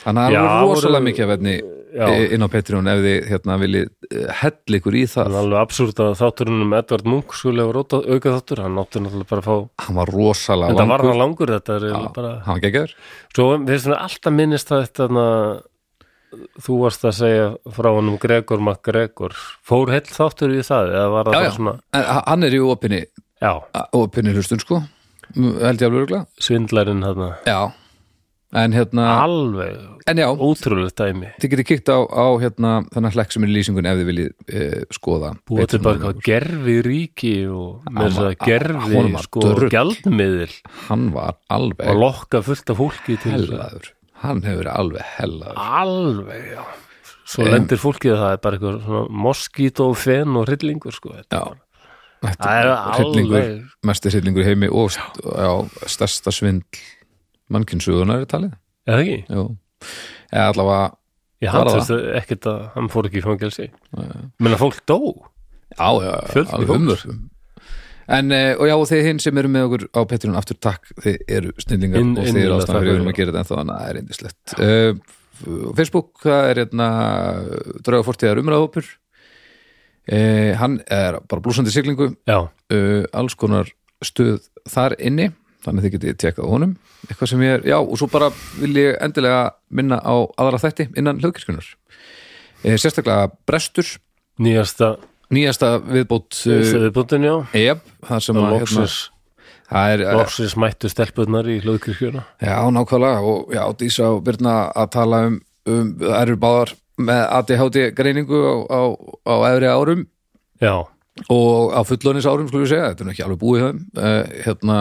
Speaker 2: þannig að
Speaker 1: Já,
Speaker 2: það er alveg rosalega
Speaker 1: voru-
Speaker 2: mikið af efni
Speaker 1: Já.
Speaker 2: eh, inn á Patreon ef þið hérna viljið eh, hella ykkur í
Speaker 1: Það
Speaker 2: það
Speaker 1: er alveg absúrt að þátturinn um Edvard Munk skulle hafa rótað auka þáttur, hann átti náttúrulega bara að fá
Speaker 2: hann var rosalega
Speaker 1: en það var hann langur þetta er
Speaker 2: Já,
Speaker 1: eiginlega bara
Speaker 2: hann var geggjör
Speaker 1: Svo við erum svona alltaf minnist að þetta na, þú varst að segja frá hann um Gregor MacGregor fór heill þáttur í það eða var það
Speaker 2: já, já.
Speaker 1: bara svona
Speaker 2: En h- hann er í opinni,
Speaker 1: já,
Speaker 2: opinni hlustun sko M- held ég alveg örgla
Speaker 1: svindlarinn hann
Speaker 2: já, en hérna
Speaker 1: alveg
Speaker 2: en já,
Speaker 1: ótrúlega dæmi
Speaker 2: þið getið kíkt á, á hérna þannig hlekk sem er í lýsingun ef þið viljið e, skoða um
Speaker 1: búið til
Speaker 2: Patreon.
Speaker 1: bara eitthvað gerfi ríki og með þess
Speaker 2: Amma-
Speaker 1: að
Speaker 2: a-
Speaker 1: gerfi
Speaker 2: honum var
Speaker 1: sko
Speaker 2: drullt.
Speaker 1: gjaldmiðil
Speaker 2: hann var
Speaker 1: og
Speaker 2: alveg
Speaker 1: lokka fullt af fólki til þess að-
Speaker 2: hellaður hann hefur verið alveg hellaður
Speaker 1: alveg, já svo lendir fólkið að það er bara eitthvað svona moskító, fen og hryllingur sko þetta
Speaker 2: já, þetta
Speaker 1: Það er
Speaker 2: er hryllingur
Speaker 1: alveg-
Speaker 2: mestir hryllingur í heimi og st- já, stærsta svindl mannkynsugunar er talið
Speaker 1: er það ekki?
Speaker 2: já, eða allavega
Speaker 1: Ég
Speaker 2: Var
Speaker 1: hann
Speaker 2: það?
Speaker 1: þurfti ekkert að hann fór ekki í fangelsi menn að fólk dó
Speaker 2: já, já, já,
Speaker 1: Fjöldi
Speaker 2: alveg
Speaker 1: fólks.
Speaker 2: umvörfum en, eh, og já, og þið hinn sem eru með okkur á Petrin aftur takk, þið eru snillingar
Speaker 1: Inn-
Speaker 2: og þið eru
Speaker 1: innilega
Speaker 2: ástæðan
Speaker 1: þakkar
Speaker 2: fyrir um að gera þetta en þá þannig að það er indislegt uh, Facebook, það er hérna drauga fortíðar umræðhópur uh, hann er bara blúsandi siglingu
Speaker 1: Já,
Speaker 2: uh, alls konar stöð þar inni þannig að þið getið tekað á honum eitthvað sem ég er, já, og svo bara vil ég endilega minna á aðra þætti innan hljóðkirkunar uh, sérstaklega brestur
Speaker 1: nýjasta
Speaker 2: nýjasta viðbót uh,
Speaker 1: viðbútin, já
Speaker 2: Jep, það sem að hérna,
Speaker 1: Lóksins,
Speaker 2: það er,
Speaker 1: lóksins mættu stelpurnar í hljóðkirkjuna
Speaker 2: já, nákvæmlega og já, Dísa og Birna að tala um, um það eru báðar með ADHD greiningu á, á, á efri árum
Speaker 1: Já,
Speaker 2: og á fullónis árum skulum við segja, þetta er nú ekki alveg búið höfum uh, hérna,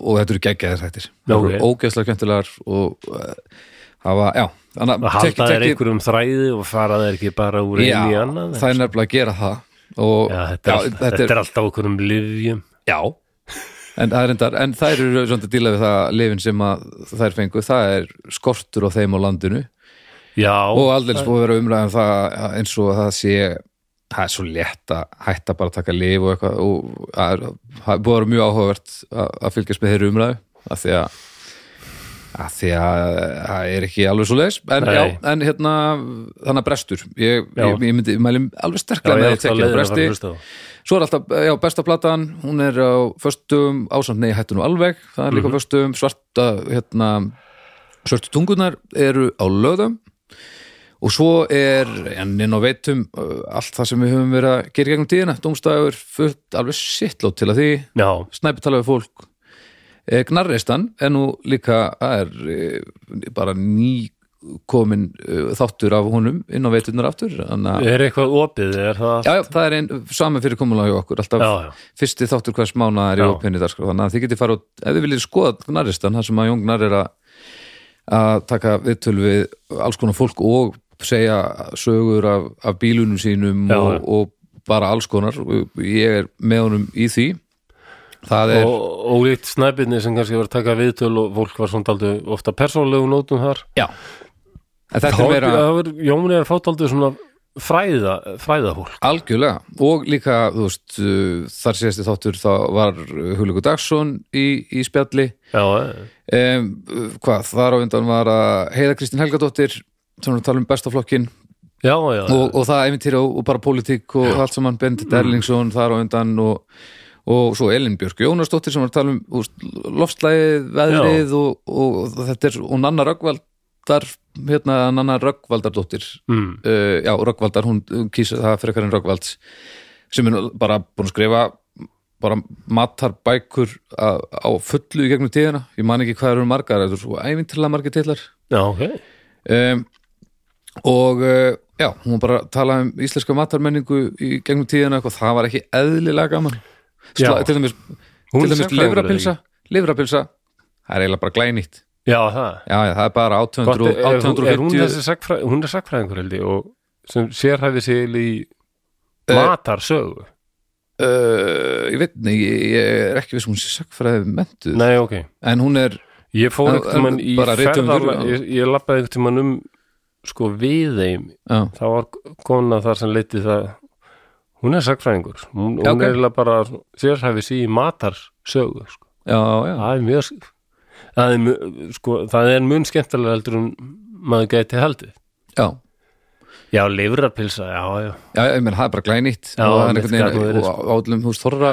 Speaker 2: og þetta eru geggjaðir þættir
Speaker 1: Já,
Speaker 2: það
Speaker 1: ok.
Speaker 2: eru ógeðslega kjöntilegar og uh, hafa, já, þannig
Speaker 1: að halda þær einhverjum þræði og fara þær ekki bara úr
Speaker 2: já,
Speaker 1: einu í annað
Speaker 2: það er nefnilega að gera það og,
Speaker 1: Já, þetta, er,
Speaker 2: Sko. já,
Speaker 1: alltaf, þetta er alltaf okkur um livjum
Speaker 2: Já En, það er endar, en þær eru svona að díla við það lifin sem að þær fengu, það er skortur á þeim á landinu
Speaker 1: Já,
Speaker 2: og aldrei búið að vera umræðan það eins og það sé það er svo létt að hætta bara að taka lif og eitthvað og það er það er búið að vera mjög áhugavert að, að fylgjast með þeirri umræðu af því að af því að það er ekki alveg svo leis en,
Speaker 1: Nei.
Speaker 2: já, en hérna þannig að brestur ég,
Speaker 1: Já.
Speaker 2: ég, ég myndi, ég mæli alveg
Speaker 1: já,
Speaker 2: sterklega
Speaker 1: ég
Speaker 2: með
Speaker 1: er
Speaker 2: að
Speaker 1: alltaf
Speaker 2: tekja
Speaker 1: leiður að fara
Speaker 2: bresti
Speaker 1: að hlusta á
Speaker 2: Svo er alltaf, já, besta platan, hún er á föstum ásamt nei, hættu nú alveg, það er líka á föstum, svarta, hérna, svörtu tungunar eru á löðum og svo er, en inn á veitum, uh, allt það sem við höfum verið að gera í gegnum tíðina, dómstæður, fullt, alveg sittlót til að því,
Speaker 1: Já,
Speaker 2: snæpi tala við fólk, eh, gnarreistan, en nú líka, það er eh, bara ný komin eh, þáttur af honum inn á veitunar aftur, þannig að
Speaker 1: er eitthvað opið er það,
Speaker 2: Já, já, það er einn saman fyrir komulag hjá okkur alltaf
Speaker 1: Já, já.
Speaker 2: fyrsti þáttur hvers mánaðar er í
Speaker 1: Já.
Speaker 2: opinni dagskrá þannig að þið getið farið, út- ef þið viljið skoða Gnarristan, þar sem að Jón Gnar er að að taka viðtöl við alls konar fólk og segja sögur af, af bílunum sínum
Speaker 1: Já, já.
Speaker 2: og, og bara alls konar ég er með honum í því það er,
Speaker 1: og ólíkt snæbirni sem kannski var að taka viðtöl og fólk var svona aldrei ofta persónlegu nótum þar
Speaker 2: já en þetta er meira
Speaker 1: Þá er Jóni er fátt aldrei svona fræða, fræðahólk
Speaker 2: Algjörlega og líka þú veist, uh, þar síðasti þáttur þá var Hulugu Dagsson í, í spjalli
Speaker 1: Já, eh,
Speaker 2: um, hvað, þar á undan var að Heiða Kristín Helgadóttir sem er að tala um bestaflokkin
Speaker 1: já, já
Speaker 2: og, og það einmittýr og, og bara pólitík og allt saman Bendit Erlingsson þar á undan og, og svo Elin Björk Jónasdóttir sem var að tala um úst, lofslægið, veðrið og, og, og þetta er, og Nanna Röggvaldar hérna Nanna Röggvaldardóttir
Speaker 1: Mm.
Speaker 2: uh, já, Röggvaldar, hún, hún kýsa það frekar en Röggvalds sem er nú bara búin að skrifa bara matar bækur á, á fullu í gegnum tíðina ég man ekki hvað eru margar, þetta er svo ævintilega margir titlar
Speaker 1: Já, ok.
Speaker 2: um, og uh, já, hún var bara að tala um íslenska matarmenningu í gegnum tíðina eitthvað, það var ekki eðlilega gaman Sla,
Speaker 1: Já.
Speaker 2: til dæmis,
Speaker 1: Hún
Speaker 2: til
Speaker 1: er
Speaker 2: dæmis
Speaker 1: sagnfræðingur,
Speaker 2: livrapilsa livrapilsa, það er eiginlega bara glænýtt
Speaker 1: Já, það.
Speaker 2: já, já, það er bara
Speaker 1: Gott, er,
Speaker 2: 800,
Speaker 1: er, hún- er hún,
Speaker 2: 850
Speaker 1: þessi sagfræ, hún er sagfræðingur held ég og sem sérhæfi sig í
Speaker 2: Eh,
Speaker 1: matarsögu.
Speaker 2: uh, ég veit, nei, ég, ég er ekki viss um hún sé sagfræði mentu
Speaker 1: Nei, ok.
Speaker 2: en hún er,
Speaker 1: Ég fór
Speaker 2: En-
Speaker 1: einhvern tímann
Speaker 2: en
Speaker 1: í
Speaker 2: bara rithöfundur,
Speaker 1: ferðarlega,
Speaker 2: já.
Speaker 1: ég, ég lappaði einhvern tímann um sko við þeim.
Speaker 2: já,
Speaker 1: Það var kona þar sem leiti það, hún er sagfræðingur. Hún,
Speaker 2: Já,
Speaker 1: hún
Speaker 2: ok.
Speaker 1: er eiginlega bara sérhæfi sig í matarsögu, sko.
Speaker 2: já, já
Speaker 1: það er mjög það er, mjög- sko, það er mun skemmtilega heldur en maður gæti haldið
Speaker 2: já,
Speaker 1: já, livrarpilsa, já, já
Speaker 2: já, ég meina, það er bara glænýtt
Speaker 1: Já,
Speaker 2: og það er
Speaker 1: mitt
Speaker 2: einhvern
Speaker 1: gat nú verið, sko.
Speaker 2: veginn, og átlum, þú veist, þorra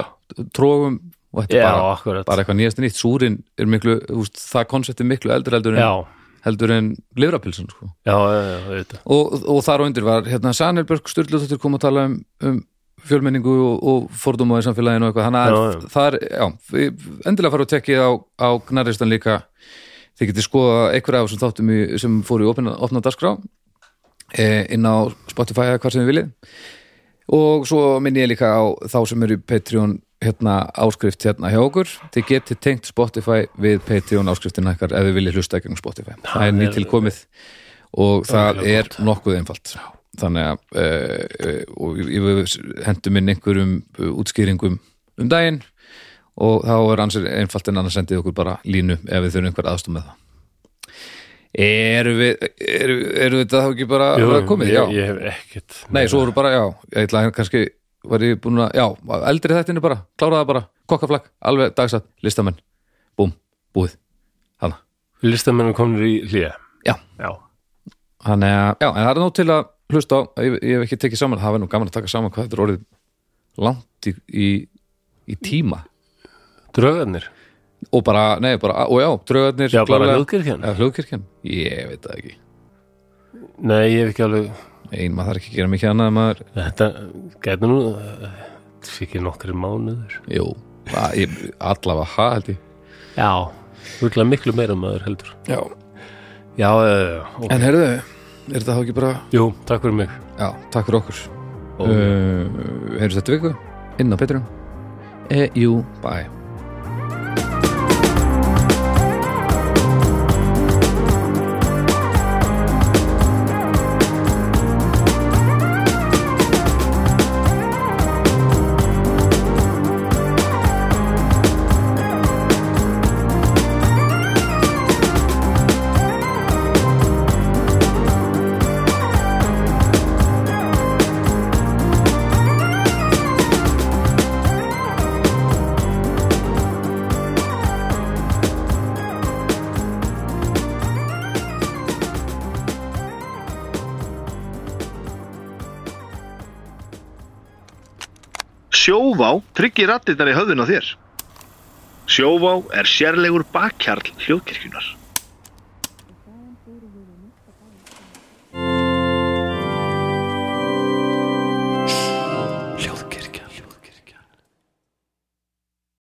Speaker 2: trógum og þetta
Speaker 1: já,
Speaker 2: er bara
Speaker 1: akkurat,
Speaker 2: bara eitthvað nýjast nýtt, súrin er miklu úst, það koncept er miklu eldur heldur en,
Speaker 1: já,
Speaker 2: heldur en livrapilsun sko.
Speaker 1: já, já, já, auðvitað
Speaker 2: og, og þar á undir var hérna Sanelberg Sturlutóttir kom að tala um, um fjölmenningu og, og fordóma í samfélaginu og eitthvað, þannig að
Speaker 1: Já, já.
Speaker 2: það er já, við- endilega fara og tekið á, á gnarristan líka þið getið skoða einhverja af þessum þáttum í, sem fóru í opna, opna dagskrá e, inn á Spotify eða hvað sem við viljið og svo minni ég líka á þá sem eru í Patreon hérna áskrift hérna hjá okkur þið getið tengt Spotify við Patreon áskriftina ykkar ef þið viljið hlusta ekki um Spotify það
Speaker 1: er-
Speaker 2: er nýtilkomið og það
Speaker 1: er
Speaker 2: er nokkuð einfalt þannig að e, e, og ég- ég hendum inn einhverjum eh, útskýringum um daginn og þá er ansið einfalt en annars sendið okkur bara línu ef við þurfum einhver aðstum með það Erum við, erum, erum við það þá ekki bara
Speaker 1: Jú,
Speaker 2: bara komið?
Speaker 1: ég,
Speaker 2: já.
Speaker 1: ég hef ekkert
Speaker 2: Nei, svo voru bara, já, ég ætla að kannski var ég búin að, já, eldri þættinu bara kláraða bara, kokkaflakk, alveg dagsatt listamenn, búm, búið hana,
Speaker 1: listamennum komnir í hlýja
Speaker 2: Já.
Speaker 1: já,
Speaker 2: hann er, já, en það er nóg til að hlusta á, ég, ég hef ekki tekið saman það verður nú gaman að taka saman hvað þetta er orðið langt í, í, í tíma
Speaker 1: draugarnir
Speaker 2: og bara, nei, bara, og já, draugarnir
Speaker 1: já, bara hérna?
Speaker 2: klárlega-
Speaker 1: hljóðkirkjan
Speaker 2: Eða hljóðkirkjan, ég veit það ekki
Speaker 1: nei, ég hef ekki alveg,
Speaker 2: ein, maður þarf ekki að gera mikið annað en maður,
Speaker 1: þetta gæti nú eh, sikið nokkri mánuður
Speaker 2: jú, að, ég, allavega ha, held ég
Speaker 1: já, hugla miklu meira maður heldur
Speaker 2: já,
Speaker 1: já, já, já, já, ok.
Speaker 2: en heyrðu, er þetta þá ekki bara
Speaker 1: jú, takk fyrir mig
Speaker 2: Já, takk fyrir okkur
Speaker 1: Ó.
Speaker 2: uh, Heyrðu þetta viku inn á Petrum e, Jú, bye
Speaker 3: Sjóvá tryggir rattirnar í höfðun á þér. Sjóvá er sérlegur bakkjarl hljóðkirkjunar.